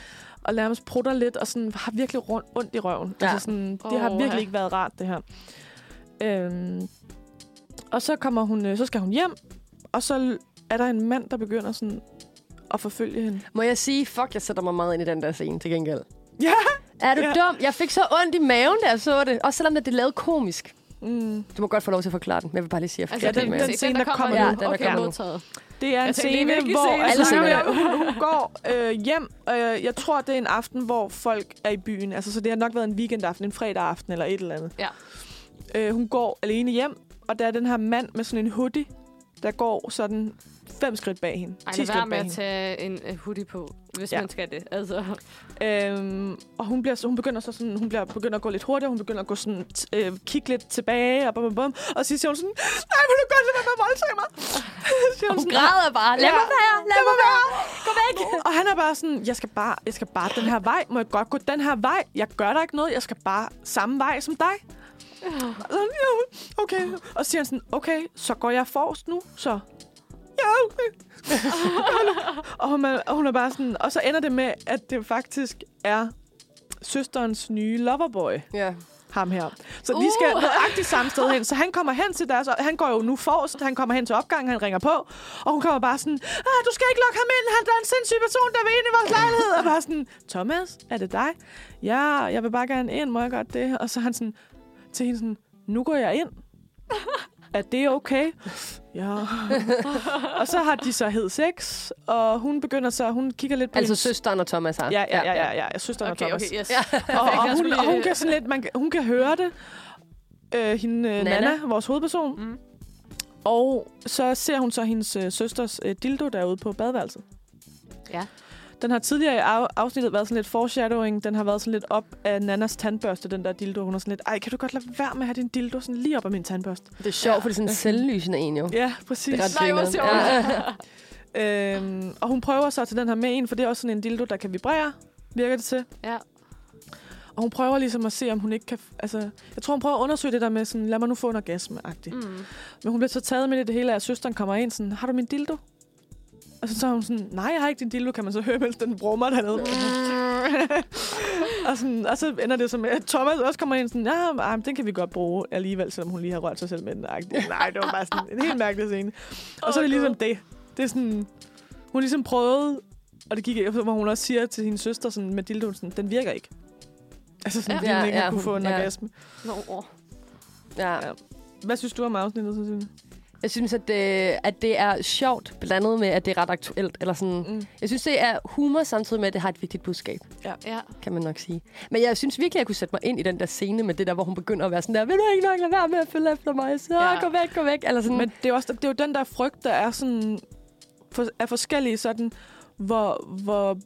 Speaker 1: og nærmest prutter lidt, og sådan har virkelig rundt, ondt i røven. Ja.
Speaker 2: Ja.
Speaker 1: Altså sådan, det har
Speaker 3: Åh,
Speaker 1: virkelig
Speaker 3: ja.
Speaker 1: ikke været rart, det her. Øhm, og så, kommer hun, øh, så skal hun hjem, og så er der en mand, der begynder sådan at forfølge hende.
Speaker 2: Må jeg sige, fuck, jeg sætter mig meget ind i den der scene til gengæld.
Speaker 1: Ja!
Speaker 2: Er du
Speaker 1: Ja.
Speaker 2: ja. dum? Jeg fik så ondt i maven, da jeg så det. Også selvom at det er lavet komisk.
Speaker 1: Mm.
Speaker 2: Du må godt få lov til at forklare den, men jeg vil bare lige sige, at jeg
Speaker 1: Altså,
Speaker 2: fik
Speaker 1: ja,
Speaker 2: ondt i
Speaker 1: den-
Speaker 2: maven.
Speaker 1: den- scene, der kommer
Speaker 2: nu.
Speaker 3: Ja, den, der
Speaker 2: Okay.
Speaker 3: kommer nu. modtaget.
Speaker 1: Det er en
Speaker 3: Jeg tænkte, det er
Speaker 1: scene,
Speaker 3: virkelig
Speaker 1: hvor
Speaker 3: scene.
Speaker 1: altså,
Speaker 2: Alle
Speaker 1: hun, hun, hun går øh, hjem. Øh, jeg tror, det er en aften, hvor folk er i byen. Altså, så det har nok været en weekendaften, en fredag aften eller et eller andet.
Speaker 3: Ja.
Speaker 1: Øh, hun går alene hjem, og der er den her mand med sådan en hoodie, der går sådan fem skridt bag hende.
Speaker 3: Ej,
Speaker 1: ti
Speaker 3: lad være
Speaker 1: skridt bag
Speaker 3: med at
Speaker 1: hende.
Speaker 3: tage en øh, hoodie på, hvis
Speaker 1: Ja.
Speaker 3: man skal det. Altså,
Speaker 1: Øhm, og hun, bliver, så- hun, begynder så sådan, hun bliver, begynder at gå lidt hurtigere, hun begynder at gå sådan, t- øh, kigge lidt tilbage, og, bum, bum, bum, og så siger hun sådan, nej, vil du godt lade være med at voldtage mig? [LAUGHS] Så siger hun
Speaker 2: Hun
Speaker 1: sådan,
Speaker 2: græder bare. Lad
Speaker 1: Ja.
Speaker 2: mig være, lad mig være.
Speaker 1: Gå væk! Og han er bare sådan, jeg skal bare, jeg skal bare den her vej. Må jeg godt gå den her vej? Jeg gør der ikke noget. Jeg skal bare samme vej som dig. Og sådan, ja, okay. Og så siger han sådan, okay, så går jeg forrest nu, så... Ja, okay. og, hun er, og hun er bare sådan... Og så ender det med, at det faktisk er søsterens nye loverboy
Speaker 2: Ja.
Speaker 1: ham her. Så de skal
Speaker 3: Uh.
Speaker 1: nøjagtigt samme sted hen. Så han kommer hen til deres, og han går jo nu forrest, han kommer hen til opgangen, han ringer på, og hun kommer bare sådan, ah, du skal ikke lokke ham ind, han der er en sindssyg person, der vil ind i vores lejlighed. Og bare sådan, Thomas, er det dig? Ja, jeg vil bare gerne ind, må jeg godt det? Og så er han sådan, til hende sådan, nu går jeg ind. Er det okay? Ja. og så har de så hed sex, og hun begynder så, hun kigger lidt på
Speaker 2: Altså
Speaker 1: hendes-
Speaker 2: søsteren og Thomas har.
Speaker 1: Ja, ja, ja, ja, ja, jeg synes, der
Speaker 3: okay,
Speaker 1: Thomas
Speaker 3: okay, yes.
Speaker 2: Ja.
Speaker 1: og,
Speaker 3: Perfekt,
Speaker 1: og,
Speaker 3: jeg
Speaker 1: hun,
Speaker 3: skulle
Speaker 1: og hun
Speaker 3: lige-
Speaker 1: kan sådan lidt, man, kan- hun kan høre det. Øh, hende, øh, Nana.
Speaker 2: Nana.
Speaker 1: Nana, vores hovedperson. Mm. Og så ser hun så hendes øh, søsters øh, dildo derude på badeværelset.
Speaker 3: Ja.
Speaker 1: Den har tidligere i af- afsnittet været sådan lidt foreshadowing. Den har været sådan lidt op af Nannas tandbørste, den der dildo. Hun er sådan lidt, ej, kan du godt lade være med at have din dildo sådan lige op af min tandbørste?
Speaker 2: Det er sjovt, for det er sådan en selvlysende en, jo.
Speaker 1: Ja, præcis.
Speaker 2: Det er ret
Speaker 3: Nej, hvor
Speaker 2: grineren.
Speaker 3: sjovt.
Speaker 1: Øhm, og hun prøver så at tage den her med ind, for det er også sådan en dildo, der kan vibrere, virker det til.
Speaker 3: Ja.
Speaker 1: Og hun prøver ligesom at se, om hun ikke kan... Altså, jeg tror, hun prøver at undersøge det der med sådan, lad mig nu få en orgasme-agtigt. Mm.
Speaker 3: Mm.
Speaker 1: Men hun bliver så taget med i det hele, at søsteren kommer ind sådan, har du min dildo? Og så, så er hun sådan, nej, jeg har ikke din dildo, kan man så høre, mens den brummer dernede. og, sådan, og så ender det så med, at Thomas også kommer ind sådan, ja, ah, men den kan vi godt bruge alligevel, selvom hun lige har rørt sig selv med den. agtigt." Nej, det var bare sådan en helt mærkelig scene. Og så er det ligesom det. Det er sådan, hun ligesom prøvede, og det gik efter, hvor hun også siger til hendes søster sådan, med dildoen, sådan, den virker ikke. Altså sådan,
Speaker 2: Ja.
Speaker 1: ja,
Speaker 2: Ja,
Speaker 1: den ikke
Speaker 2: ja,
Speaker 1: ja, kunne
Speaker 2: hun-
Speaker 1: få en
Speaker 2: ja.
Speaker 1: ja. orgasme.
Speaker 3: Nå, åh.
Speaker 2: Ja.
Speaker 1: Hvad synes du om afsnittet, Cecilie?
Speaker 2: Jeg synes, at det, at det er sjovt, blandet med, at det er ret aktuelt. Eller sådan.
Speaker 1: Mm.
Speaker 2: Jeg synes, det er humor, samtidig med, at det har et vigtigt budskab,
Speaker 3: Ja.
Speaker 2: kan man nok sige. Men jeg synes virkelig, at jeg kunne sætte mig ind i den der scene med det der, hvor hun begynder at være sådan der, vil du ikke nok lade være med at følge efter mig? Så ja.
Speaker 3: Ja.
Speaker 2: gå væk, gå væk. Eller sådan.
Speaker 1: Men det er, også, det er jo den der frygt, der er sådan for, er forskellige sådan, hvor, hvor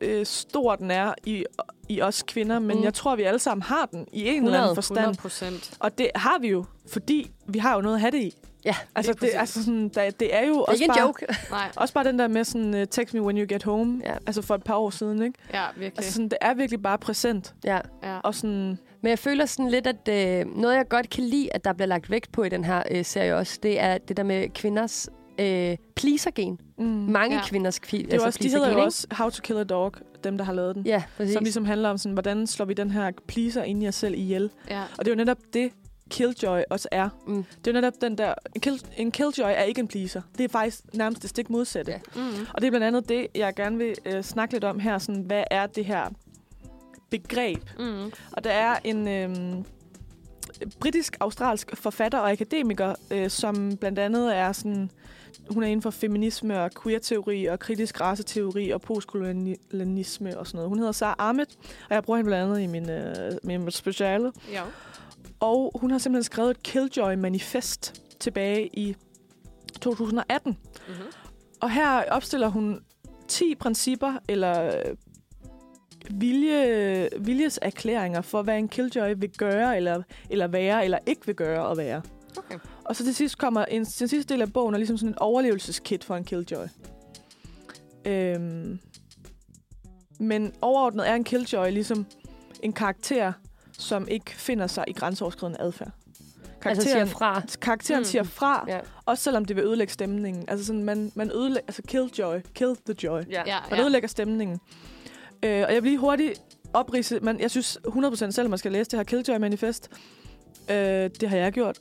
Speaker 1: øh, stor den er i, i os kvinder, men
Speaker 2: Mm.
Speaker 1: mm. jeg tror, vi alle sammen har den i en 100, eller
Speaker 2: 100,
Speaker 1: anden forstand.
Speaker 3: 100 procent.
Speaker 1: Og det har vi jo, fordi vi har jo noget at have det i.
Speaker 2: ja,
Speaker 1: Altså,
Speaker 3: Lige
Speaker 1: det,
Speaker 3: præcis.
Speaker 1: altså sådan, der, det er jo
Speaker 2: det er
Speaker 1: også
Speaker 2: ikke en
Speaker 1: bare,
Speaker 2: joke.
Speaker 3: Nej,
Speaker 1: Også bare den der med sådan, uh, text me when you get home,
Speaker 2: Ja.
Speaker 1: ja. altså for et par år siden, ikke? Okay.
Speaker 3: ja, virkelig.
Speaker 1: Altså sådan, det er virkelig bare præsent.
Speaker 2: ja.
Speaker 3: ja.
Speaker 1: Og sådan,
Speaker 2: Men jeg føler sådan lidt, at øh, noget, jeg godt kan lide, at der bliver lagt vægt på i den her øh, serie også, det er det der med kvinders øh, pleasergen.
Speaker 1: mm,
Speaker 2: Mange
Speaker 3: Ja.
Speaker 2: ja. kvinders kvi, altså,
Speaker 1: det er jo også, de hedder
Speaker 2: pleasergen,
Speaker 1: jo
Speaker 2: ikke?
Speaker 1: også How to Kill a Dog, dem der har lavet den.
Speaker 2: Ja, præcis.
Speaker 1: som ligesom handler om sådan, hvordan slår vi den her pleaser ind i os selv ihjel.
Speaker 3: ja.
Speaker 1: Og det er jo netop det, Killjoy også er.
Speaker 2: Mm.
Speaker 1: Mm. Det er jo netop den der... En, kill, en Killjoy er ikke en pleaser. Det er faktisk nærmest det stik modsatte.
Speaker 2: Ja.
Speaker 1: Ja.
Speaker 3: Mm.
Speaker 1: Og det er blandt andet det, jeg gerne vil øh, snakke lidt om her. Sådan, hvad er det her begreb?
Speaker 3: Mm.
Speaker 1: Og der er en øh, britisk-australsk forfatter og akademiker, øh, som blandt andet er sådan... Hun er inden for feminisme og queer-teori og kritisk raceteori og postkolonialisme og sådan noget. Hun hedder Sara Ahmed, og jeg bruger hende blandt andet i min, øh, min speciale.
Speaker 3: Ja.
Speaker 1: Og hun har simpelthen skrevet et Killjoy-manifest tilbage i 2018.
Speaker 3: Mm-hmm.
Speaker 1: Og her opstiller hun 10 principper, eller øh, vilje, viljeserklæringer for, hvad en Killjoy vil gøre, eller, eller være, eller ikke vil gøre og være.
Speaker 3: Okay.
Speaker 1: Og så til sidst kommer en, den sidste del af bogen er ligesom sådan en overlevelseskit for en Killjoy. Øhm, men overordnet er en Killjoy ligesom en karakter, som ikke finder sig i grænseoverskridende adfærd.
Speaker 2: altså
Speaker 1: Karakteren,
Speaker 2: siger
Speaker 1: altså
Speaker 2: fra.
Speaker 1: siger karakteren
Speaker 3: Mm.
Speaker 1: mm. siger fra,
Speaker 2: Ja.
Speaker 1: også selvom det vil ødelægge stemningen. Altså sådan, man, man ødelægger... Altså kill joy. Kill the joy.
Speaker 2: Ja.
Speaker 3: Ja,
Speaker 1: Man
Speaker 3: ja.
Speaker 1: ødelægger stemningen. Øh, og jeg vil lige hurtigt oprise... Men jeg synes 100% selv, at man skal læse det her Killjoy-manifest. Øh, det har jeg gjort.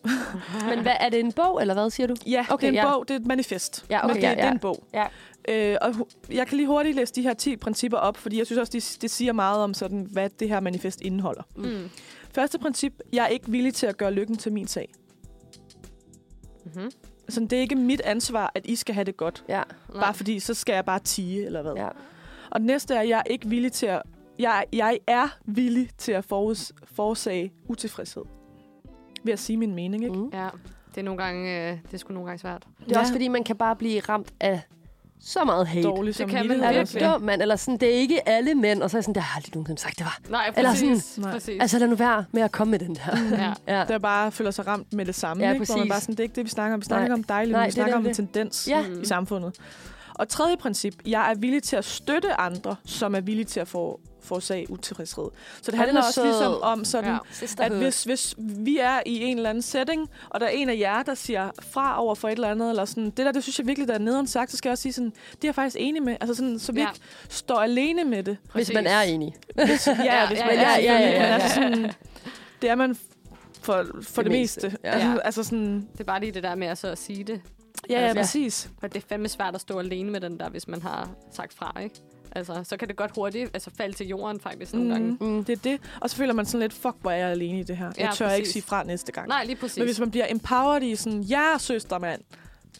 Speaker 2: Men hvad, er det en bog, eller hvad siger du?
Speaker 1: Ja,
Speaker 2: Okay,
Speaker 1: okay, det er en
Speaker 2: [LAUGHS] ja.
Speaker 1: bog. Det er et manifest.
Speaker 2: Ja, okay,
Speaker 1: men det,
Speaker 2: ja,
Speaker 1: det
Speaker 2: ja.
Speaker 1: er en bog.
Speaker 2: Ja.
Speaker 1: Øh, og hu- jeg kan lige hurtigt læse de her 10 principper op, fordi jeg synes også, det, det siger meget om, sådan, hvad det her manifest indeholder.
Speaker 3: Mm.
Speaker 1: Første princip. Jeg er ikke villig til at gøre lykken til min sag.
Speaker 3: Mm-hmm.
Speaker 1: Sådan, det er ikke mit ansvar, at I skal have det godt.
Speaker 2: Ja.
Speaker 3: Nej.
Speaker 1: Bare fordi, så skal jeg bare tige, eller hvad.
Speaker 2: ja.
Speaker 1: Og den næste er, jeg er ikke villig til at... Jeg, jeg er villig til at foruds, forårsage utilfredshed. Ved at sige min mening, ikke?
Speaker 2: Mm.
Speaker 3: Ja, det er nogle gange, øh, det er sgu nogle gange svært.
Speaker 2: Det er ja. også fordi, man kan bare blive ramt af så meget hate.
Speaker 1: Dårligt som
Speaker 3: kan man
Speaker 1: vittighed,
Speaker 2: Er du
Speaker 1: altså.
Speaker 3: virkelig.
Speaker 2: dum, mand? Eller sådan, det er ikke alle mænd. Og så er jeg sådan, der har aldrig nogensinde sagt, det var.
Speaker 3: Nej,
Speaker 2: Eller
Speaker 3: præcis.
Speaker 1: sådan- Nej.
Speaker 3: præcis.
Speaker 2: Altså, lad nu være med at komme med den der.
Speaker 3: Altså- ja.
Speaker 2: Ja.
Speaker 1: Der bare føler sig ramt med det samme,
Speaker 2: Ja,
Speaker 1: ikke? Hvor man
Speaker 2: præcis.
Speaker 1: bare sådan, det er ikke det, vi snakker om. Vi snakker
Speaker 2: Nej.
Speaker 1: ikke om dig,
Speaker 2: Nej,
Speaker 1: Lille.
Speaker 2: det
Speaker 1: Vi
Speaker 2: er
Speaker 1: snakker om en
Speaker 2: nemlig
Speaker 1: tendens
Speaker 2: Ja.
Speaker 1: i samfundet. Og tredje princip, jeg er villig til at støtte andre, som er villige til at for, forårsage utilfredshed. Så det
Speaker 2: Ej, den
Speaker 1: handler
Speaker 2: er
Speaker 1: også
Speaker 2: sød.
Speaker 1: ligesom om sådan,
Speaker 3: Ja.
Speaker 1: ja. at hvis, hvis vi er i en eller anden setting, og der er en af jer, der siger fra over for et eller andet, eller sådan, det der, det synes jeg virkelig, der er nederen sagt, så skal jeg også sige sådan, det er jeg faktisk enig med. Altså sådan, så vi
Speaker 3: Ja.
Speaker 1: ja. ikke står alene med det.
Speaker 2: hvis man er enig.
Speaker 1: Hvis, ja,
Speaker 3: Ja,
Speaker 1: hvis
Speaker 3: ja,
Speaker 1: man
Speaker 3: ja,
Speaker 1: er
Speaker 3: ja,
Speaker 1: selvfølgelig,
Speaker 2: ja, ja,
Speaker 1: men
Speaker 2: ja.
Speaker 1: altså sådan, det er man f- for, for det,
Speaker 2: Det
Speaker 1: det
Speaker 2: meste,
Speaker 1: meste.
Speaker 2: ja.
Speaker 1: Altså,
Speaker 3: Ja.
Speaker 1: altså sådan,
Speaker 3: Det er bare lige det der med altså at så at sige det.
Speaker 1: ja, ja,
Speaker 3: Altså,
Speaker 1: præcis.
Speaker 3: Og det er fandme svært at stå alene med den der, hvis man har sagt fra, ikke? Altså, så kan det godt hurtigt altså, falde til jorden faktisk nogle gange.
Speaker 1: Mm, mm. Det er det. Og så føler man sådan lidt, fuck, hvor er jeg alene i det her.
Speaker 3: Ja,
Speaker 1: Jeg tør ikke
Speaker 3: præcis.
Speaker 1: sige fra næste gang.
Speaker 3: Nej, lige præcis.
Speaker 1: Men hvis man bliver empowered i sådan, ja, søster, mand.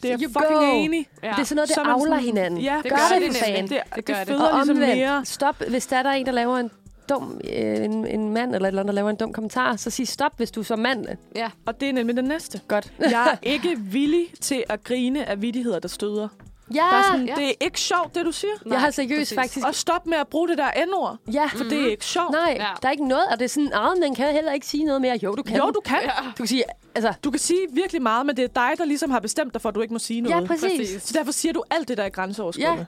Speaker 1: Det er
Speaker 2: You
Speaker 1: jeg fucking
Speaker 2: go.
Speaker 1: enig.
Speaker 3: ja.
Speaker 2: Det er sådan noget,
Speaker 1: Så
Speaker 2: det
Speaker 1: er man
Speaker 2: afler
Speaker 1: sådan-
Speaker 2: hinanden.
Speaker 1: Ja,
Speaker 3: Det
Speaker 2: gør
Speaker 3: gør
Speaker 2: det,
Speaker 3: det
Speaker 2: for
Speaker 3: nemlig.
Speaker 2: fanden.
Speaker 1: Det,
Speaker 3: Det
Speaker 1: det,
Speaker 3: gør
Speaker 1: det
Speaker 3: det.
Speaker 1: føder
Speaker 2: Og
Speaker 1: ligesom
Speaker 2: omvendt,
Speaker 1: mere.
Speaker 2: stop. Hvis der er der en, der laver en dum, øh, en, en mand eller et eller andet, der laver en dum kommentar, så sig stop, hvis du som mand.
Speaker 3: ja.
Speaker 1: Og det er nemlig den næste.
Speaker 2: Godt. [LAUGHS]
Speaker 1: Jeg er ikke villig til at grine af vidtigheder, der støder.
Speaker 2: Ah, Ja,
Speaker 1: Bare sådan,
Speaker 3: ja.
Speaker 1: det er ikke sjovt, det du siger.
Speaker 2: jeg har
Speaker 3: Nej,
Speaker 2: seriøst
Speaker 3: præcis.
Speaker 2: faktisk...
Speaker 1: Og stop med at bruge det der N-ord,
Speaker 2: Ja,
Speaker 1: for det er ikke sjovt.
Speaker 2: Mm-hmm. Nej,
Speaker 3: Ja.
Speaker 2: der er ikke noget, og det er sådan, armen, den kan heller ikke sige noget mere. Jo, du kan.
Speaker 1: Jo, du kan.
Speaker 3: Ja.
Speaker 2: Du kan sige, altså,
Speaker 1: Du kan sige virkelig meget, men det er dig, der ligesom har bestemt dig for, at du ikke må sige
Speaker 2: ja,
Speaker 1: noget.
Speaker 2: præcis. præcis.
Speaker 3: præcis.
Speaker 1: Så derfor siger du alt det, der er grænseoverskridende.
Speaker 2: Ja.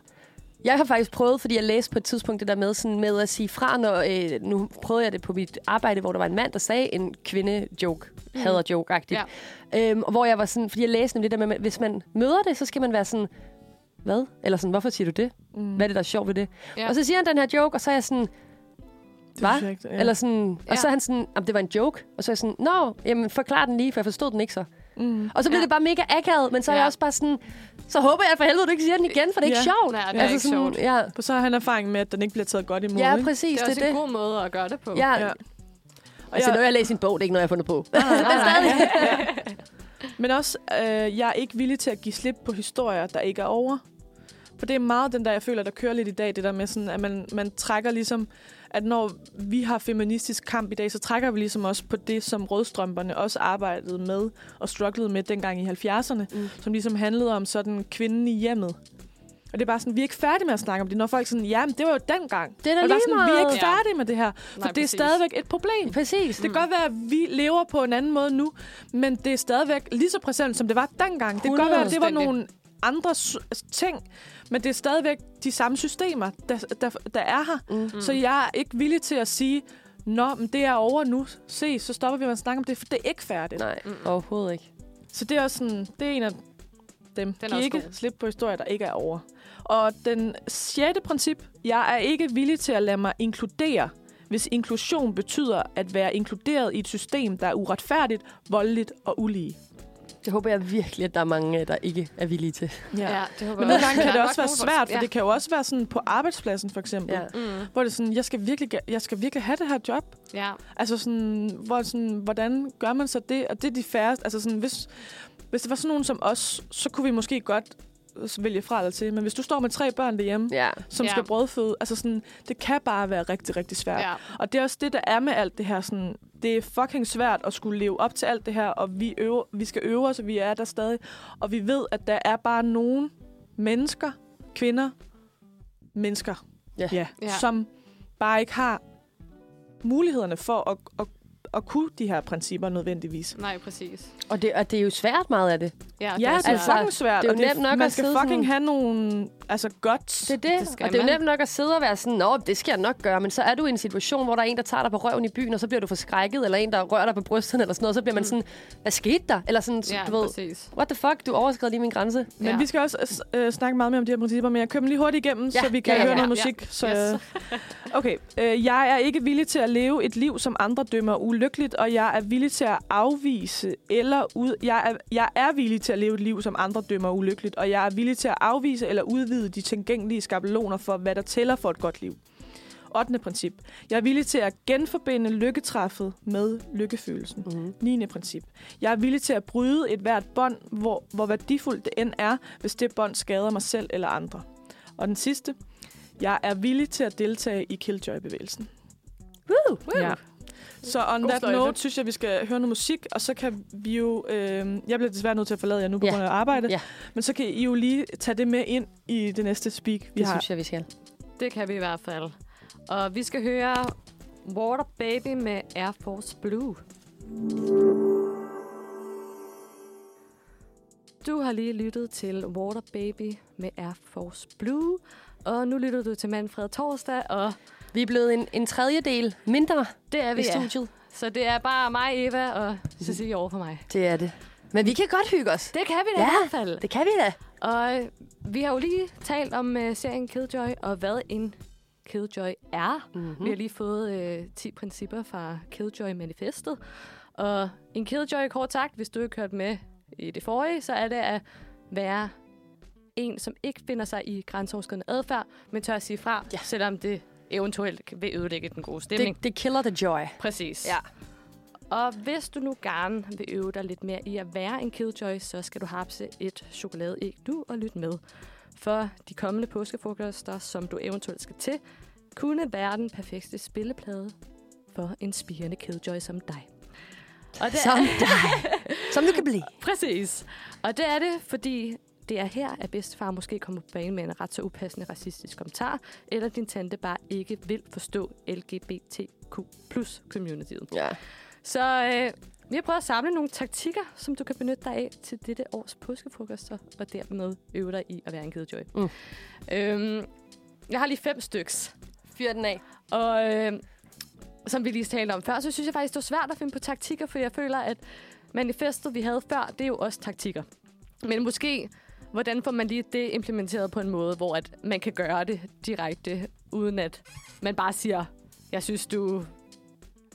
Speaker 2: Jeg har faktisk prøvet, fordi jeg læste på et tidspunkt det der med, sådan med at sige fra, når øh, nu prøvede jeg det på mit arbejde, hvor der var en mand, der sagde en kvinde-joke, hader-joke-agtigt. Mm. Ja. Øhm, og hvor jeg var sådan, fordi jeg læste nemlig det der med, at hvis man møder det, så skal man være sådan, hvad? Eller sådan, hvorfor siger du det? Mm. Hvad er det, der er sjovt ved det? Ja.
Speaker 3: Ja.
Speaker 2: Og så siger han den her joke, og så er jeg sådan,
Speaker 1: synes
Speaker 2: hvad?
Speaker 1: jeg ikke, ja.
Speaker 2: Eller sådan, og
Speaker 3: Ja.
Speaker 2: så er han sådan, jamen, det var en joke. Og så er jeg sådan, nå, jamen, forklar den lige, for jeg forstod den ikke så. Mm. Og så bliver ja.
Speaker 3: Ja.
Speaker 2: det bare mega akavet, men så er ja.
Speaker 3: Ja.
Speaker 2: jeg også bare sådan, så håber jeg for helvede, du ikke siger den igen, for det er ikke
Speaker 1: Ja.
Speaker 2: sjovt. Altså
Speaker 3: Nej, det er ikke sjovt.
Speaker 2: Ja,
Speaker 1: For så har han erfaring med, at den ikke bliver taget godt imod.
Speaker 2: Ja,
Speaker 1: ikke?
Speaker 2: præcis,
Speaker 3: Det er
Speaker 2: det
Speaker 3: også
Speaker 2: er det.
Speaker 3: en god måde at gøre det på.
Speaker 2: Ja.
Speaker 1: Ja.
Speaker 2: ja.
Speaker 1: Og
Speaker 2: Altså,
Speaker 1: jeg-
Speaker 2: når jeg læser en bog, det er ikke noget, jeg har fundet på.
Speaker 1: Men også, øh, jeg er ikke villig til at give slip på historier, der ikke er over. For det er meget den der, jeg føler, der kører lidt i dag, det der med sådan, at man, man trækker ligesom, at når vi har feministisk kamp i dag, så trækker vi ligesom også på det, som rødstrømperne også arbejdede med og strugglede med dengang i 70'erne, mm. som ligesom handlede om sådan kvinden i hjemmet. Og det er bare sådan, vi er ikke færdige med at snakke om det, når folk sådan, ja, men det var jo dengang.
Speaker 2: Det er da
Speaker 1: og bare
Speaker 2: lige
Speaker 1: sådan, vi er
Speaker 2: meget.
Speaker 1: ikke
Speaker 3: Ja.
Speaker 1: færdige med det her, for Nej,
Speaker 3: Nej,
Speaker 1: det er
Speaker 3: præcis.
Speaker 1: stadigvæk et problem.
Speaker 2: Præcis.
Speaker 1: Altså, Det kan godt være, at vi lever på en anden måde nu, men det er stadigvæk lige så præsent, som det var dengang. Det kan godt være, at det var
Speaker 3: 100%.
Speaker 1: nogle andre s- ting, men det er stadigvæk de samme systemer, der, der, der er her. Mm. Så jeg er ikke villig til at sige, Nå, men det er over nu. Se, så stopper vi med at snakke om det, for det er ikke færdigt.
Speaker 2: Nej, overhovedet ikke.
Speaker 1: Så det er også sådan, det er en af dem.
Speaker 3: er
Speaker 1: Den Giv
Speaker 3: også
Speaker 1: ikke
Speaker 3: god.
Speaker 1: slip på historier, der ikke er over. Og den sjette princip, jeg er ikke villig til at lade mig inkludere, hvis inklusion betyder at være inkluderet i et system, der er uretfærdigt, voldeligt og ulige.
Speaker 2: Det håber jeg virkelig, at der er mange, der ikke er villige til.
Speaker 3: ja det håber
Speaker 1: Men
Speaker 3: jeg
Speaker 1: nogle gange kan
Speaker 3: Der
Speaker 1: det
Speaker 3: er
Speaker 1: også
Speaker 3: nok
Speaker 1: være
Speaker 3: nogen,
Speaker 1: svært, for
Speaker 3: ja. Mm.
Speaker 1: det kan jo også være sådan på arbejdspladsen for eksempel,
Speaker 2: Ja.
Speaker 1: ja. hvor det er sådan, jeg skal, virkelig, ga- jeg skal virkelig have det her job.
Speaker 3: Ja.
Speaker 1: Altså sådan, hvor, sådan, hvordan gør man så det? Og det er de færreste. Altså sådan, hvis, hvis det var sådan nogen som os, så kunne vi måske godt øh, vælge fra eller til. Men hvis du står med tre børn derhjemme,
Speaker 2: ja.
Speaker 1: som
Speaker 3: Ja.
Speaker 1: skal brødføde, altså sådan, det kan bare være rigtig, rigtig svært.
Speaker 3: Ja.
Speaker 1: Og det er også det, der er med alt det her. Sådan, det er fucking svært at skulle leve op til alt det her, og vi, øver, vi skal øve os, og vi er der stadig. Og vi ved, at der er bare nogle mennesker, kvinder, mennesker,
Speaker 2: Ja.
Speaker 1: Ja,
Speaker 3: Ja.
Speaker 1: som bare ikke har mulighederne for at, at, at kunne de her principper nødvendigvis.
Speaker 3: Nej, præcis.
Speaker 2: Og, det, og det er jo svært meget af det.
Speaker 3: Ja,
Speaker 1: Ja, det er
Speaker 2: altså,
Speaker 1: fucking svært.
Speaker 2: det er jo
Speaker 1: og
Speaker 2: nemt nok
Speaker 1: man
Speaker 2: at
Speaker 1: skal
Speaker 2: sidde
Speaker 1: fucking
Speaker 2: sådan-
Speaker 1: have nogle altså, guts.
Speaker 2: Det er det.
Speaker 3: Det
Speaker 2: det
Speaker 3: skal
Speaker 2: og det er jo
Speaker 3: man.
Speaker 2: nemt nok at sidde og være sådan, nå, det skal jeg nok gøre, men så er du i en situation, hvor der er en, der tager dig på røven i byen, og så bliver du forskrækket, eller en, der rører dig på brysterne, eller sådan noget, så bliver man sådan, hvad skete der? Eller sådan,
Speaker 3: Mm. Ja,
Speaker 2: ja, du ved,
Speaker 3: præcis.
Speaker 2: what the fuck, du overskred lige min grænse.
Speaker 1: Men
Speaker 3: Ja.
Speaker 1: vi skal også øh, snakke meget mere om de her principper, men jeg kører dem lige hurtigt igennem,
Speaker 2: Ja,
Speaker 1: så vi kan
Speaker 2: ja, ja,
Speaker 1: høre
Speaker 2: ja,
Speaker 1: noget
Speaker 3: ja.
Speaker 1: musik. Så, yes. okay, øh, jeg er ikke villig til at leve et liv, som andre dømmer ulykkeligt, og jeg er villig til at afvise eller ud... Jeg er, jeg er villig til at leve et liv, som andre dømmer ulykkeligt, og jeg er villig til at afvise eller udvide de tilgængelige skabeloner for, hvad der tæller for et godt liv. 8. princip. Jeg er villig til at genforbinde lykketræffet med lykkefølelsen. Mm. 9. princip. Jeg er villig til at bryde et hvert bånd, hvor, hvor værdifuldt det end er, hvis det bånd skader mig selv eller andre. Og den sidste. Jeg er villig til at deltage i Killjoy-bevægelsen.
Speaker 2: Woo!
Speaker 1: Ja. Så on
Speaker 3: God
Speaker 1: God that
Speaker 3: sløjfe.
Speaker 1: note, synes jeg, vi skal høre noget musik, og så kan vi jo... Øh, jeg bliver desværre nødt til at forlade jer nu på
Speaker 2: Ja.
Speaker 1: grund af arbejde,
Speaker 2: Ja.
Speaker 1: men så kan I jo lige tage det med ind i det næste speak, vi
Speaker 2: Det
Speaker 1: har.
Speaker 2: synes jeg, vi skal.
Speaker 3: Det kan vi i hvert fald. Og vi skal høre Water Baby med Air Force Blue. Du har lige lyttet til Water Baby med Air Force Blue. Og nu lytter du til Manfred Torsdag, og
Speaker 2: Vi er blevet en, en tredjedel mindre
Speaker 3: det er vi
Speaker 2: i
Speaker 3: ja.
Speaker 2: studiet.
Speaker 3: Så det er bare mig, Eva, og Cecilie over for mig.
Speaker 2: Det er det. Men vi kan godt hygge os.
Speaker 3: Det kan vi da ja. i hvert fald.
Speaker 2: det kan vi da.
Speaker 3: Og øh, vi har jo lige talt om uh, serien Killjoy, og hvad en Killjoy er. Mm-hmm. Vi har lige fået uh, 10 principper fra Killjoy-manifestet. Og en Killjoy, kort sagt, hvis du ikke hørt med i det forrige, så er det at være en, som ikke finder sig i grænseoverskridende adfærd, men tør at sige fra, ja. selvom det eventuelt vil ødelægge den gode stemning.
Speaker 2: Det, det killer the joy.
Speaker 3: Præcis.
Speaker 2: Ja.
Speaker 3: Og hvis du nu gerne vil øve dig lidt mere i at være en killjoy, så skal du hapse et chokoladeæg nu og lytte med. For de kommende påskefrokoster, som du eventuelt skal til, kunne være den perfekte spilleplade for en spirende killjoy som dig. Og det
Speaker 2: [LAUGHS] Som dig. Som du kan blive.
Speaker 3: Præcis. Og det er det, fordi Det er her, at bedstefar måske kommer på banen med en ret så upassende racistisk kommentar, eller din tante bare ikke vil forstå LGBTQ plus communityet.
Speaker 2: Ja.
Speaker 3: Så øh, vi har prøvet at samle nogle taktikker, som du kan benytte dig af til dette års påskefrokoster, og dermed øve dig i at være en kedejoy.
Speaker 2: Mm.
Speaker 3: Mm. Øhm, jeg har lige fem styks.
Speaker 2: Fyr den af.
Speaker 3: Og øh, som vi lige talte om før, så synes jeg faktisk, det var svært at finde på taktikker, for jeg føler, at manifestet, vi havde før, det er jo også taktikker. Men måske, hvordan får man lige det implementeret på en måde, hvor at man kan gøre det direkte, uden at man bare siger, jeg synes, du...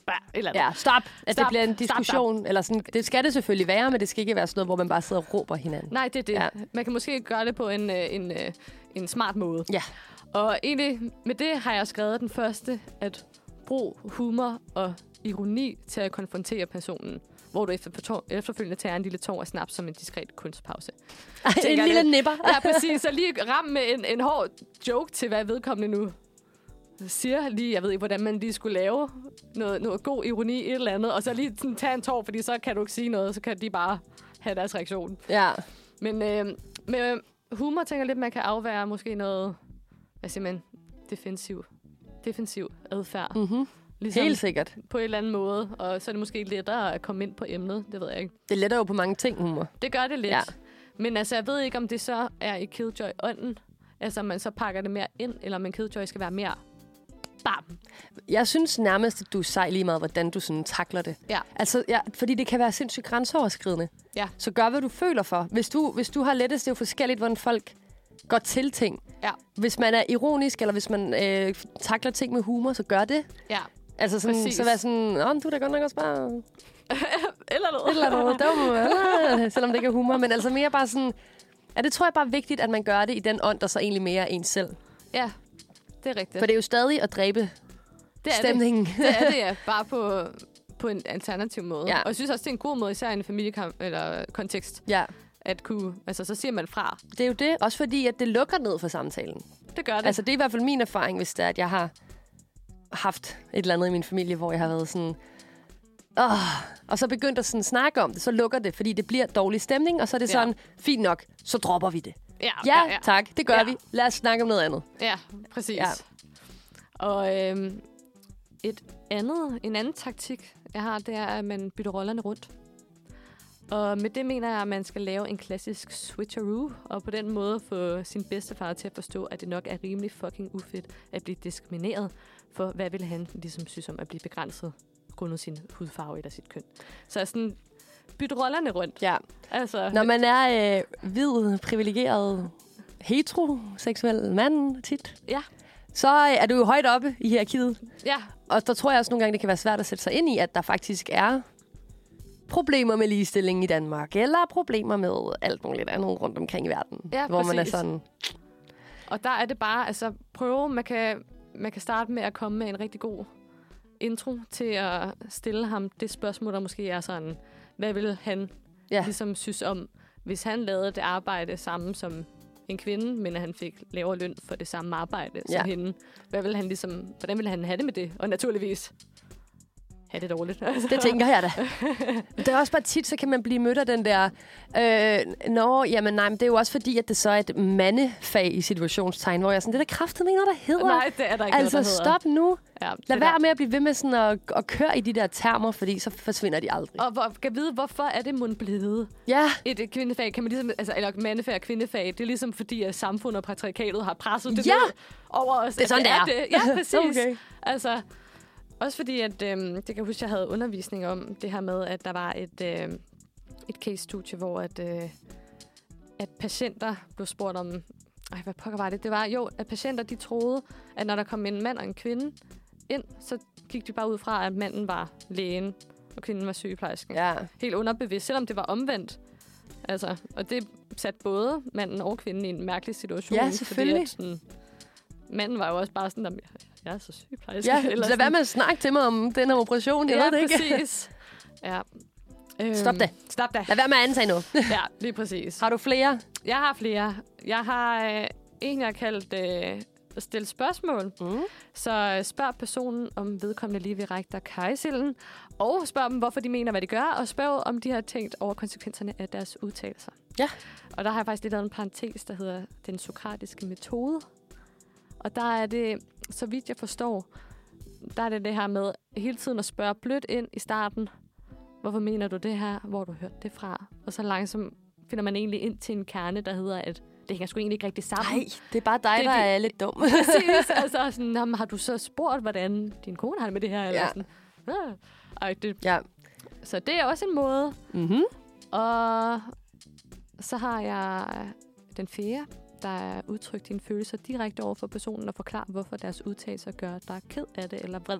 Speaker 3: Bah, Eller
Speaker 2: Ja, stop. At det
Speaker 3: Stop.
Speaker 2: bliver en
Speaker 3: Stop,
Speaker 2: diskussion. Stop, stop. Eller sådan, det skal det selvfølgelig være, men det skal ikke være sådan noget, hvor man bare sidder og råber hinanden.
Speaker 3: Nej, det er det.
Speaker 2: Ja.
Speaker 3: Ja. Man kan måske gøre det på en, øh, en, øh, en smart måde.
Speaker 2: Ja.
Speaker 3: Og egentlig med det har jeg skrevet den første, at brug humor og ironi til at konfrontere personen, hvor du efter, fortår- efterfølgende tager en lille tår og snaps som en diskret kunstpause.
Speaker 2: Ej, [LAUGHS] en
Speaker 3: tænker
Speaker 2: lille
Speaker 3: lidt.
Speaker 2: nipper.
Speaker 3: Ja, præcis. Så lige ram med en, en hård joke til, hvad vedkommende nu siger. Lige, jeg ved ikke, hvordan man lige skulle lave noget, noget god ironi, et eller andet. Og så lige sådan, tage en tår, fordi så kan du ikke sige noget, så kan de bare have deres reaktion.
Speaker 2: Ja.
Speaker 3: Men øh, med humor tænker jeg lidt, man kan afvære måske noget, hvad siger man, defensiv, defensiv adfærd. Mm.
Speaker 2: Mm-hmm.
Speaker 3: Ligesom
Speaker 2: Helt sikkert.
Speaker 3: på en eller anden måde, og så er det måske lettere at komme ind på emnet, det ved jeg ikke.
Speaker 2: Det letter jo på mange ting, humor.
Speaker 3: Det gør det lidt.
Speaker 2: Ja.
Speaker 3: Ja. Men altså, jeg ved ikke, om det så er i Killjoy-ånden, altså om man så pakker det mere ind, eller om en Killjoy skal være mere bam.
Speaker 2: Jeg synes nærmest, at du er sej lige meget, hvordan du sådan takler det.
Speaker 3: Ja.
Speaker 2: Altså, ja, fordi det kan være sindssygt grænseoverskridende.
Speaker 3: Ja.
Speaker 2: Så gør, hvad du føler for. Hvis du, hvis du har lettest, det er jo forskelligt, hvordan folk går til ting.
Speaker 3: Ja.
Speaker 2: Hvis man er ironisk, eller hvis man øh, takler ting med humor, så gør det.
Speaker 3: Ja.
Speaker 2: Altså sådan,
Speaker 3: Præcis.
Speaker 2: så vær sådan, Åh, men du er da godt nok også bare et
Speaker 3: Eller noget.
Speaker 2: eller [LAUGHS] andet dum, eller?" selvom det ikke er humor. Men altså mere bare sådan, ja, det tror jeg bare er vigtigt, at man gør det i den ånd, der så egentlig mere er en selv.
Speaker 3: Ja, det er rigtigt.
Speaker 2: For det er jo stadig at dræbe
Speaker 3: det er det.
Speaker 2: stemningen. Det.
Speaker 3: Det er det, ja. Bare på, på en alternativ måde.
Speaker 2: Ja.
Speaker 3: Ja. Og jeg synes også, det er en god måde, især i en familiekamp eller kontekst,
Speaker 2: [LAUGHS] ja,
Speaker 3: at kunne... Altså, så siger man fra.
Speaker 2: det er jo det. Også fordi, at det lukker ned for samtalen.
Speaker 3: Det gør det.
Speaker 2: Altså, det er i hvert fald min erfaring, hvis det er, at jeg har haft et eller andet i min familie, hvor jeg har været sådan... Åh, og så begyndt at sådan snakke om det, så lukker det, fordi det bliver dårlig stemning, og så er det
Speaker 3: Ja.
Speaker 2: sådan, fint nok, så dropper vi det.
Speaker 3: ja,
Speaker 2: Ja, ja tak, det gør ja.
Speaker 3: Ja.
Speaker 2: vi. Lad os snakke om noget andet.
Speaker 3: Ja, præcis.
Speaker 2: Ja.
Speaker 3: Mm-hmm. Ja. Og øhm, et andet, en anden taktik, jeg har, det er, at man bytter rollerne rundt. Og med det mener jeg, at man skal lave en klassisk switcheroo, og på den måde få sin bedstefar til at forstå, at det nok er rimelig fucking ufedt at blive diskrimineret, for hvad vil han ligesom synes om at blive begrænset grundet sin hudfarve eller sit køn. Så sådan, byt rollerne rundt.
Speaker 2: Ja.
Speaker 3: Altså,
Speaker 2: Når man er øh, hvid, privilegeret, heteroseksuel mand tit,
Speaker 3: Ja.
Speaker 2: så øh, er du jo højt oppe i hierarkiet.
Speaker 3: ja,
Speaker 2: Og der tror jeg også nogle gange, det kan være svært at sætte sig ind i, at der faktisk er problemer med ligestilling i Danmark, eller problemer med alt muligt andet rundt omkring i verden.
Speaker 3: Ja,
Speaker 2: hvor man er
Speaker 3: præcis.
Speaker 2: sådan,
Speaker 3: Og der er det bare, altså prøve, man kan, man kan starte med at komme med en rigtig god intro til at stille ham det spørgsmål, der måske er sådan, hvad vil han
Speaker 2: Ja.
Speaker 3: ja. ligesom synes om, hvis han lavede det arbejde samme som en kvinde, men at han fik lavere løn for det samme arbejde ja.
Speaker 2: Ja.
Speaker 3: som hende. Hvad vil han ligesom, hvordan ville han have det med det? Og naturligvis have det dårligt. [LAUGHS] Altså,
Speaker 2: det tænker jeg da. Men det er også bare tit, så kan man blive mødt af den der, øh, nå, jamen nej, men det er jo også fordi, at det så er et mandefag i situationstegn, hvor jeg er sådan, det er der kraftedeme ikke noget, der hedder.
Speaker 3: Nej, det er der ikke
Speaker 2: altså
Speaker 3: noget, der hedder.
Speaker 2: stop nu.
Speaker 3: Ja,
Speaker 2: Lad
Speaker 3: det
Speaker 2: være
Speaker 3: der.
Speaker 2: med at blive ved med sådan at, at køre i de der termer, fordi så forsvinder de aldrig.
Speaker 3: Og hvor, kan vide, hvorfor er det mund blevet?
Speaker 2: Ja,
Speaker 3: et øh, kvindefag, kan man ligesom, altså, eller mandefag og kvindefag, det er ligesom fordi, at samfundet og patriarkatet har presset det
Speaker 2: Ja!
Speaker 3: ned over os. at
Speaker 2: sådan, det er.
Speaker 3: det.
Speaker 2: [LAUGHS]
Speaker 3: Ja, præcis.
Speaker 2: Okay.
Speaker 3: okay. Altså, også fordi, at øhm, det kan jeg huske, jeg havde undervisning om det her med, at der var et, øhm, et case-studie, hvor at, øh, at patienter blev spurgt om, ej, hvad pokker var det? Det var jo, at patienter de troede, at når der kom en mand og en kvinde ind, så gik de bare ud fra, at manden var lægen, og kvinden var sygeplejersken
Speaker 2: ja.
Speaker 3: helt underbevidst, selvom det var omvendt. Altså, og det satte både manden og kvinden i en mærkelig situation.
Speaker 2: Ja,
Speaker 3: fordi
Speaker 2: selvfølgelig.
Speaker 3: At, sådan, manden var jo også bare sådan, at jeg er så sygeplejerske.
Speaker 2: ja. lad være med at snakke til mig om den her operation, jeg
Speaker 3: ja,
Speaker 2: ved det ikke.
Speaker 3: præcis. Ja. Øhm,
Speaker 2: [LAUGHS] Stop det.
Speaker 3: Stop
Speaker 2: [LAUGHS]
Speaker 3: det.
Speaker 2: Lad være med at antage [LAUGHS] noget.
Speaker 3: Ja, lige præcis.
Speaker 2: Har du flere?
Speaker 3: Jeg har flere. Jeg har øh, en, jeg har kaldt øh, stille spørgsmål.
Speaker 2: Mm.
Speaker 3: Så øh, spørg personen, om vedkommende lige vil række dig kajsilden, og spørg dem, hvorfor de mener, hvad de gør, og spørg, om de har tænkt over konsekvenserne af deres udtalelser.
Speaker 2: Ja.
Speaker 3: Og der har jeg faktisk lige lavet en parentes, der hedder den sokratiske metode. Og der er det, så vidt jeg forstår, der er det det her med hele tiden at spørge blødt ind i starten, hvorfor mener du det her, hvor har du hørt det fra? Og så langsomt finder man egentlig ind til en kerne, der hedder, at det hænger sgu egentlig ikke rigtig sammen.
Speaker 2: Nej, det er bare dig,
Speaker 3: Det
Speaker 2: [LAUGHS] det,
Speaker 3: er
Speaker 2: der
Speaker 3: det-
Speaker 2: er lidt dum.
Speaker 3: [LAUGHS] Præcis. altså sådan, "Nå, men har du så spurgt, hvordan din kone har det med det her? Eller
Speaker 2: Ja.
Speaker 3: sådan. "Ah." Ej, det,
Speaker 2: ja.
Speaker 3: så det er også en måde.
Speaker 2: Mm-hmm.
Speaker 3: Og så har jeg den fjerde, der er udtrykt dine følelser direkte over for personen og forklare, hvorfor deres udtalelser gør dig ked af det eller vred.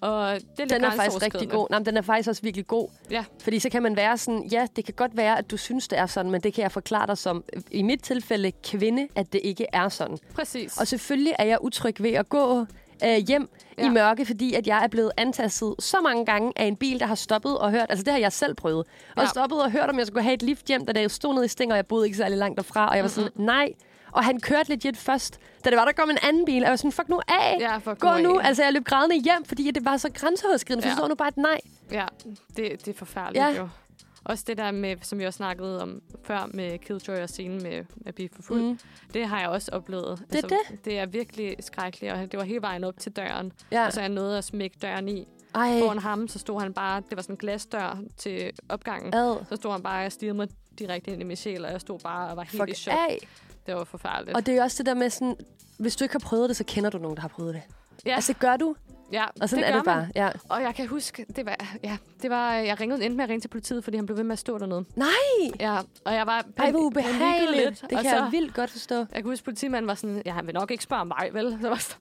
Speaker 3: Og det er lidt
Speaker 2: Den er faktisk rigtig
Speaker 3: grænseoverskridende.
Speaker 2: god. Nej, men den er faktisk også virkelig god.
Speaker 3: Ja.
Speaker 2: Fordi så kan man være sådan, ja, det kan godt være, at du synes, det er sådan, men det kan jeg forklare dig som, i mit tilfælde, kvinde, at det ikke er sådan.
Speaker 3: Præcis.
Speaker 2: Og selvfølgelig er jeg utryg ved at gå øh, hjem ja.
Speaker 3: Ja.
Speaker 2: i mørke, fordi at jeg er blevet antastet så mange gange af en bil, der har stoppet og hørt. Altså det har jeg selv prøvet. Og
Speaker 3: Ja.
Speaker 2: stoppet og hørt, om jeg skulle have et lift hjem, da jeg stod nede i Sting, og jeg boede ikke særlig langt derfra. Og jeg var sådan, nej. Og han kørte legit først. Da det var, der kom en anden bil, og jeg var sådan, fuck nu af.
Speaker 3: Ja, fuck
Speaker 2: Gå
Speaker 3: nu
Speaker 2: nu.
Speaker 3: af.
Speaker 2: Altså jeg løb grædende hjem, fordi det var så grænseoverskridende.
Speaker 3: Ja.
Speaker 2: Forstår nu bare et nej.
Speaker 3: Ja, det, det er forfærdeligt
Speaker 2: Ja.
Speaker 3: ja. jo. Også det der med, som vi også snakkede om før med Killjoy og scenen med at blive for fuld.
Speaker 2: Mm.
Speaker 3: Mm. Det har jeg også oplevet. Altså,
Speaker 2: Det er
Speaker 3: det? det er virkelig skrækkeligt, og det var hele vejen op til døren.
Speaker 2: Ja.
Speaker 3: Ja. Og så er jeg nået at smække døren i.
Speaker 2: Ej,
Speaker 3: Foran ham, så stod han bare, det var sådan en glasdør til opgangen.
Speaker 2: ad.
Speaker 3: Så stod han bare og stirrede mig direkte ind i min sjæl, og jeg stod bare og var helt i
Speaker 2: Fuck
Speaker 3: chok.
Speaker 2: af.
Speaker 3: Det var forfærdeligt.
Speaker 2: Og det er jo også det der med sådan, hvis du ikke har prøvet det, så kender du nogen, der har prøvet det.
Speaker 3: ja,
Speaker 2: Altså gør du,
Speaker 3: ja,
Speaker 2: og sådan
Speaker 3: det
Speaker 2: er
Speaker 3: gør
Speaker 2: det bare.
Speaker 3: Man.
Speaker 2: Ja.
Speaker 3: Og jeg kan huske, det var, ja, det var, jeg ringede endte med at ringe til politiet, fordi han blev ved med at stå dernede.
Speaker 2: Nej!
Speaker 3: Ja, og jeg var
Speaker 2: Ej, hvor
Speaker 3: panikkede
Speaker 2: ubehageligt. Lidt, det
Speaker 3: og
Speaker 2: kan
Speaker 3: så,
Speaker 2: jeg vildt godt forstå.
Speaker 3: Jeg kan huske, at politimanden var sådan, ja, han vil nok ikke spørge mig, vel? Så var jeg sådan,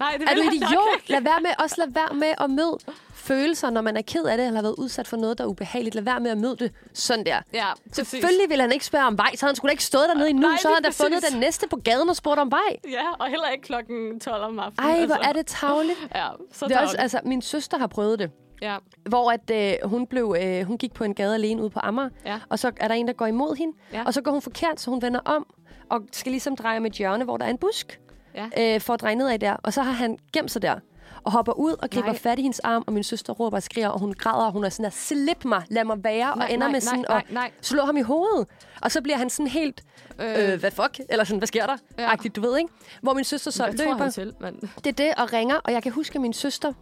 Speaker 3: Nej, det
Speaker 2: Er
Speaker 3: vil
Speaker 2: du
Speaker 3: han nok
Speaker 2: idiot?
Speaker 3: ikke."
Speaker 2: Lad være med, også lad være med at møde følelser, når man er ked af det, eller har været udsat for noget, der er ubehageligt. Lad være med at møde det sådan der.
Speaker 3: Ja, præcis.
Speaker 2: Selvfølgelig ville han ikke spørge om vej, så havde han skulle da ikke stået dernede endnu,
Speaker 3: Nej,
Speaker 2: så havde han da
Speaker 3: lige
Speaker 2: fundet
Speaker 3: præcis.
Speaker 2: den næste på gaden og spurgt om vej.
Speaker 3: Ja, og heller ikke klokken 12 om aftenen. altså.
Speaker 2: Ej, hvor er det tavligt.
Speaker 3: Ja, så
Speaker 2: Det er også,
Speaker 3: altså,
Speaker 2: altså, min søster har prøvet det.
Speaker 3: ja,
Speaker 2: hvor at, øh, hun, blev, øh, hun gik på en gade alene ude på Amager,
Speaker 3: Ja.
Speaker 2: og så er der en, der går imod hende,
Speaker 3: Ja.
Speaker 2: og så går hun forkert, så hun vender om, og skal ligesom dreje med et hjørne, hvor der er en busk,
Speaker 3: Ja.
Speaker 2: øh, for at dreje nedad der, og så har han gemt sig der, og hopper ud og griber
Speaker 3: Nej.
Speaker 2: fat i hendes arm, og min søster råber og skriger, og hun græder, og hun er sådan der, slip mig, lad mig være,
Speaker 3: Nej,
Speaker 2: og ender
Speaker 3: nej,
Speaker 2: med
Speaker 3: nej,
Speaker 2: sådan
Speaker 3: nej,
Speaker 2: at
Speaker 3: nej.
Speaker 2: slå ham i hovedet, og så bliver han sådan helt, øh, hvad fuck, eller sådan, hvad sker der,
Speaker 3: Ja.
Speaker 2: agtigt, du ved, ikke? Hvor min søster så
Speaker 3: jeg tror
Speaker 2: løber,
Speaker 3: han selv, men...
Speaker 2: det er det, og ringer, og jeg kan huske, at min søster,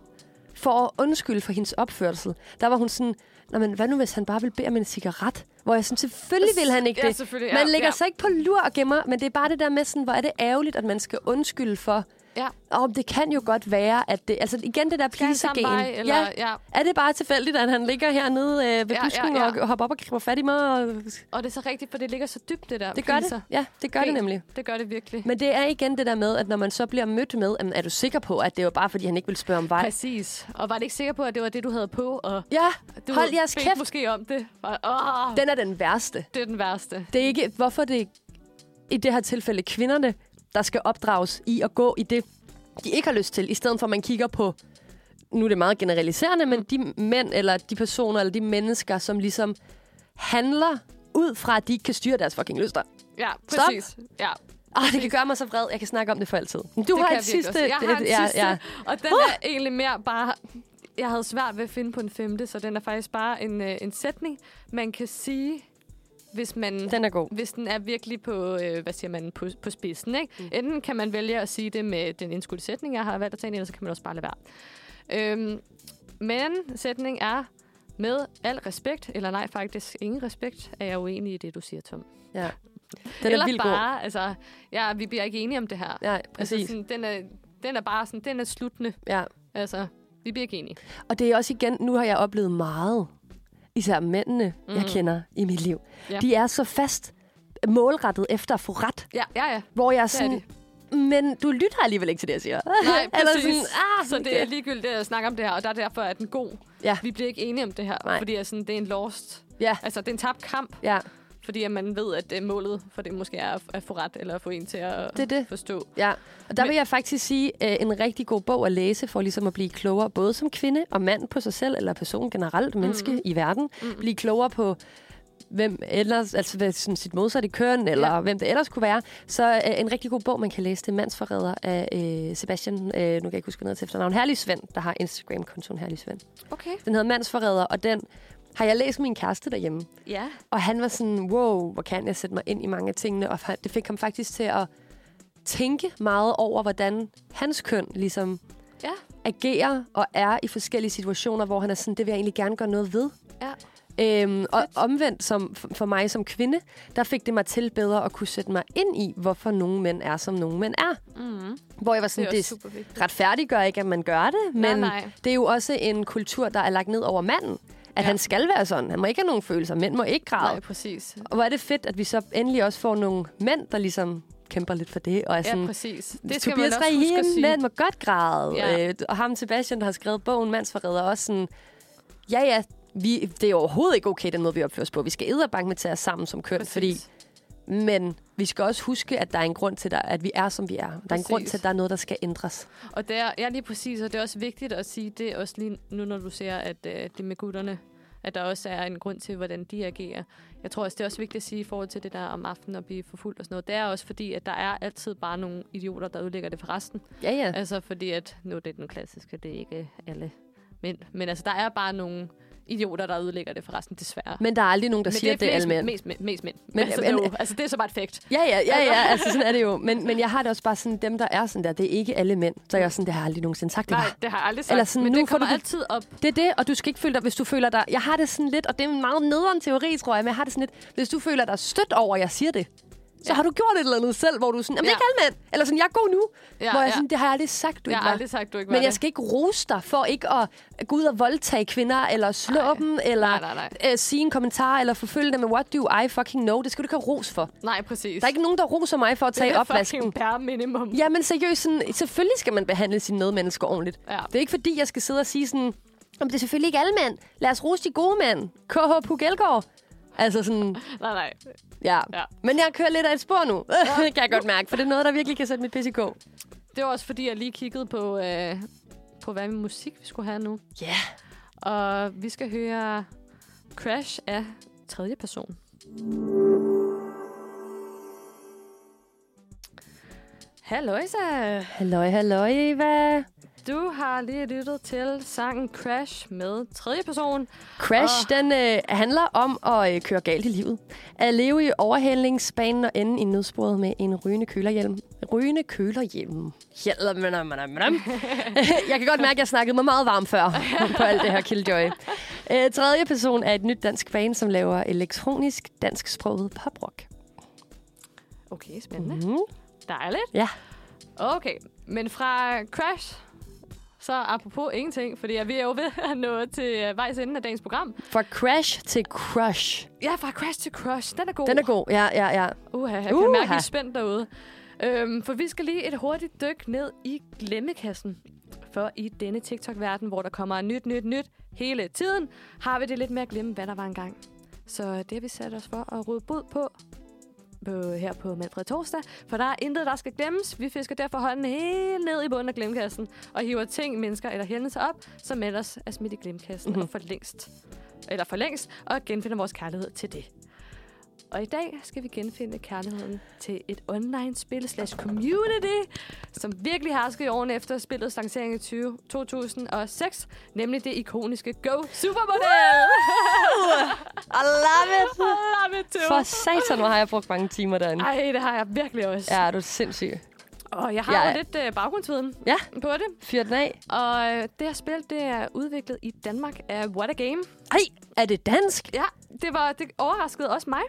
Speaker 2: for at undskylde for hendes opførsel, der var hun sådan, Nå, men hvad nu, hvis han bare vil bede om en cigaret? Hvor jeg sådan, selvfølgelig vil han ikke
Speaker 3: Ja,
Speaker 2: det.
Speaker 3: selvfølgelig, ja,
Speaker 2: man lægger
Speaker 3: ja.
Speaker 2: sig ikke på lur og gemmer, men det er bare det der med sådan, hvor er det ærgerligt, at man skal undskylde for,
Speaker 3: Ja.
Speaker 2: om det kan jo godt være, at det... Altså igen det der
Speaker 3: han samme
Speaker 2: pleasergen.
Speaker 3: vej, eller- ja.
Speaker 2: Er det bare tilfældigt, at han ligger hernede øh, ved
Speaker 3: Ja,
Speaker 2: ja,
Speaker 3: ja,
Speaker 2: busken ja,
Speaker 3: ja.
Speaker 2: ja. og hopper op og griber fat i mig? Og...
Speaker 3: Og det er så rigtigt, for det ligger så dybt, det der.
Speaker 2: Det gør
Speaker 3: pleaser.
Speaker 2: det. Ja, det gør det nemlig.
Speaker 3: Det gør det virkelig.
Speaker 2: Men det er igen det der med, at når man så bliver mødt med, "Jamen, er du sikker på, at det var bare, fordi han ikke vil spørge om vej?
Speaker 3: Præcis. Og var det ikke sikker på, at det var det, du havde på? Og
Speaker 2: Ja,
Speaker 3: du
Speaker 2: hold jeres
Speaker 3: bedte
Speaker 2: kæft.
Speaker 3: måske om det. Og, åh,
Speaker 2: Den er den værste.
Speaker 3: det er den værste.
Speaker 2: Det er ikke, hvorfor det i det her tilfælde kvinderne, der skal opdrages i at gå i det, de ikke har lyst til, i stedet for at man kigger på, nu er det meget generaliserende, men de mænd eller de personer eller de mennesker, som ligesom handler ud fra, at de ikke kan styre deres fucking lyster.
Speaker 3: Ja, præcis. Ja,
Speaker 2: Ah, det kan gøre mig så vred. Jeg kan snakke om det for altid. Men Du
Speaker 3: Det
Speaker 2: har
Speaker 3: kan
Speaker 2: et
Speaker 3: jeg virkelig
Speaker 2: sidste...
Speaker 3: også. Jeg har en
Speaker 2: ja,
Speaker 3: sidste,
Speaker 2: ja.
Speaker 3: og den er egentlig mere bare... Jeg havde svært ved at finde på en femte, så den er faktisk bare en, øh, en sætning, man kan sige, hvis man...
Speaker 2: Den er god.
Speaker 3: hvis den er virkelig på, øh, hvad siger man, på, på spidsen, ikke? Mm. Enten kan man vælge at sige det med den indskudte sætning, jeg har valgt at tage ind, eller så kan man også bare lade være. Øhm, men sætning er, med al respekt, eller nej, faktisk ingen respekt, er jeg uenig i det, du siger, Tom.
Speaker 2: Ja. Den
Speaker 3: eller
Speaker 2: er vildt god.
Speaker 3: bare, altså, ja, vi bliver ikke enige om det her.
Speaker 2: Ja, præcis.
Speaker 3: Altså, sådan, den, er, den er bare sådan, den er sluttende.
Speaker 2: Ja.
Speaker 3: Altså, vi bliver ikke enige.
Speaker 2: Og det er også igen, nu har jeg oplevet meget, især mændene, mm. jeg kender i mit liv.
Speaker 3: Ja.
Speaker 2: De er så fast målrettet efter at få ret,
Speaker 3: Ja, ja, ja.
Speaker 2: hvor jeg er
Speaker 3: er
Speaker 2: sådan, men du lytter alligevel ikke til det, jeg siger.
Speaker 3: Nej,
Speaker 2: [LAUGHS] [LAUGHS] Eller
Speaker 3: præcis.
Speaker 2: sådan, ah,
Speaker 3: så det er ligegyldigt at snakke om det her, og der er derfor, at den god.
Speaker 2: Ja.
Speaker 3: Vi bliver ikke enige om det her,
Speaker 2: Nej.
Speaker 3: Nej. fordi altså, det er en lost.
Speaker 2: Ja.
Speaker 3: Altså, det er en tabt kamp,
Speaker 2: Ja,
Speaker 3: fordi at man ved, at øh, målet for det måske er at, at få ret, eller at få en til at
Speaker 2: Det er det.
Speaker 3: forstå.
Speaker 2: ja. Og der
Speaker 3: Men-
Speaker 2: vil jeg faktisk sige, øh, en rigtig god bog at læse, for ligesom at blive klogere, både som kvinde og mand på sig selv, eller person generelt, menneske mm. i verden. Mm. Blive klogere på hvem ellers, altså hvad sådan sit modsatte køn, eller ja. hvem det ellers kunne være. Så øh, en rigtig god bog, man kan læse, det er Mandsforræder af øh, Sebastian, øh, nu kan jeg ikke huske noget til efternavn, Herlig Svend, der har Instagram-kontoen Herlig Svend.
Speaker 3: Okay.
Speaker 2: Den hedder Mandsforræder, og den har jeg læst med min kæreste derhjemme.
Speaker 3: Ja.
Speaker 2: Og han var sådan, wow, hvor kan jeg sætte mig ind i mange af tingene. Og han- det fik ham faktisk til at tænke meget over, hvordan hans køn ligesom
Speaker 3: Ja.
Speaker 2: agerer og er i forskellige situationer, hvor han er sådan, det vil jeg egentlig gerne gøre noget ved.
Speaker 3: Ja.
Speaker 2: Øhm, og omvendt som, for mig som kvinde, der fik det mig til bedre at kunne sætte mig ind i, hvorfor nogle mænd er, som nogle mænd er.
Speaker 3: Mm.
Speaker 2: Hvor jeg var
Speaker 3: Det er
Speaker 2: sådan,
Speaker 3: også
Speaker 2: det,
Speaker 3: super vigtigt.
Speaker 2: retfærdiggør ikke, at man gør det, men
Speaker 3: nej.
Speaker 2: det er jo også en kultur, der er lagt ned over manden. At ja.
Speaker 3: Ja.
Speaker 2: han skal være sådan. Han må ikke have nogen følelser. Mænd må ikke græde.
Speaker 3: Nej, præcis.
Speaker 2: Og hvor er det fedt, at vi så endelig også får nogle mænd, der ligesom kæmper lidt for det. Og er sådan,
Speaker 3: Ja,
Speaker 2: ja,
Speaker 3: præcis.
Speaker 2: det skal Tobias Rahim, mænd må godt græde. Ja.
Speaker 3: Ja.
Speaker 2: Øh, og ham Sebastian, der har skrevet bogen Mandsforræder, også sådan, ja ja, vi, det er overhovedet ikke okay, den måde, vi opfører os på. Vi skal edderbank med tage os sammen som køn,
Speaker 3: Præcis.
Speaker 2: fordi, men vi skal også huske, at der er en grund til, der, at vi er, som vi er. Der er en
Speaker 3: Præcis.
Speaker 2: grund til, at der er noget, der skal ændres.
Speaker 3: Og det er, ja, lige præcis, og det er også vigtigt at sige, det er også lige nu, når du ser, at øh, det med gutterne, at der også er en grund til, hvordan de agerer. Jeg tror også, det er også vigtigt at sige i forhold til det der om aftenen at blive forfulgt og sådan noget. Det er også fordi, at der er altid bare nogle idioter, der ødelægger det for resten.
Speaker 2: Ja, ja.
Speaker 3: Altså fordi, at nu er det den klassiske, det er ikke alle mænd. Men altså, der er bare nogle idioter, der ødelægger det for resten, desværre.
Speaker 2: Men der er aldrig nogen, der men siger, at det er
Speaker 3: flest-
Speaker 2: alle mænd.
Speaker 3: Mest, mænd- mest mænd.
Speaker 2: Men-
Speaker 3: Men, altså, det er
Speaker 2: men-
Speaker 3: jo, altså, det er så bare et fakt.
Speaker 2: Ja, ja, ja, ja, altså sådan er det jo. Men, men jeg har det også bare sådan, dem der er sådan der, det er ikke alle mænd. Så jeg er sådan, det har jeg aldrig nogensinde sagt. Det,
Speaker 3: Nej,
Speaker 2: var.
Speaker 3: det har jeg aldrig sagt.
Speaker 2: Eller sådan,
Speaker 3: men
Speaker 2: nu
Speaker 3: det
Speaker 2: får
Speaker 3: kommer
Speaker 2: du-
Speaker 3: altid op.
Speaker 2: det er det, og du skal ikke føle dig, hvis du føler dig... Jeg har det sådan lidt, og det er en meget nederen teori, tror jeg, men jeg har det sådan lidt, hvis du føler dig stødt over, at jeg siger det, så ja.
Speaker 3: Ja.
Speaker 2: har du gjort et eller andet selv, hvor du er sådan, jamen det er ikke
Speaker 3: Ja.
Speaker 2: alle mænd. Eller sådan, jeg er god nu. Ja,
Speaker 3: Ja,
Speaker 2: hvor jeg er
Speaker 3: ja.
Speaker 2: sådan, det har jeg aldrig sagt, du
Speaker 3: Jeg
Speaker 2: ikke
Speaker 3: har
Speaker 2: var.
Speaker 3: aldrig sagt, du ikke var
Speaker 2: Men jeg
Speaker 3: det.
Speaker 2: skal ikke rose dig for ikke at gå ud og voldtage kvinder, eller slå nej. dem, eller
Speaker 3: Nej, nej, nej.
Speaker 2: Øh, sige en kommentar, eller forfølge dem med what do I fucking know. Det skal du ikke have ros for.
Speaker 3: Nej, præcis.
Speaker 2: Der er ikke nogen, der roser mig for at tage opvasken.
Speaker 3: [LAUGHS] Det er bare minimum. Ja.
Speaker 2: Ja, men seriøst, sådan, selvfølgelig skal man behandle sine medmennesker ordentligt.
Speaker 3: Ja.
Speaker 2: Det er ikke fordi, jeg skal sidde og sige sådan, om det er selvfølgelig ikke alle mænd. Lad os rose de gode mænd. KH Puk Elgård. Altså sådan,
Speaker 3: Nej, nej.
Speaker 2: ja. ja.
Speaker 3: Ja.
Speaker 2: Men jeg kører lidt af et spor nu. Ja. det [LAUGHS] kan jeg godt mærke, for det er noget, der virkelig kan sætte mit pis i gå.
Speaker 3: Det var også fordi, jeg lige kiggede på, øh, på hvad med musik vi skulle have nu.
Speaker 2: Ja. Yeah.
Speaker 3: Og vi skal høre Crash af tredje person. Halløjsa!
Speaker 2: Halløj, halløj, Eva.
Speaker 3: Du har lige lyttet til sangen Crash med tredje person.
Speaker 2: Crash, oh. den øh, handler om at øh, køre galt i livet. At leve i overhældningsbanen og ende i nødsporet med en rygende kølerhjelm. Rygende kølerhjelm. Hjelm. [LAUGHS] jeg kan godt mærke, at jeg snakkede mig meget varm før på alt det her Killjoy. Øh, tredje person er et nyt dansk band, som laver elektronisk dansksproget poprock.
Speaker 3: Okay, spændende. Mm.
Speaker 2: Mm.
Speaker 3: Dejligt.
Speaker 2: Ja.
Speaker 3: Okay, men fra Crash, så apropos ingenting, fordi vi er jo ved at nå til øh, vejs ende af dagens program.
Speaker 2: Fra Crash til Crush.
Speaker 3: Ja, fra Crash til Crush. Den er god.
Speaker 2: Den er god. Ja, ja, ja.
Speaker 3: Uha, jeg kan mærke, at I
Speaker 2: Uha.
Speaker 3: er spændt derude. Øhm, for vi skal lige et hurtigt dyk ned i glemmekassen. For i denne TikTok-verden, hvor der kommer nyt, nyt, nyt hele tiden, har vi det lidt med at glemme, hvad der var engang. Så det har vi sat os for at råde bud på, på her på Manfred Torsdag. For der er intet, der skal glemmes. Vi fisker derfor hånden helt ned i bunden af glemmekassen og hiver ting, mennesker eller hændelser op, som ellers er smidt i glemmekassen mm-hmm. og for længst, eller for længst, og genfinder vores kærlighed til det. Og i dag skal vi genfinde kærligheden til et online-spil slash community, som virkelig herskede i årene efter spillets lancering i 20, 2006, nemlig det ikoniske Go Supermodel!
Speaker 2: I love it.
Speaker 3: Love it too.
Speaker 2: For satan, hvor har jeg brugt mange timer derinde.
Speaker 3: Ej, det har jeg virkelig også.
Speaker 2: Ja, er du er sindssyg.
Speaker 3: Og jeg har
Speaker 2: Jeg
Speaker 3: ja.
Speaker 2: er-
Speaker 3: jo lidt øh, baggrundsviden
Speaker 2: Ja.
Speaker 3: på det.
Speaker 2: Fyr den af.
Speaker 3: Og øh, det her spil, det er udviklet i Danmark af What A Game.
Speaker 2: Ej, er det dansk?
Speaker 3: Ja, det, var, det overraskede også mig.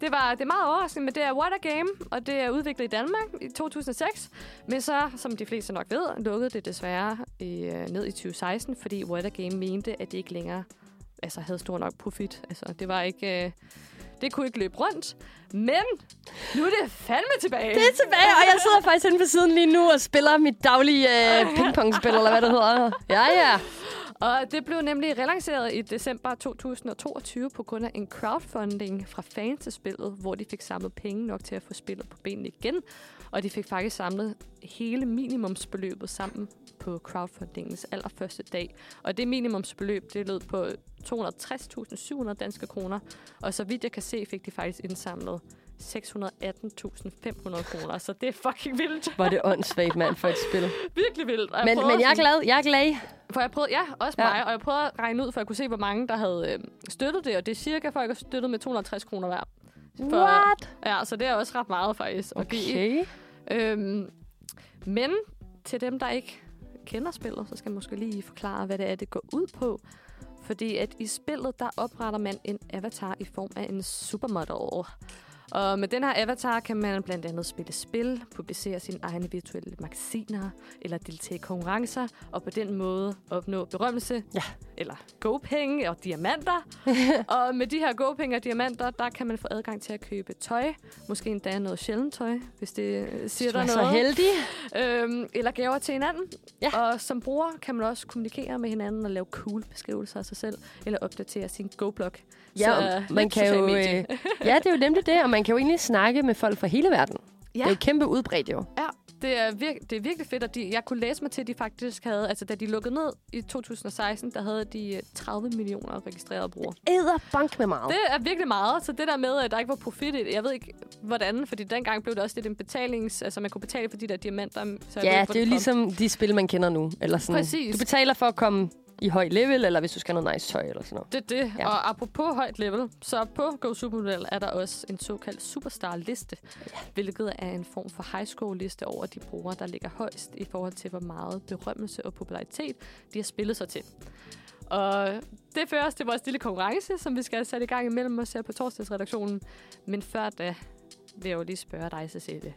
Speaker 3: Det var det er meget overraskende, men det er What a Game, og det er udviklet i Danmark i 2006. Men så, som de fleste nok ved, lukkede det desværre i, øh, ned i 2016, fordi What a Game mente, at det ikke længere altså, havde stor nok profit. Altså, det var ikke... Øh, det kunne ikke løbe rundt. Men nu er det fandme tilbage.
Speaker 2: Det er tilbage, og jeg sidder faktisk inde på siden lige nu og spiller mit daglige øh, pingpongspil, eller hvad det hedder. Ja, ja.
Speaker 3: Og det blev nemlig relanceret i december 2022 på grund af en crowdfunding fra fans til spillet, hvor de fik samlet penge nok til at få spillet på benene igen. Og de fik faktisk samlet hele minimumsbeløbet sammen på crowdfundingens allerførste dag. Og det minimumsbeløb, det lød på 260.700 danske kroner. Og så vidt jeg kan se, fik de faktisk indsamlet 618.500 kroner. Så det er fucking vildt.
Speaker 2: Hvor er det åndssvagt, mand, for et spil.
Speaker 3: Virkelig vildt. Og
Speaker 2: Men,
Speaker 3: prøver
Speaker 2: men jeg er
Speaker 3: sådan-
Speaker 2: glad. Jeg er glad.
Speaker 3: for jeg prøvede, ja, også
Speaker 2: Ja.
Speaker 3: mig, og jeg prøvede at regne ud, for jeg kunne se, hvor mange, der havde øh, støttet det, og det er cirka, folk har støttet med 260 kroner hver. For-
Speaker 2: What?
Speaker 3: Ja, så det er også ret meget faktisk. at give.
Speaker 2: Okay.
Speaker 3: Øhm, men til dem, der ikke kender spillet, så skal jeg måske lige forklare, hvad det er, det går ud på. Fordi at i spillet, der opretter man en avatar i form af en supermodel. Og med den her avatar kan man blandt andet spille spil, publicere sine egne virtuelle magasiner, eller deltage i konkurrencer, og på den måde opnå berømmelse,
Speaker 2: Ja.
Speaker 3: eller go-penge og
Speaker 2: [LAUGHS]
Speaker 3: diamanter. og med de her go-penge og diamanter, der kan man få adgang til at købe tøj, måske endda noget sjældent tøj, hvis det øh, siger
Speaker 2: Du
Speaker 3: dig
Speaker 2: er
Speaker 3: noget
Speaker 2: så heldig.
Speaker 3: øhm, eller gaver til hinanden.
Speaker 2: Ja.
Speaker 3: Og som bruger kan man også kommunikere med hinanden og lave cool beskrivelser af sig selv, eller opdatere sin GoBlog.
Speaker 2: Ja, og man kan jo, øh, ja, det er jo nemlig det, og man kan jo egentlig snakke med folk fra hele verden. Ja.
Speaker 3: Ja.
Speaker 2: Det er jo kæmpe udbredt, jo.
Speaker 3: Ja, det er, virke, det er virkelig fedt, at de, jeg kunne læse mig til, at de faktisk havde, altså da de lukkede ned i 2016, der havde de øh, 30 millioner registrerede brugere.
Speaker 2: Æder bank med meget.
Speaker 3: Det er virkelig meget, så det der med, at der ikke var profit i det, jeg ved ikke hvordan, fordi dengang blev det også lidt en betalings, altså man kunne betale for de der diamanter. Så jeg ved
Speaker 2: ja,
Speaker 3: ikke, hvor
Speaker 2: det er jo
Speaker 3: kom.
Speaker 2: ligesom de spil, man kender nu. Eller sådan.
Speaker 3: Præcis.
Speaker 2: Du betaler for at komme i høj level, eller hvis du skal have noget nice tøj, eller sådan noget.
Speaker 3: Det er det.
Speaker 2: Ja.
Speaker 3: Ja. Og apropos højt level, så på Go Supermodel er der også en såkaldt superstar-liste, ja. hvilket er en form for high school-liste over de brugere, der ligger højst i forhold til, hvor meget berømmelse og popularitet de har spillet sig til. Og det fører os til vores lille konkurrence, som vi skal have sat i gang imellem os her på torsdagsredaktionen. Men før da vil jeg jo lige spørge dig, Cecilie.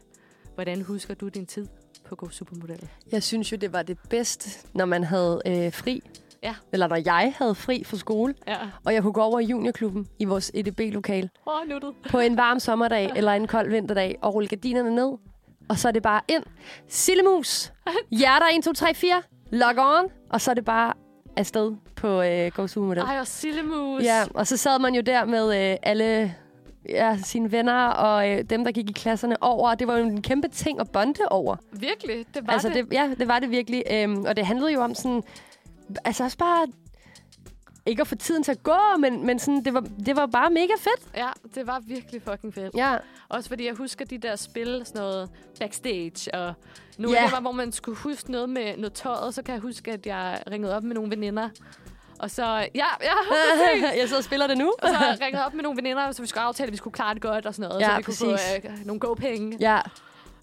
Speaker 3: Hvordan husker du din tid på Go Supermodel?
Speaker 2: Jeg synes jo, det var det bedste, når man havde øh, fri.
Speaker 3: Ja.
Speaker 2: Eller når jeg havde fri fra skole,
Speaker 3: Ja.
Speaker 2: og jeg kunne gå over i juniorklubben i vores EDB-lokal
Speaker 3: Åh, nuttet.
Speaker 2: på en varm
Speaker 3: [LAUGHS]
Speaker 2: sommerdag eller en kold vinterdag og rulle gardinerne ned. Og så er det bare ind. Sillemus! Hjerter 1, 2, 3, 4. Log on! Og så er det bare afsted på øh, Go Supermodel.
Speaker 3: Ej, og Sillemus.
Speaker 2: Ja, og så sad man jo der med øh, alle ja, sine venner og øh, dem, der gik i klasserne over. Og det var jo en kæmpe ting at bonde over.
Speaker 3: Virkelig, det var
Speaker 2: altså,
Speaker 3: det.
Speaker 2: det? Ja, det var det virkelig. Øhm, og det handlede jo om sådan... Altså også bare... Ikke at få tiden til at gå, men, men sådan, det, var, det var bare mega fedt.
Speaker 3: Ja, det var virkelig fucking fedt.
Speaker 2: Ja,
Speaker 3: Også fordi jeg husker de der spil, sådan noget backstage, og nogle
Speaker 2: Ja.
Speaker 3: yeah. var, hvor man skulle huske noget med noget tøjet, så kan jeg huske, at jeg ringede op med nogle veninder. Og så, ja, ja, [LAUGHS] præcis.
Speaker 2: [LAUGHS] jeg sidder og spiller det nu.
Speaker 3: Og så ringede jeg op med nogle veninder, så vi skulle aftale, at vi skulle klare det godt og sådan noget.
Speaker 2: Ja,
Speaker 3: så vi
Speaker 2: præcis.
Speaker 3: kunne få øh, nogle go-penge.
Speaker 2: [LAUGHS] Ja,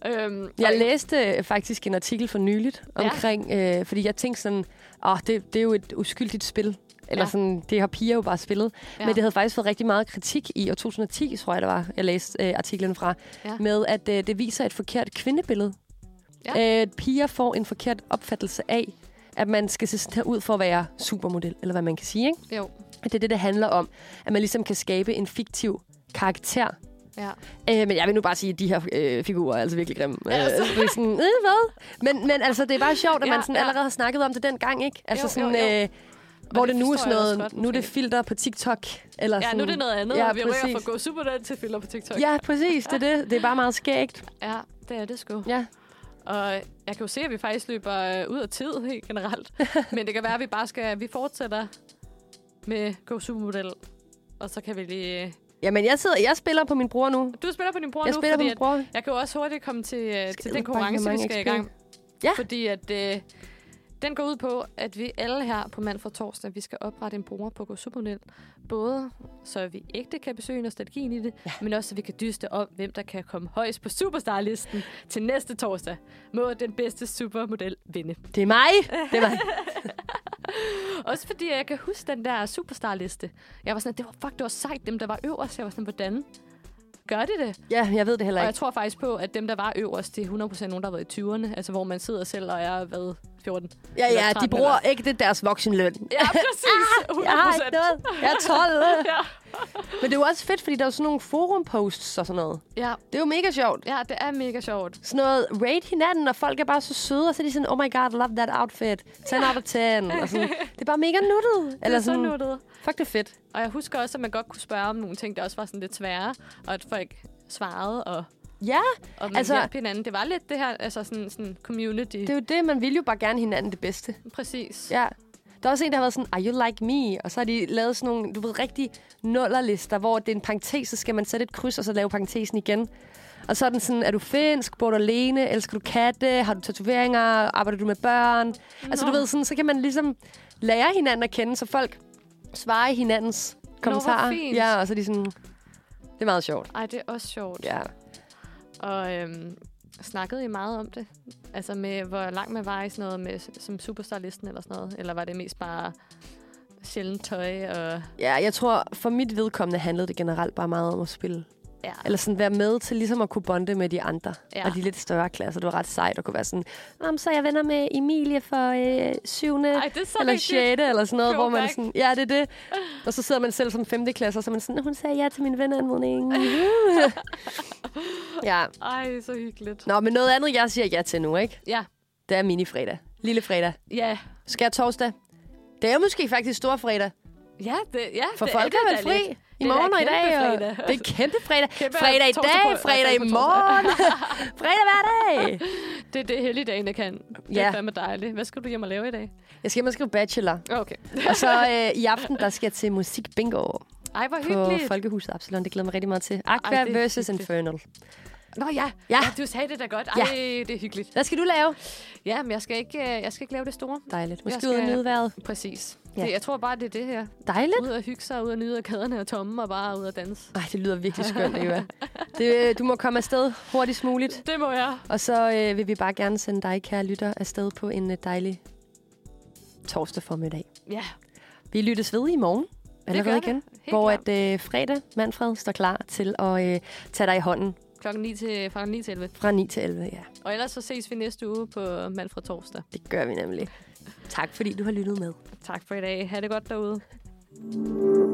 Speaker 3: Øhm,
Speaker 2: jeg
Speaker 3: og-
Speaker 2: læste øh, faktisk en artikel for nyligt omkring, øh, fordi jeg tænkte sådan, åh, det, det er jo et uskyldigt spil. Eller ja.
Speaker 3: Ja.
Speaker 2: sådan, det har piger jo bare spillet. Ja.
Speaker 3: Ja.
Speaker 2: Men det havde faktisk fået rigtig meget kritik i år 2010, tror jeg, det var, jeg læste øh, artiklen fra, ja.
Speaker 3: Ja.
Speaker 2: med at øh, det viser et forkert kvindebillede. Ja.
Speaker 3: Ja.
Speaker 2: Øh, at piger får en forkert opfattelse af, at man skal se sådan her ud for at være supermodel, eller hvad man kan sige, ikke?
Speaker 3: Jo,
Speaker 2: At det er det, det handler om. At man ligesom kan skabe en fiktiv karakter,
Speaker 3: ja.
Speaker 2: Øh, men jeg vil nu bare sige, at de her øh, figurer er altså virkelig grimme. Altså. Øh, det er sådan, øh, hvad? Men, men altså, det er bare sjovt, at
Speaker 3: Ja,
Speaker 2: man sådan
Speaker 3: ja.
Speaker 2: allerede har snakket om det dengang, ikke? Altså
Speaker 3: Jo,
Speaker 2: sådan,
Speaker 3: jo, jo.
Speaker 2: Øh, hvor
Speaker 3: Og
Speaker 2: det,
Speaker 3: det
Speaker 2: nu er
Speaker 3: forstår
Speaker 2: sådan
Speaker 3: jeg også
Speaker 2: noget,
Speaker 3: godt,
Speaker 2: nu er det
Speaker 3: måske.
Speaker 2: filter på TikTok. Eller
Speaker 3: Ja,
Speaker 2: sådan,
Speaker 3: nu er det noget andet,
Speaker 2: ja,
Speaker 3: og vi rykker
Speaker 2: præcis.
Speaker 3: fra gå superdate til filler på TikTok.
Speaker 2: Ja, præcis, det er det. Det er bare meget skægt.
Speaker 3: ja det er det sgu.
Speaker 2: Ja.
Speaker 3: Og jeg kan jo se, at vi faktisk løber øh, ud af tid [LAUGHS] helt
Speaker 2: [LAUGHS]
Speaker 3: generelt. Men det kan være, at vi bare skal, vi fortsætter med Go Supermodel. Og så kan vi lige...
Speaker 2: Jamen, jeg, sidder, jeg spiller på min bror nu.
Speaker 3: Du spiller på din bror
Speaker 2: jeg
Speaker 3: nu,
Speaker 2: spiller på
Speaker 3: fordi
Speaker 2: min bror.
Speaker 3: At, jeg kan jo også hurtigt komme til, øh,
Speaker 2: edderbanke
Speaker 3: til den konkurrence, vi
Speaker 2: mange
Speaker 3: skal i
Speaker 2: XP.
Speaker 3: gang.
Speaker 2: Ja.
Speaker 3: Fordi at, øh, den går ud på, at vi alle her på mand for torsdag, vi skal oprette en bruger på Go Supermodel. Både så vi ægte kan besøge og strategien i det, ja. men også så vi kan dyste om, hvem der kan komme højst på superstarlisten til næste torsdag. Må den bedste supermodel vinde.
Speaker 2: Det er mig. Det er
Speaker 3: [LAUGHS]
Speaker 2: mig.
Speaker 3: Også fordi jeg kan huske den der superstarliste. Jeg var sådan, det var, fuck, det var sejt, dem der var øverst. Jeg var sådan, hvordan gør de det?
Speaker 2: ja, jeg ved det heller
Speaker 3: Og jeg
Speaker 2: ikke.
Speaker 3: tror faktisk på, at dem, der var øverst, det er 100% nogen, der har været i 20'erne. Altså, hvor man sidder selv og er, hvad, 14.
Speaker 2: Ja,
Speaker 3: Eller
Speaker 2: ja, de
Speaker 3: 13
Speaker 2: bruger ikke det deres voksenløn.
Speaker 3: Ja, ah, præcis. 100%.
Speaker 2: Jeg har ikke noget. Jeg er
Speaker 3: [LAUGHS]
Speaker 2: 12.
Speaker 3: Ja.
Speaker 2: Men det er jo også fedt, fordi der er jo sådan nogle forumposts og sådan noget.
Speaker 3: Ja,
Speaker 2: Det er jo mega sjovt.
Speaker 3: ja, det er mega sjovt.
Speaker 2: Sådan noget, rate hinanden, og folk er bare så søde, og så er de sådan, oh my god, love that outfit. 10 out of 10. Og sådan. Det er bare mega nuttet.
Speaker 3: Det
Speaker 2: Eller
Speaker 3: er så
Speaker 2: sådan,
Speaker 3: nuttet.
Speaker 2: fuck, det er fedt.
Speaker 3: Og jeg husker også, at man godt kunne spørge om nogle ting, der også var sådan lidt svære, og at folk svarede, og,
Speaker 2: Ja,
Speaker 3: og
Speaker 2: Altså-
Speaker 3: man altså, hjalp hinanden. Det var lidt det her, altså sådan, sådan community.
Speaker 2: det er jo det, man vil jo bare gerne hinanden det bedste.
Speaker 3: Præcis.
Speaker 2: Ja. Der er også en, der har været sådan, are you like me? Og så har de lavet sådan nogle, du ved, rigtig nullerlister, hvor det er en parentes, så skal man sætte et kryds, og så lave parentesen igen. Og så er den sådan, er du finsk? Bor du alene? Elsker du katte? Har du tatoveringer? Arbejder du med børn? No. Altså du ved, sådan, så kan man ligesom lære hinanden at kende, så folk svarer i hinandens kommentarer.
Speaker 3: fint.
Speaker 2: ja, og så er de sådan, det er meget sjovt.
Speaker 3: Ej, det er også sjovt.
Speaker 2: Ja.
Speaker 3: Og øhm, snakkede I meget om det? Altså med, hvor langt man var i sådan noget med, som superstarlisten eller sådan noget? Eller var det mest bare sjældent tøj og...
Speaker 2: ja, jeg tror, for mit vedkommende handlede det generelt bare meget om at spille.
Speaker 3: Ja,
Speaker 2: Eller sådan være med til ligesom at kunne bonde med de andre. Ja.
Speaker 3: Ja.
Speaker 2: Og de lidt større klasser. Det var ret sejt at kunne være sådan, Nå, men så er jeg venner med Emilie for øh, 7.
Speaker 3: Ej, det er så
Speaker 2: eller
Speaker 3: rigtigt.
Speaker 2: 6. eller sådan noget, hvor man
Speaker 3: Throwback.
Speaker 2: sådan, ja, det er det. Og så sidder man selv som 5. klasse, og så er man sådan, hun sagde ja til min
Speaker 3: [LAUGHS]
Speaker 2: venneanmodning. ja.
Speaker 3: Ej, så hyggeligt.
Speaker 2: Nå, men noget andet, jeg siger ja til nu, ikke?
Speaker 3: Ja,
Speaker 2: Det er minifredag. Lille fredag.
Speaker 3: ja.
Speaker 2: Skær torsdag. Det er jo måske faktisk stor fredag.
Speaker 3: Ja, det, ja,
Speaker 2: For
Speaker 3: det
Speaker 2: folk
Speaker 3: det
Speaker 2: er vel
Speaker 3: da
Speaker 2: fri i
Speaker 3: lidt. Det er da
Speaker 2: morgen og i dag.
Speaker 3: kæmpe
Speaker 2: Og
Speaker 3: fredag.
Speaker 2: det er kæmpe fredag.
Speaker 3: Kæmpe
Speaker 2: fredag i
Speaker 3: torsdag
Speaker 2: dag,
Speaker 3: på- nej,
Speaker 2: fredag i
Speaker 3: torsdag på [LAUGHS]
Speaker 2: morgen. fredag hver dag.
Speaker 3: Det er det, helligdagene kan. Det
Speaker 2: Ja.
Speaker 3: er fandme dejligt. Hvad skal du hjem og lave i dag?
Speaker 2: Jeg skal hjem og skrive bachelor.
Speaker 3: Okay.
Speaker 2: Og så øh, i aften, der skal jeg til musik bingo på
Speaker 3: Ej, hvor hyggeligt.
Speaker 2: Folkehuset Absalon. Det glæder mig rigtig meget til. Aqua
Speaker 3: Ej, det er
Speaker 2: versus
Speaker 3: hyggeligt.
Speaker 2: Infernal.
Speaker 3: Nå ja.
Speaker 2: Ja.
Speaker 3: ja, du sagde det da godt. Ej,
Speaker 2: Ja.
Speaker 3: det er hyggeligt.
Speaker 2: Hvad skal du lave?
Speaker 3: Ja, men jeg skal ikke, øh, jeg skal ikke lave det store.
Speaker 2: Dejligt. Måske
Speaker 3: Jeg skal-
Speaker 2: ud og nyde vejret.
Speaker 3: Præcis.
Speaker 2: Ja.
Speaker 3: Ja. Det, jeg tror bare, det er det her.
Speaker 2: Dejligt.
Speaker 3: Ud og hygge sig, ud og nyde, at gaderne er tomme, og bare ud og danse.
Speaker 2: Ej, det lyder virkelig skønt,
Speaker 3: [LAUGHS]
Speaker 2: Eva. Det, øh, du må komme afsted hurtigst muligt.
Speaker 3: Det må jeg.
Speaker 2: Og så øh, vil vi bare gerne sende dig, kære lytter, afsted på en øh, dejlig torsdag formiddag.
Speaker 3: Ja,
Speaker 2: Vi lyttes ved i morgen. Allerede
Speaker 3: gør det.
Speaker 2: igen.
Speaker 3: Helt
Speaker 2: Hvor
Speaker 3: klart.
Speaker 2: at øh, fredag, Manfred, står klar til at øh, tage dig i hånden
Speaker 3: klokken 9 til, fra 9 til 11.
Speaker 2: fra 9 til 11. Ja,
Speaker 3: Og ellers så ses vi næste uge på Manfred Torsdag.
Speaker 2: det gør vi nemlig. Tak fordi du har lyttet med.
Speaker 3: Tak for i dag. Ha' det godt derude.